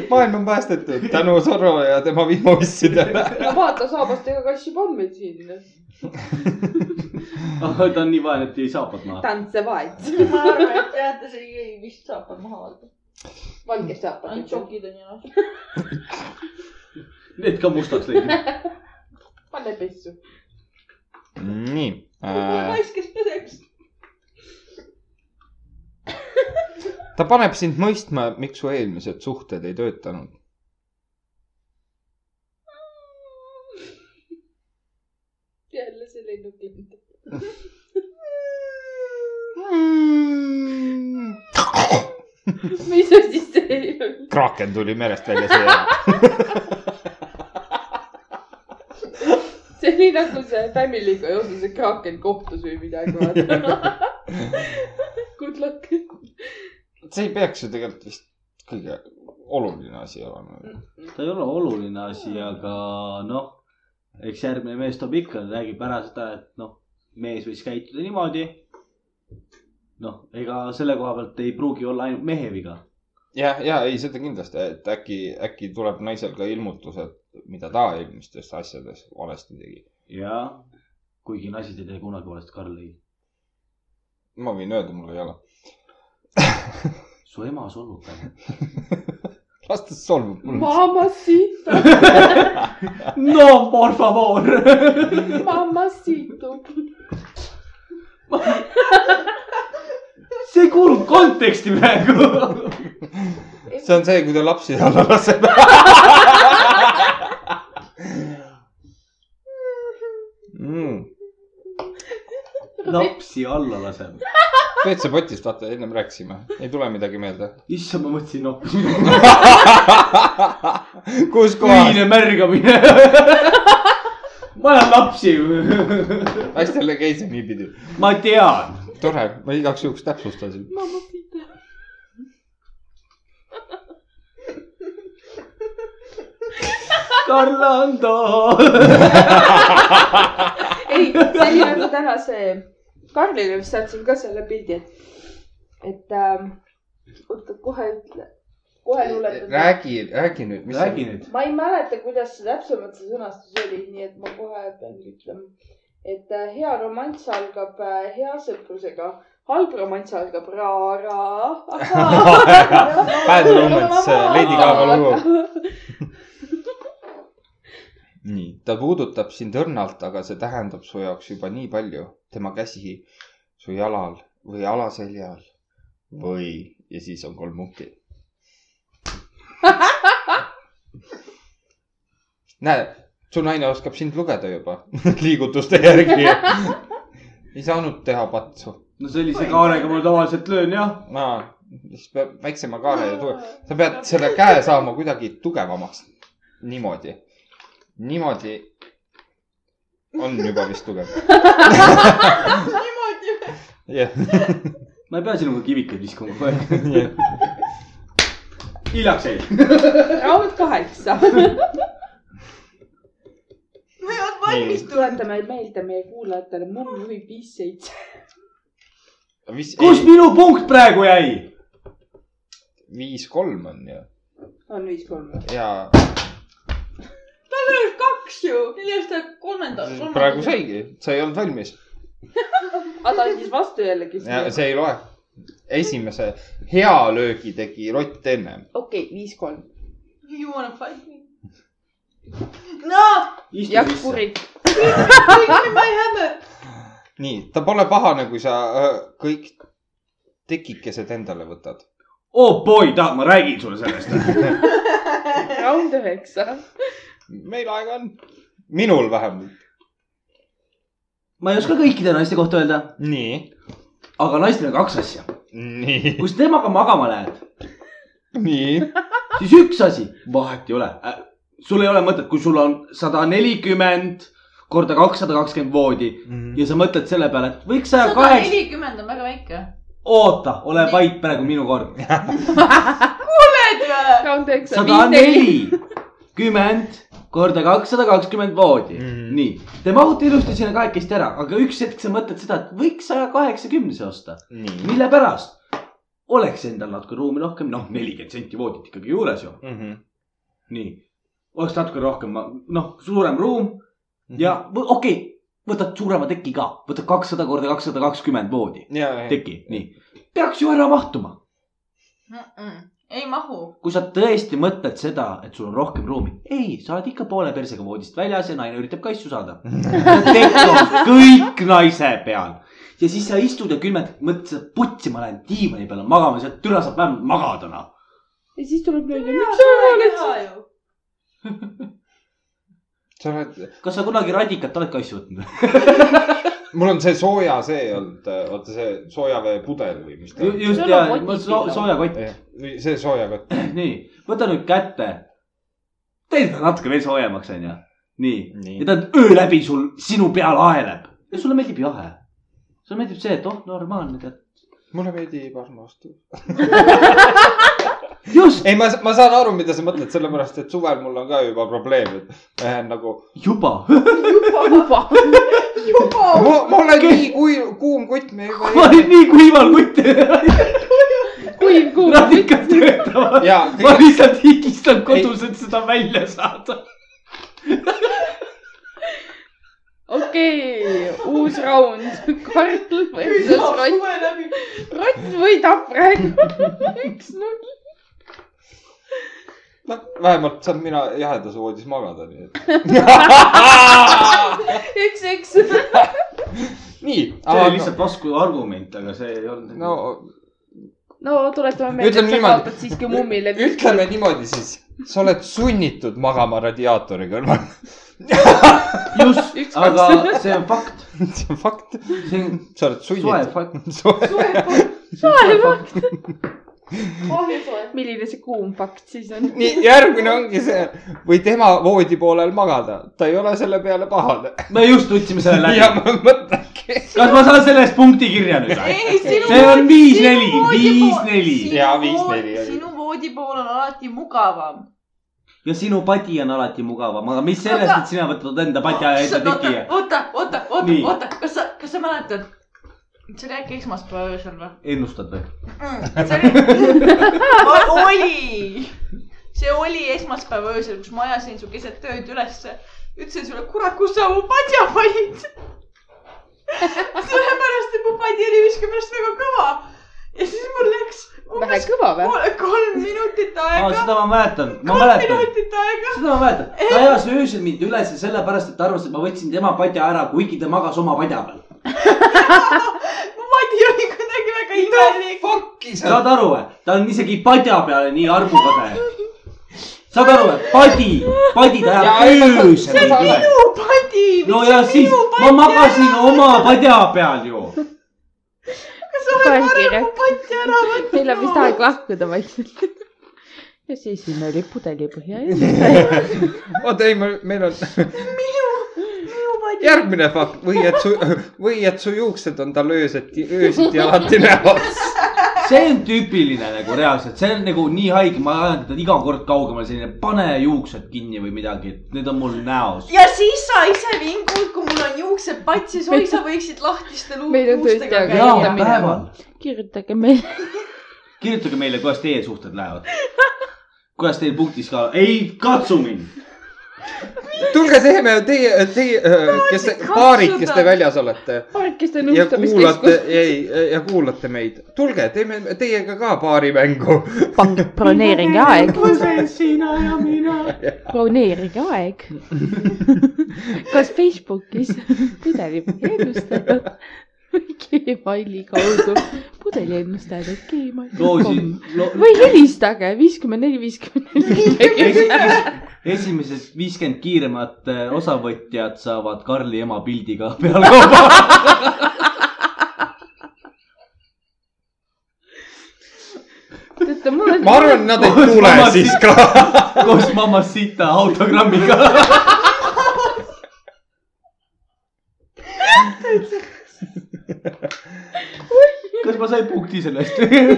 S1: maailm on päästetud tänu Zorro ja tema vihmaussidele .
S3: no vaata , saabastega kass juba on meil siin .
S2: ta on nii vaene , et ei saapad maha .
S3: tantsevaid ,
S4: ma arvan , et jah , ta sai vist saapad maha võtta .
S3: valge saab .
S4: ainult šokid on
S7: noh.
S2: Äh.
S4: jalas .
S2: Need ka mustaks lõid .
S3: pane pessu .
S1: nii äh, .
S4: naiskes peseks .
S1: ta paneb sind mõistma , miks su eelmised suhted ei töötanud .
S3: jälle see lennukind .
S1: Mm.
S3: mis asi see on ?
S1: Kraken tuli merest välja siia .
S3: see oli nagu see Family'ga jooksul see kraaken kohtus või midagi , vaata . Good luck .
S1: see ei peaks ju tegelikult vist kõige oluline asi olema .
S2: ta ei ole oluline asi , aga noh , eks järgmine mees toob ikka , räägib ära seda , et noh , mees võis käituda niimoodi . noh , ega selle koha pealt ei pruugi olla ainult mehe viga .
S1: ja , ja ei , seda kindlasti , et äkki , äkki tuleb naisel ka ilmutus , et mida ta eelmistes asjades valesti tegi .
S2: ja kuigi naised ei tee kunagi valesti , Karl-Ei .
S1: ma võin öelda , mul ei ole .
S2: su ema solvub väga .
S1: las ta solvub mulle .
S3: Mamacita ,
S2: no por favor .
S3: mamacito .
S2: see ei kuulu konteksti praegu .
S1: see on see , kui ta lapsi alla laseb . Mm.
S2: lapsi alla laseb .
S1: WC-potist , vaata , ennem rääkisime , ei tule midagi meelde .
S2: issand , ma mõtlesin noh, hoopis
S1: kus kohas ?
S2: ühine märgamine . ma olen lapsi
S1: asjale käis see niipidi .
S2: ma tean .
S1: tore , ma igaks juhuks täpsustasin .
S2: Carlando .
S3: ei , see oli nagu täna see , Karlile vist saatsin ka selle pildi , et , et ähm, oota , kohe ütle . kohe luuletada .
S1: räägi , räägi nüüd , mis
S2: räägi nüüd .
S3: ma ei mäleta , kuidas see täpsemalt see sõnastus oli , nii et ma kohe pean ütlema , et äh, hea romanss algab äh, hea sõprusega , halb romanss algab ra-ra .
S6: Bad Romance , Lady Gaga lugu .
S1: nii , ta puudutab sind õrnalt , aga see tähendab su jaoks juba nii palju . tema käsi su jalal või alaseljal või , ja siis on kolm punkti . näe , su naine oskab sind lugeda juba liigutuste järgi . ei saanud teha patsu .
S2: no sellise kaarega ma tavaliselt löön jah .
S1: aa , siis peab väiksema kaare ja tuge- , sa pead selle käe saama kuidagi tugevamaks . niimoodi , niimoodi on juba vist tugev .
S7: niimoodi .
S1: jah ,
S2: ma ei pea sinuga kivikeid viskama kogu aeg .
S1: jah .
S2: hiljaks jäi .
S5: raud kaheksa .
S7: ma ei olnud valmis .
S5: tuletame meelde meie kuulajatele , mumm juhib viis seitse .
S1: viis ,
S2: kus minu punkt praegu jäi ?
S1: viis kolm on ju
S5: on viis kolm .
S1: ja
S7: tal oli kaks ju , millest ta kolmanda .
S1: praegu . saigi , sa ei olnud valmis .
S5: aga Ah, ta andis vastu jällegi .
S1: see ei loe . esimese hea löögi tegi Rott ennem .
S5: okei , viis kolm .
S7: You wanna fight me ? noh ,
S2: istu
S5: jah ,
S2: sisse .
S5: kurik .
S7: ma ei häbe .
S1: nii , ta pole pahane , kui sa öö, kõik tekikesed endale võtad .
S2: oh boy , tahad , ma räägin sulle sellest ?
S5: raund üheksa .
S1: meil aega on . minul vähemalt .
S2: ma ei oska kõikide naiste kohta öelda ,
S1: nii ,
S2: aga naistel on kaks asja .
S1: nii ,
S2: kui sa temaga magama lähed ,
S1: nii ,
S2: siis üks asi , vahet ei ole äh, . sul ei ole mõtet , kui sul on sada nelikümmend korda kakssada kakskümmend voodi
S1: Mhm.
S2: ja sa mõtled selle peale , et võiks saja
S7: sada
S2: kaheksa ,
S7: nelikümmend on väga väike .
S2: oota , ole vait , praegu minu kord .
S5: raund üheksa .
S2: sada . nelikümmend korda kakssada kakskümmend voodi mm ,
S1: Mhm.
S2: -hmm. nii . Te mahute ilusti sinna kahekesti ära , aga üks hetk sa mõtled seda , et võiks saja kaheksakümnese osta .
S1: nii .
S2: mille pärast ? oleks endal natuke ruumi rohkem , noh , nelikümmend senti voodit ikkagi juures ju ,
S1: Mhm.
S2: nii . oleks natuke rohkem , noh , suurem ruum ja võ- okei okay, , võtad suurema teki ka , võtad kakssada korda kakssada kakskümmend voodi ,
S1: ja , ja ,
S2: teki , nii . peaks ju ära mahtuma .
S7: ei mahu .
S2: kui sa tõesti mõtled seda , et sul on rohkem ruumi , ei , sa oled ikka poole persega voodist väljas ja naine üritab kaisu saada . tekk on kõik naise peal ja siis sa istud ja külmed , mõtled , et putsi , ma lähen diivani peale magama , sealt türa saab vähemalt magada noh .
S5: ja siis tuleb naine , miks sa ära oled siin ?
S1: sa oled ,
S2: kas sa kunagi radikat oled kaisu võtnud ?
S1: mul on see sooja see olnud , vaata see soojaveepudel või mis ta on .
S2: just
S5: Sul on
S2: ja
S5: kotid
S2: so,
S5: pidevalt.
S2: soojakott ,
S1: see soojakott .
S2: nii , võta nüüd kätte . tee seda natuke veel soojemaks onju , nii
S1: nii
S2: ja . ta öö läbi sul , sinu peal aeleb ja sulle meeldib jahe . sulle meeldib see , et oh normaalne tead ,
S1: mulle meeldib armastus .
S2: just .
S1: ei , ma , ma saan aru , mida sa mõtled , sellepärast et suvel mul on ka juba probleem , et ma jään nagu ,
S2: juba .
S5: juba .
S1: ma , ma olen nii kui, kuum kutt , me juba
S2: ma olin nii kuival kutt .
S5: kuiv kuu .
S2: radikad töötavad .
S1: ja
S2: ma
S1: kõik ,
S2: lihtsalt higistan kodus , et seda välja saada .
S5: okei , uus raund . kartul versus rott . rott võidab praegu üks-null .
S1: noh , vähemalt saan mina jahedas voodis magada , nii et .
S5: üks-üks .
S1: nii .
S2: see oli lihtsalt vastuargument , aga see ei olnud .
S1: no
S5: no tuletame meelde ,
S1: Ütleme
S5: et sa
S1: niimoodi.
S5: kaotad siiski mummile .
S1: ütleme niimoodi siis , sa oled sunnitud magama radiaatori kõrval .
S2: just ,
S5: Üks,
S2: aga
S5: kaks.
S2: see on fakt .
S1: see on fakt ,
S2: see on
S1: sa oled
S2: soe
S1: sunnitud .
S2: fakt .
S1: soe .
S2: soe fakt .
S5: milline see kuum fakt siis on ?
S1: nii , järgmine ongi see , või tema voodi poolel magada , ta ei ole selle peale pahane .
S2: me just võtsime selle
S1: ja
S2: läbi .
S1: ma mõtlengi .
S2: kas ma saan selle eest punkti kirja nüüd ?
S7: ei , sinu .
S2: see on viis-neli , viis-neli .
S1: Jaa, viis-neli oli.
S7: sinu voodi pool on alati mugavam .
S2: ja sinu padi on alati mugavam , aga mis sellest , et sina võtad enda patja ja enda
S7: oota
S2: teki ja .,
S7: oota , oota , oota
S2: Nii. ,
S7: oota , kas sa , kas sa mäletad ? see oli äkki esmaspäeval öösel või ?
S2: ennustad või ?
S7: Mm. oli , see oli esmaspäeva öösel , kus ma ajasin su keset ööd ülesse , ütlesin sulle , kurat , kus sa mu padja panid . sellepärast , et mu padja oli viiskümmend väga kõva ja siis mul läks
S5: vähe
S7: umbes
S5: kõva või ?
S7: kol- kolm minutit
S2: aa ,
S7: aega ,
S2: seda ma mäletan , ma
S7: kolm
S2: mäletan ,
S7: minutit aega .
S2: seda ma mäletan . ta ajas öösel mind üles sellepärast , et ta arvas , et ma võtsin tema padja ära , kuigi ta magas oma padja peal .
S7: mu padi oli kuidagi väga imelik .
S1: Fuck'i sa .
S2: saad aru , ta on isegi padja peale nii arbukade . saad aru , padi , padi ta
S1: Ja
S2: ajab öösel
S1: see
S2: mind
S1: on
S2: üles .
S7: minu padi ,
S2: no
S7: miks
S2: ja
S7: sa
S2: siis
S7: minu
S2: ma
S7: padi
S2: magasin oma padja peal ju .
S7: padi ära võtad ?
S5: meil on vist aeg lahkuda vaikselt . ja siis viime liputeli põhja ja
S1: oota , ei , meil on
S7: minu padi .
S1: järgmine fakt või et su , või et su juuksed on tal ööseti , öösiti alati näos .
S2: see on tüüpiline nagu reaalselt , see on nagu nii haige , ma ajan teda iga kord kaugemale , selline pane juuksed kinni või midagi , need on mul näos .
S7: ja siis sa ise vingud , kui mul on juuksed patsis , oi , sa võiksid lahtiste luu-
S5: Meil on tõesti
S7: luustega
S5: aeg
S2: jaa ,
S5: Käia
S7: käia .
S5: minema.
S2: päeval .
S5: kirjutage meile .
S2: kirjutage meile , kuidas teie suhted lähevad . kuidas teil punktis ka , ei katsu mind .
S1: tulge teeme teie , teie , kes , paarid , kes te väljas olete
S5: parkiste
S1: ja kuulate
S5: nõustamiskeskus .,
S1: ei , ja kuulate meid . tulge , teeme teiega ka paarimängu .
S5: pange broneeringi aeg ,
S2: sina ja mina .
S5: broneeringi aeg . kas Facebookis pudelipõhjendustajad või Gmaili kaudu pudelipõhjendustajad
S2: loosi
S5: gmail.com
S2: lo, .
S5: või helistage viiskümmend neli , viiskümmend neli .
S2: esimesed viiskümmend kiiremat eh, osavõtjad saavad Karli ema pildiga peale kauba .
S5: teate , mul on .
S1: ma arvan , nad ei tule siis ka .
S2: koos mamma sita autogrammiga . kas ma sain punkti sellest ? tead ,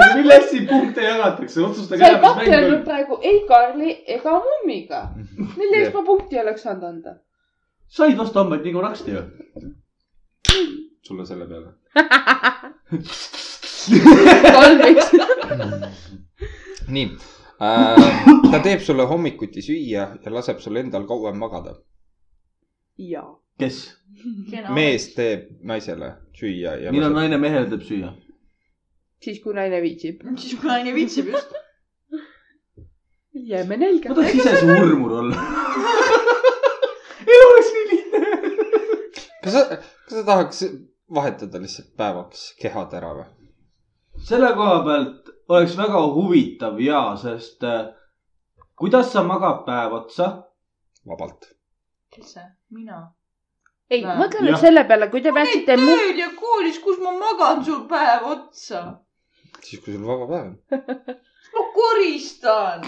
S2: mille asja punkte jagatakse , otsustage
S10: sa ei kakelnud . praegu ei Karli ega mummiga . mille eest ma punkti oleks saanud anda ?
S2: said vastu hambaid nagu naksti ju .
S1: sulle selle peale .
S5: kolm , üks .
S1: nii äh, , ta teeb sulle hommikuti süüa ja laseb sul endal kauem magada .
S5: jaa .
S2: kes ?
S1: mees teeb naisele süüa ja .
S2: millal naine mehele teeb süüa ?
S5: siis , kui naine viitsib .
S7: siis kui naine viitsib just .
S5: jääme nälga
S2: ma . tahaks ise su urmur olla . elu oleks nii lihtne .
S1: kas sa , kas sa tahaks vahetada lihtsalt päevaks kehad ära või ?
S2: selle koha pealt oleks väga huvitav ja , sest äh, kuidas sa magad päev otsa ?
S1: vabalt .
S7: kes see ? mina .
S5: ei ,
S7: Näe.
S5: mõtle nüüd
S2: Jah.
S5: selle peale , kui te
S7: käid
S5: peaksite mu- ,
S7: tööl ja koolis , kus ma magan sul päev otsa .
S1: siis , kui sul vaba päev on .
S7: ma koristan .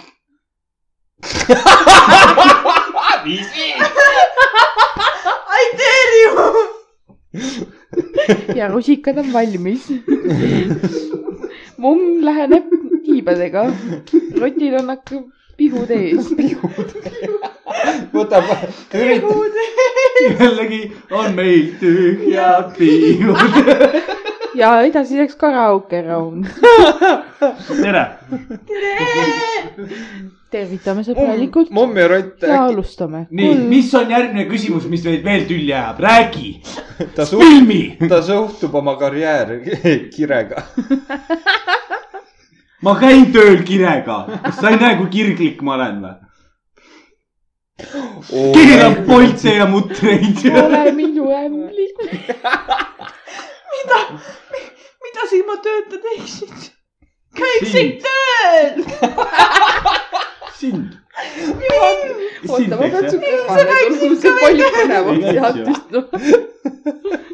S7: I tell you .
S5: ja rusikad on valmis . mumm läheneb tiibadega , rotil on hakkab pihud ees .
S1: võtab , üritab ,
S2: jällegi on meil tühjad piiud .
S5: ja edasi läks karaoke round .
S2: tere .
S5: tervitame
S1: Mm.
S5: sõbralikult
S1: mommi ja rott
S5: ja
S1: äkki
S5: alustame .
S2: nii , mis on järgmine küsimus , mis meid veel tülli ajab , räägi ,
S1: ta suht- ,
S2: filmi .
S1: ta suhtub oma karjääri kirega .
S2: ma käin tööl kirega , kas sa ei näe , kui kirglik ma olen või ? keerab poltse ja mutreid .
S5: ole minu ämbli .
S7: mida sa ilma tööta teeksid ?
S2: sind ,
S7: tööl .
S2: sind .
S5: oota , ma pean su
S7: Sa
S5: kõrvale
S7: rääkisid
S5: tulema , see on palju
S2: Ei
S5: põnevaks
S2: näinud ju.
S5: jaotust .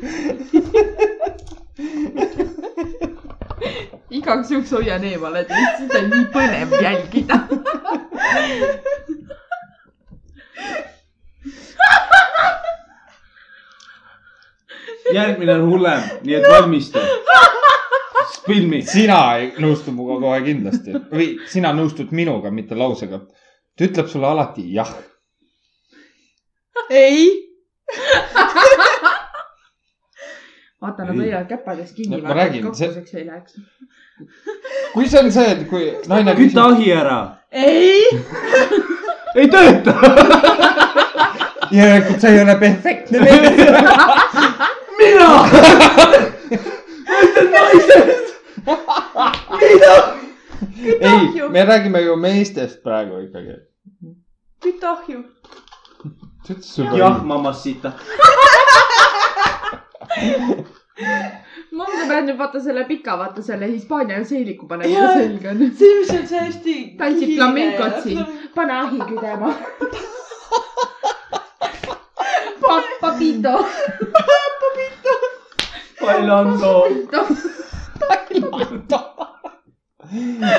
S10: igaks juhuks hoian eemale , et lihtsalt on nii põnev jälgida .
S2: järgmine on hullem , nii et valmistu . filmi .
S1: sina ei nõustu minuga kohe kindlasti või sina nõustud minuga , mitte lausega . ta ütleb sulle alati jah .
S7: ei .
S5: vaata , nad
S2: Ei.
S5: hoiavad käppadest kinni
S1: No, , ma räägin, see-
S5: kakkuseks ei läheks .
S1: kui see on see , et kui naine
S2: küta ahi ära .
S5: ei ,
S2: ei tööta .
S1: järelikult sa ei ole perfektne mees .
S2: mina .
S1: ei , me räägime ju meestest praegu ikkagi .
S3: küt ahju .
S1: sa ütlesid sul
S2: jah , mamassita .
S5: mul peab nüüd vaata selle pika , vaata selle Hispaania seeliku panema
S3: Jaa.
S5: selga .
S3: see , mis on see hästi .
S5: Tantsib flamencot siin. pane ahi küdema . Papito .
S2: Bailando .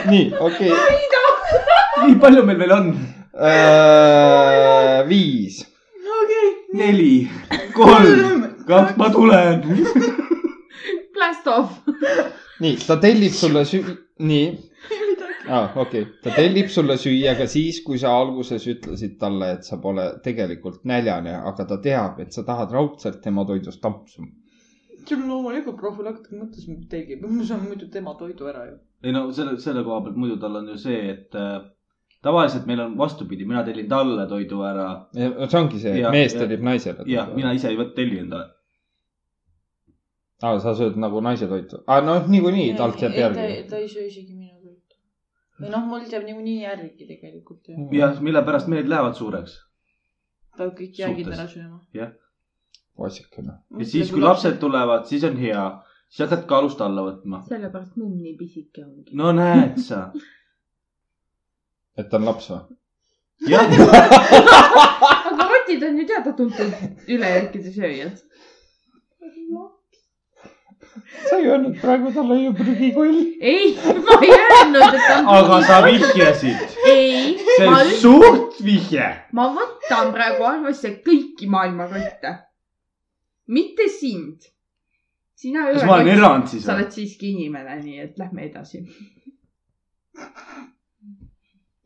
S1: nii , okei
S2: nii palju meil veel on ?
S1: Äh, viis .
S2: neli , kolm , kaks , ma tulen .
S5: Blast off .
S1: nii , ta tellib sulle süü- , nii . aa , okei , ta tellib sulle süüa ka siis , kui sa alguses ütlesid talle , et sa pole tegelikult näljane , aga ta teab , et sa tahad raudselt tema toidust ampsu .
S4: see on loomulikult profülaktika mõttes mind tegib , ma saan muidu tema toidu ära ju .
S2: ei no selle , selle koha pealt muidu tal on ju see , et äh, tavaliselt meil on vastupidi , mina tellin talle toidu ära
S1: see ongi see ,
S2: Jah,
S1: et mees
S2: jah.
S1: tellib naisele .
S2: ja mina . ise ei võt- telli endale .
S1: aa , sa sööd nagu naise toitu . aa , noh , niikuinii talt jääb järgi .
S4: ta ei söö isegi minu toitu . või noh , mul jääb niikuinii järgi tegelikult ju .
S1: Mm.
S2: jah , mille pärast mehed lähevad suureks .
S4: ta peab kõik jäägid
S2: Suhtes.
S4: ära sööma .
S1: vassikene .
S4: Mm,
S2: ja siis , kui lapsed tulevad , siis on hea , siis hakkad kaalust alla võtma .
S5: sellepärast mumm nii pisike ongi .
S2: no näed sa .
S1: et ta on laps või ?
S2: jah ,
S5: aga rotid on ju teada-tuntud ülejääkide sööjad .
S1: sa ei öelnud praegu talle ju prügikoll .
S5: ei , ma ei öelnud , et ta on
S2: aga sa vihjasid .
S5: ei ,
S2: see
S5: ma
S2: on
S5: ütlen ,
S2: suht vihje .
S5: ma võtan praegu arvesse kõiki maailma kotte . mitte sind . sina ei
S2: kas ma olen
S5: ole .
S2: erand siis
S5: sa
S2: või
S5: oled ? siiski inimene , nii et lähme edasi .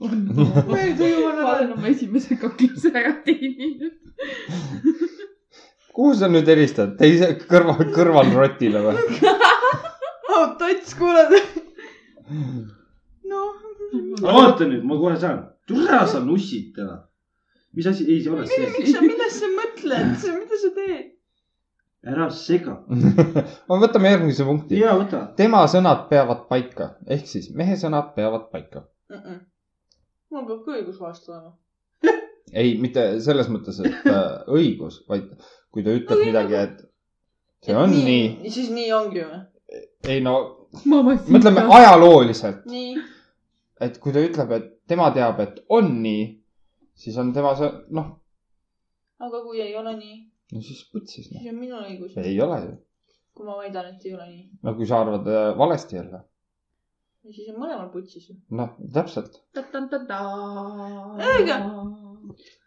S5: ma ei tuju , ma olen oma esimese kaklemise ära teeninud .
S1: kuhu sa nüüd helistad , teise kõrva , kõrvalrotile või ?
S3: oh , tots , kuule . noh ,
S2: oota nüüd , ma kohe saan . tule sa nussid täna . mis asi , ei see ole
S3: miks
S2: see .
S3: sa , millest sa mõtled , mida sa teed ?
S2: ära sega .
S1: aga võtame järgmise punkti .
S2: ja võta .
S1: tema sõnad peavad paika , ehk siis mehe sõnad peavad paika .
S4: mul peab ka õigus vastu olema .
S1: ei , mitte selles mõttes , et äh, õigus , vaid kui ta ütleb midagi , et see on nii .
S4: siis nii ongi ju .
S1: ei no mõtleme . ajalooliselt ,
S4: nii .
S1: et kui ta ütleb , et tema teab , et on nii , siis on tema see , noh ,
S4: aga kui ei ole nii ,
S1: no siis putsis noh .
S4: siis on minul õigus ,
S1: ei ole ju ,
S4: kui ma väidan , et ei ole nii .
S1: no kui sa arvad äh, valesti jälle ,
S4: ja siis on mõlemal putsis ju .
S1: noh , täpselt .
S4: Õige.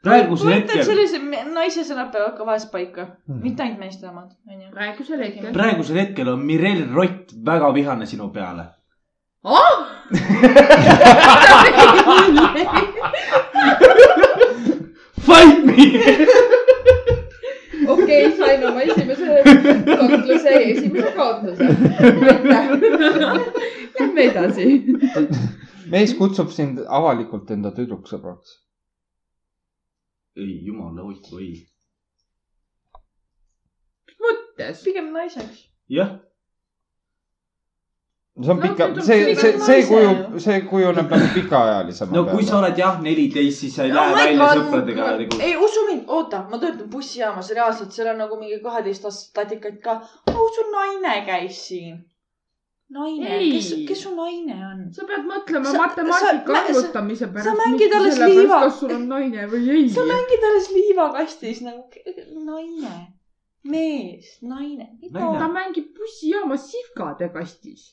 S2: praegusel
S4: ma ütlen ,
S2: hetkel ,
S4: sellised me- naise sõnad peavad ka vahest paika ,
S1: Mhm.
S4: mitte ainult meeste omad , onju .
S5: praegusel hetkel .
S2: praegusel hetkel on Mirel Rott väga vihane sinu peale . Fight me .
S19: okei , sain oma esimese kakluse , esimese kaotuse .
S5: Lähme edasi .
S1: mees kutsub sind avalikult enda tüdruksõbraks .
S2: ei jumala hoidku , ei .
S5: mõttes .
S4: pigem naiseks .
S2: jah ,
S1: see on
S5: No
S1: pika
S5: tüdruk-
S1: no, , see ,
S5: tüdruk
S1: see , see
S4: naise-
S1: kujub , see kujuneb nagu pikaajalisema
S2: no kui sa oled jah , neliteist , siis sa ei
S4: Oh
S2: lähe välja sõpradega nagu .
S4: ei usu mind , oota , ma töötan bussijaamas reaalselt , seal on nagu mingi kaheteistaastased tatikaid ka . au , su naine käis siin . naine ,
S5: Ei.
S4: kes , kes su naine on ?
S5: sa pead mõtlema
S4: Sa-
S5: matemaatika
S4: sa-
S5: arvutamise pärast .
S4: mängid
S5: mitte
S4: alles
S5: selle pärast,
S4: liiva-
S5: kas sul on naine või ei .
S4: sa mängid alles liivakastis nagu ke- naine , mees , naine .
S5: ta mängib bussijaamas sihkade kastis .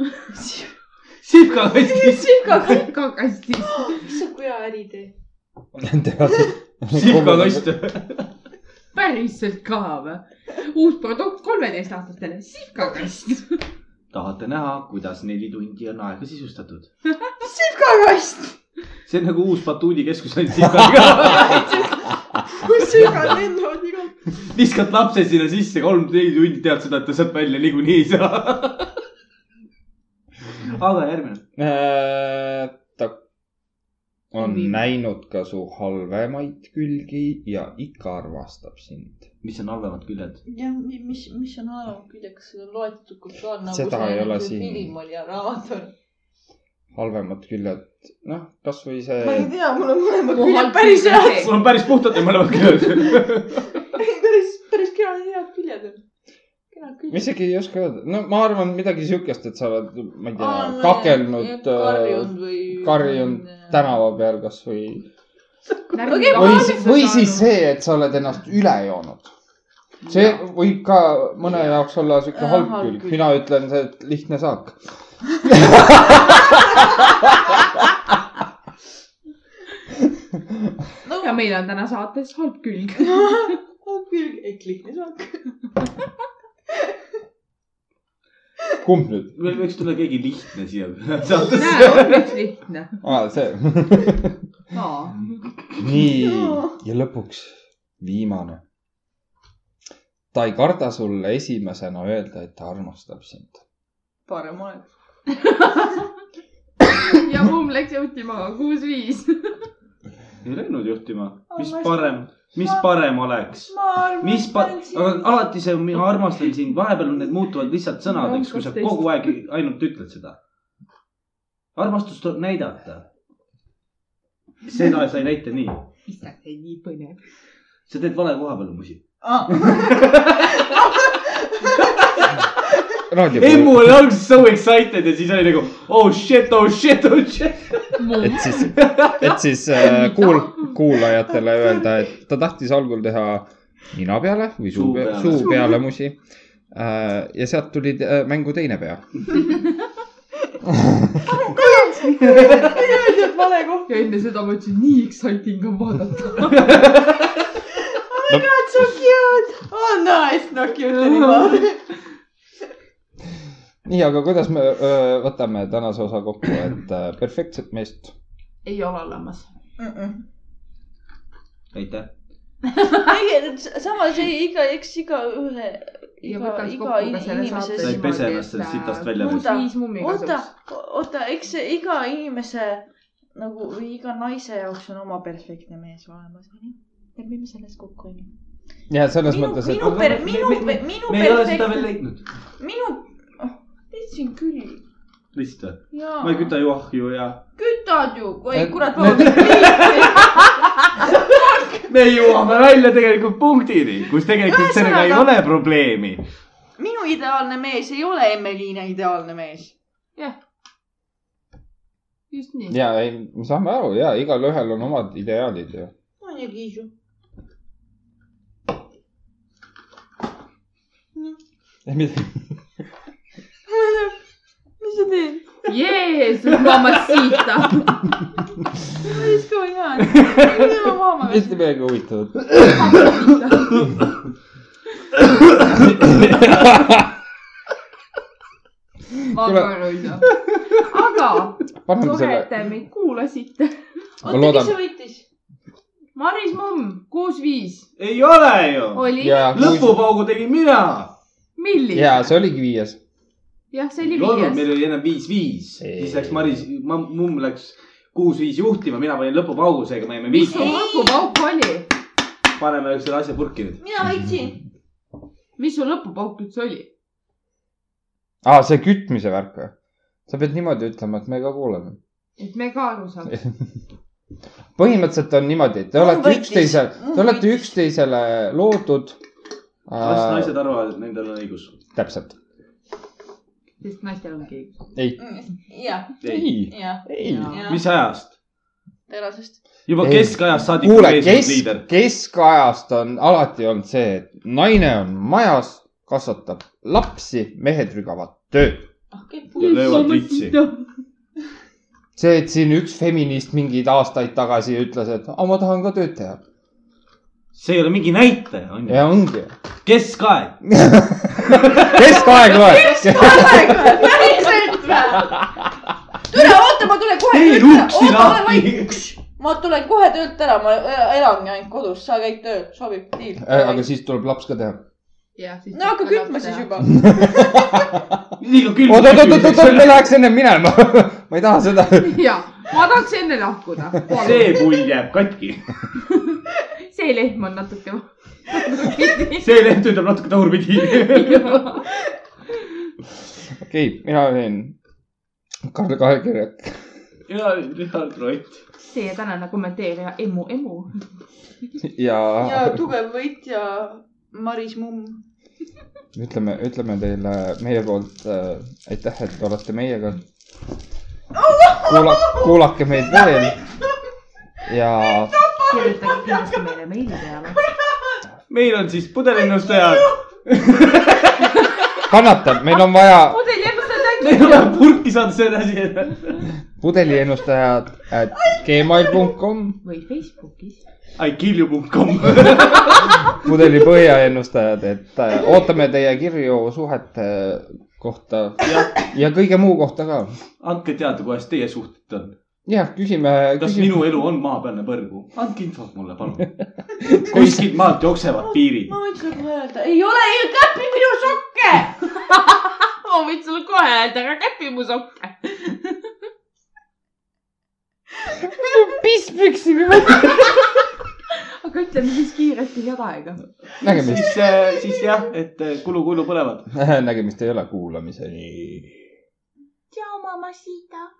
S2: Sipka kastis .
S5: sihka kastis .
S3: issand , kui hea äri teed .
S2: Sipka . kast .
S5: päriselt ka või ? uus produkt kolmeteistaastastele , sihka kast .
S2: tahate näha , kuidas neli tundi on aega sisustatud ?
S3: sipkakast ,
S2: see on nagu uus batuudikeskus ainult Sipkaga .
S3: kus sigad lendavad igalt .
S2: viskad lapse sinna sisse , kolm-neli tundi tead seda , et ta sealt välja niikuinii ei saa . aga järgmine .
S1: Äh, ta on näinud ka su halvemaid külgi ja ikka armastab sind .
S2: mis on halvemad küljed ?
S4: jah , mis , mis on olemas külje , kas seda on loetud kultuur nagu
S1: Seda
S4: see
S1: ei ole
S4: see
S1: siin.
S4: film oli ja raamat on .
S1: halvemad küljed , noh , kasvõi
S4: ma ei
S1: see ,
S4: tea , mul on mõlemad
S5: Mu
S4: küljed
S5: halb
S4: päris
S5: külg on
S4: head ,
S5: see.
S2: sul on päris puhtad ja mõlemad küljed .
S4: päris , päris kena , head küljed on . kenad
S1: ma
S4: küljed .
S1: isegi ei oska öelda , no ma arvan midagi siukest , et sa oled , ma ei tea , kakelnud ,
S4: karjunud või .
S1: karjunud tänava peal kasvõi .
S5: närvi
S1: või
S5: kaasa ,
S1: või
S5: saanud.
S1: siis see , et sa oled ennast üle joonud . see võib ka mõne jaoks olla siuke
S4: Äh,
S1: halb
S4: halb
S1: külg ,
S4: külg.
S1: mina ütlen , see et lihtne saak .
S4: no
S5: ja meil on täna saates halb külg .
S4: halb külg , ehk lihtne saak .
S1: kumb nüüd ?
S2: meil võiks tulla keegi lihtne siia .
S5: näe , on üks lihtne .
S1: aa , Ah, see . nii , ja lõpuks viimane . ta ei karda sulle esimesena öelda , et ta armastab sind .
S4: parem oleks .
S5: ja mumm läks juhtima kuus-viis .
S2: ei läinud juhtima . mis
S4: Armastan.
S2: parem , mis parem oleks ?
S4: ma
S2: mis pa-
S4: armastan ,
S2: aga
S4: sind .
S2: alati see , mina armastan sind , vahepeal need muutuvad lihtsalt sõnadeks , kui sa
S5: Ronkasteist.
S2: kogu aeg ainult ütled seda . armastust tuleb näidata . seda sa ei näita nii ,
S5: issand , see on nii põnev .
S2: sa teed vale koha peal musi .
S1: raadioprogrammi ,
S2: oli alguses so excited ja siis oli nagu oh shit , oh shit , oh shit .
S1: et siis , et siis äh, kuul- , kuulajatele öelda , et ta tahtis algul teha nina peale või suu
S2: Suu
S1: peale ,
S2: peale.
S1: suu peale musi äh, . ja sealt tuli äh, mängu teine pea .
S5: ja enne seda ma ütlesin , nii exciting on vaadata .
S4: So cute . Oh nice , no cute anymore .
S1: nii , aga kuidas me öö, võtame tänase osa kokku , et äh, perfektset meest
S5: ei ole olemas .
S2: aitäh .
S4: tegelikult samas ei , iga , eks igaühe ,
S5: ja
S4: iga ,
S5: võtaks
S4: iga
S5: kokku ka selle
S4: inimese
S5: saate
S2: Ta ei
S4: silmad-
S2: pese ennast sellest sitast välja veel.
S5: kuus-viis mummi
S4: oota
S5: kasuks .,
S4: oota , eks see iga inimese nagu või iga naise jaoks on oma perfektne mees olemas , onju . lepime selles kokku , onju .
S1: ja selles
S4: minu ,
S1: mõttes ,
S4: minu
S1: et
S4: per- ,
S2: Me-
S4: minu
S2: me- ,
S4: minu
S2: me ei ole seda veel
S4: perfektne ,
S2: leidnud .
S4: minu , leidsin küll .
S2: lihtsalt või ?
S4: jaa .
S2: ma ei küta ju ahju ja .
S4: kütad ju , oi
S1: Et-
S4: kurat , vabandust .
S2: me jõuame välja tegelikult punktini , kus tegelikult sellega ei ole probleemi .
S4: minu ideaalne mees ei ole Emmeliina ideaalne mees .
S5: just nii .
S1: ja ei , me saame aru ja igalühel on omad ideaalid ju .
S4: muidugi ju . mis sa teed ?
S5: Jeesus , mamacita .
S4: Mis going on ? minu maama .
S1: mitte midagi huvitavat . Kuule-
S5: makaroida . aga
S1: paneme
S5: tore ,
S1: selle
S5: et , te meid kuulasite .
S1: ma loodan ,
S4: võitis ?
S5: Maris Mumm , kuus-viis
S2: ei ole ju .
S5: oli .
S1: ja ,
S2: lõpupaugu tegin mina .
S5: milline
S1: ja ? see oligi viies .
S5: jah , see
S2: ei
S5: oli
S2: olnud ,
S5: viies .
S2: meil oli ennem viis-viis ,
S1: Ei.
S2: siis läks Maris , mumm läks kuus-viis juhtima , mina panin lõpupaugu , seega me jäime
S5: mis
S2: viis
S5: su . lõpupauk oli ?
S2: paneme selle asja purki nüüd .
S4: mina võitsin .
S5: mis su lõpupauk üldse oli ?
S1: aa , see kütmise värk või ? sa pead niimoodi ütlema , et me ka kuuleme .
S5: et me ka aru saaks .
S1: põhimõtteliselt on niimoodi , et te
S4: Mul
S1: olete
S4: võitis.
S1: üksteise ,
S4: Mul
S1: te olete
S4: võitis.
S1: üksteisele loodud .
S2: las naised arvavad , et nendel on õigus .
S1: täpselt .
S5: sest naistel on keegi .
S1: ei ,
S4: ja ,
S2: ei ,
S1: ei ,
S4: ja ,
S1: ei .
S4: ja .
S2: mis ajast ?
S4: terasest .
S2: juba
S1: Ei.
S2: keskajast saadik
S1: kuule
S2: on , eesmärk
S1: kesk
S2: liider .,
S1: keskajast on alati olnud see , et naine on majas , kasvatab lapsi , mehed rügavad tööd .
S2: ja löövad litsi .
S1: see , et siin üks feminist mingeid aastaid tagasi ütles , et "Aa, ma tahan ka tööd teha .
S2: see ei ole mingi näitaja , on ju .
S1: ja ongi .
S2: keskaeg .
S1: keskaeg loeb .
S4: päriselt või ? tule , oota , ma tulen kohe .
S2: tee luksi lahti .
S4: ma tulen kohe töölt ära , ma äh, elangi ainult kodus , sa käid tööl , sobib diil .
S1: Äh, aga siis tuleb laps ka teha .
S4: no hakka kütma siis . juba .
S2: liiga külm .
S1: oot , oot , oot , oot , oot , me läheks enne minema . ma ei taha seda .
S5: ja , ma tahaks enne lahkuda .
S2: see pull jääb katki ,
S5: see lehm on natuke .
S2: see leht ütleb natuke tagurpidi .
S1: okei , mina olin Karl Kaekirjak .
S2: ja , ja , Rott .
S5: see tänane kommenteerija Emu , Emu .
S1: ja
S4: ja tugev võitja Maris Mumm .
S1: ütleme , ütleme teile meie poolt äh, aitäh , et olete meiega . kuula- , kuulake meid veel ja
S5: kirjutage kindlasti meile meili peale .
S2: meil on siis pudelinõustajad ,
S1: kannatab , meil on vaja
S5: mudel jääb seda
S2: meil on vaja purki saada selle asi .
S1: pudeliennustajad at gmail.com ,
S5: või Facebookis .
S2: ikillju.com .
S1: pudelipõhjaennustajad , et äh, ootame teie kirju suhete kohta ja kõige muu kohta ka .
S2: andke teada , kuidas teie suhted on .
S1: jah , küsime ,
S2: kas
S1: küsime ,
S2: minu elu on maapealne põrgu ? andke infot mulle , palun . kuskilt maalt jooksevad piirid .
S4: ma võin sulle kohe öelda , ei ole ju käpi minu sokke .
S5: ma võin sulle kohe öelda , aga käpi mu sokke . aga ütleme siis kiiresti head aega .
S1: nägemist ,
S2: siis , siis jah , et eh, kulu , kulu põlevad .
S1: nägemist ei ole , kuulamiseni .
S5: tšau , mamma Sita .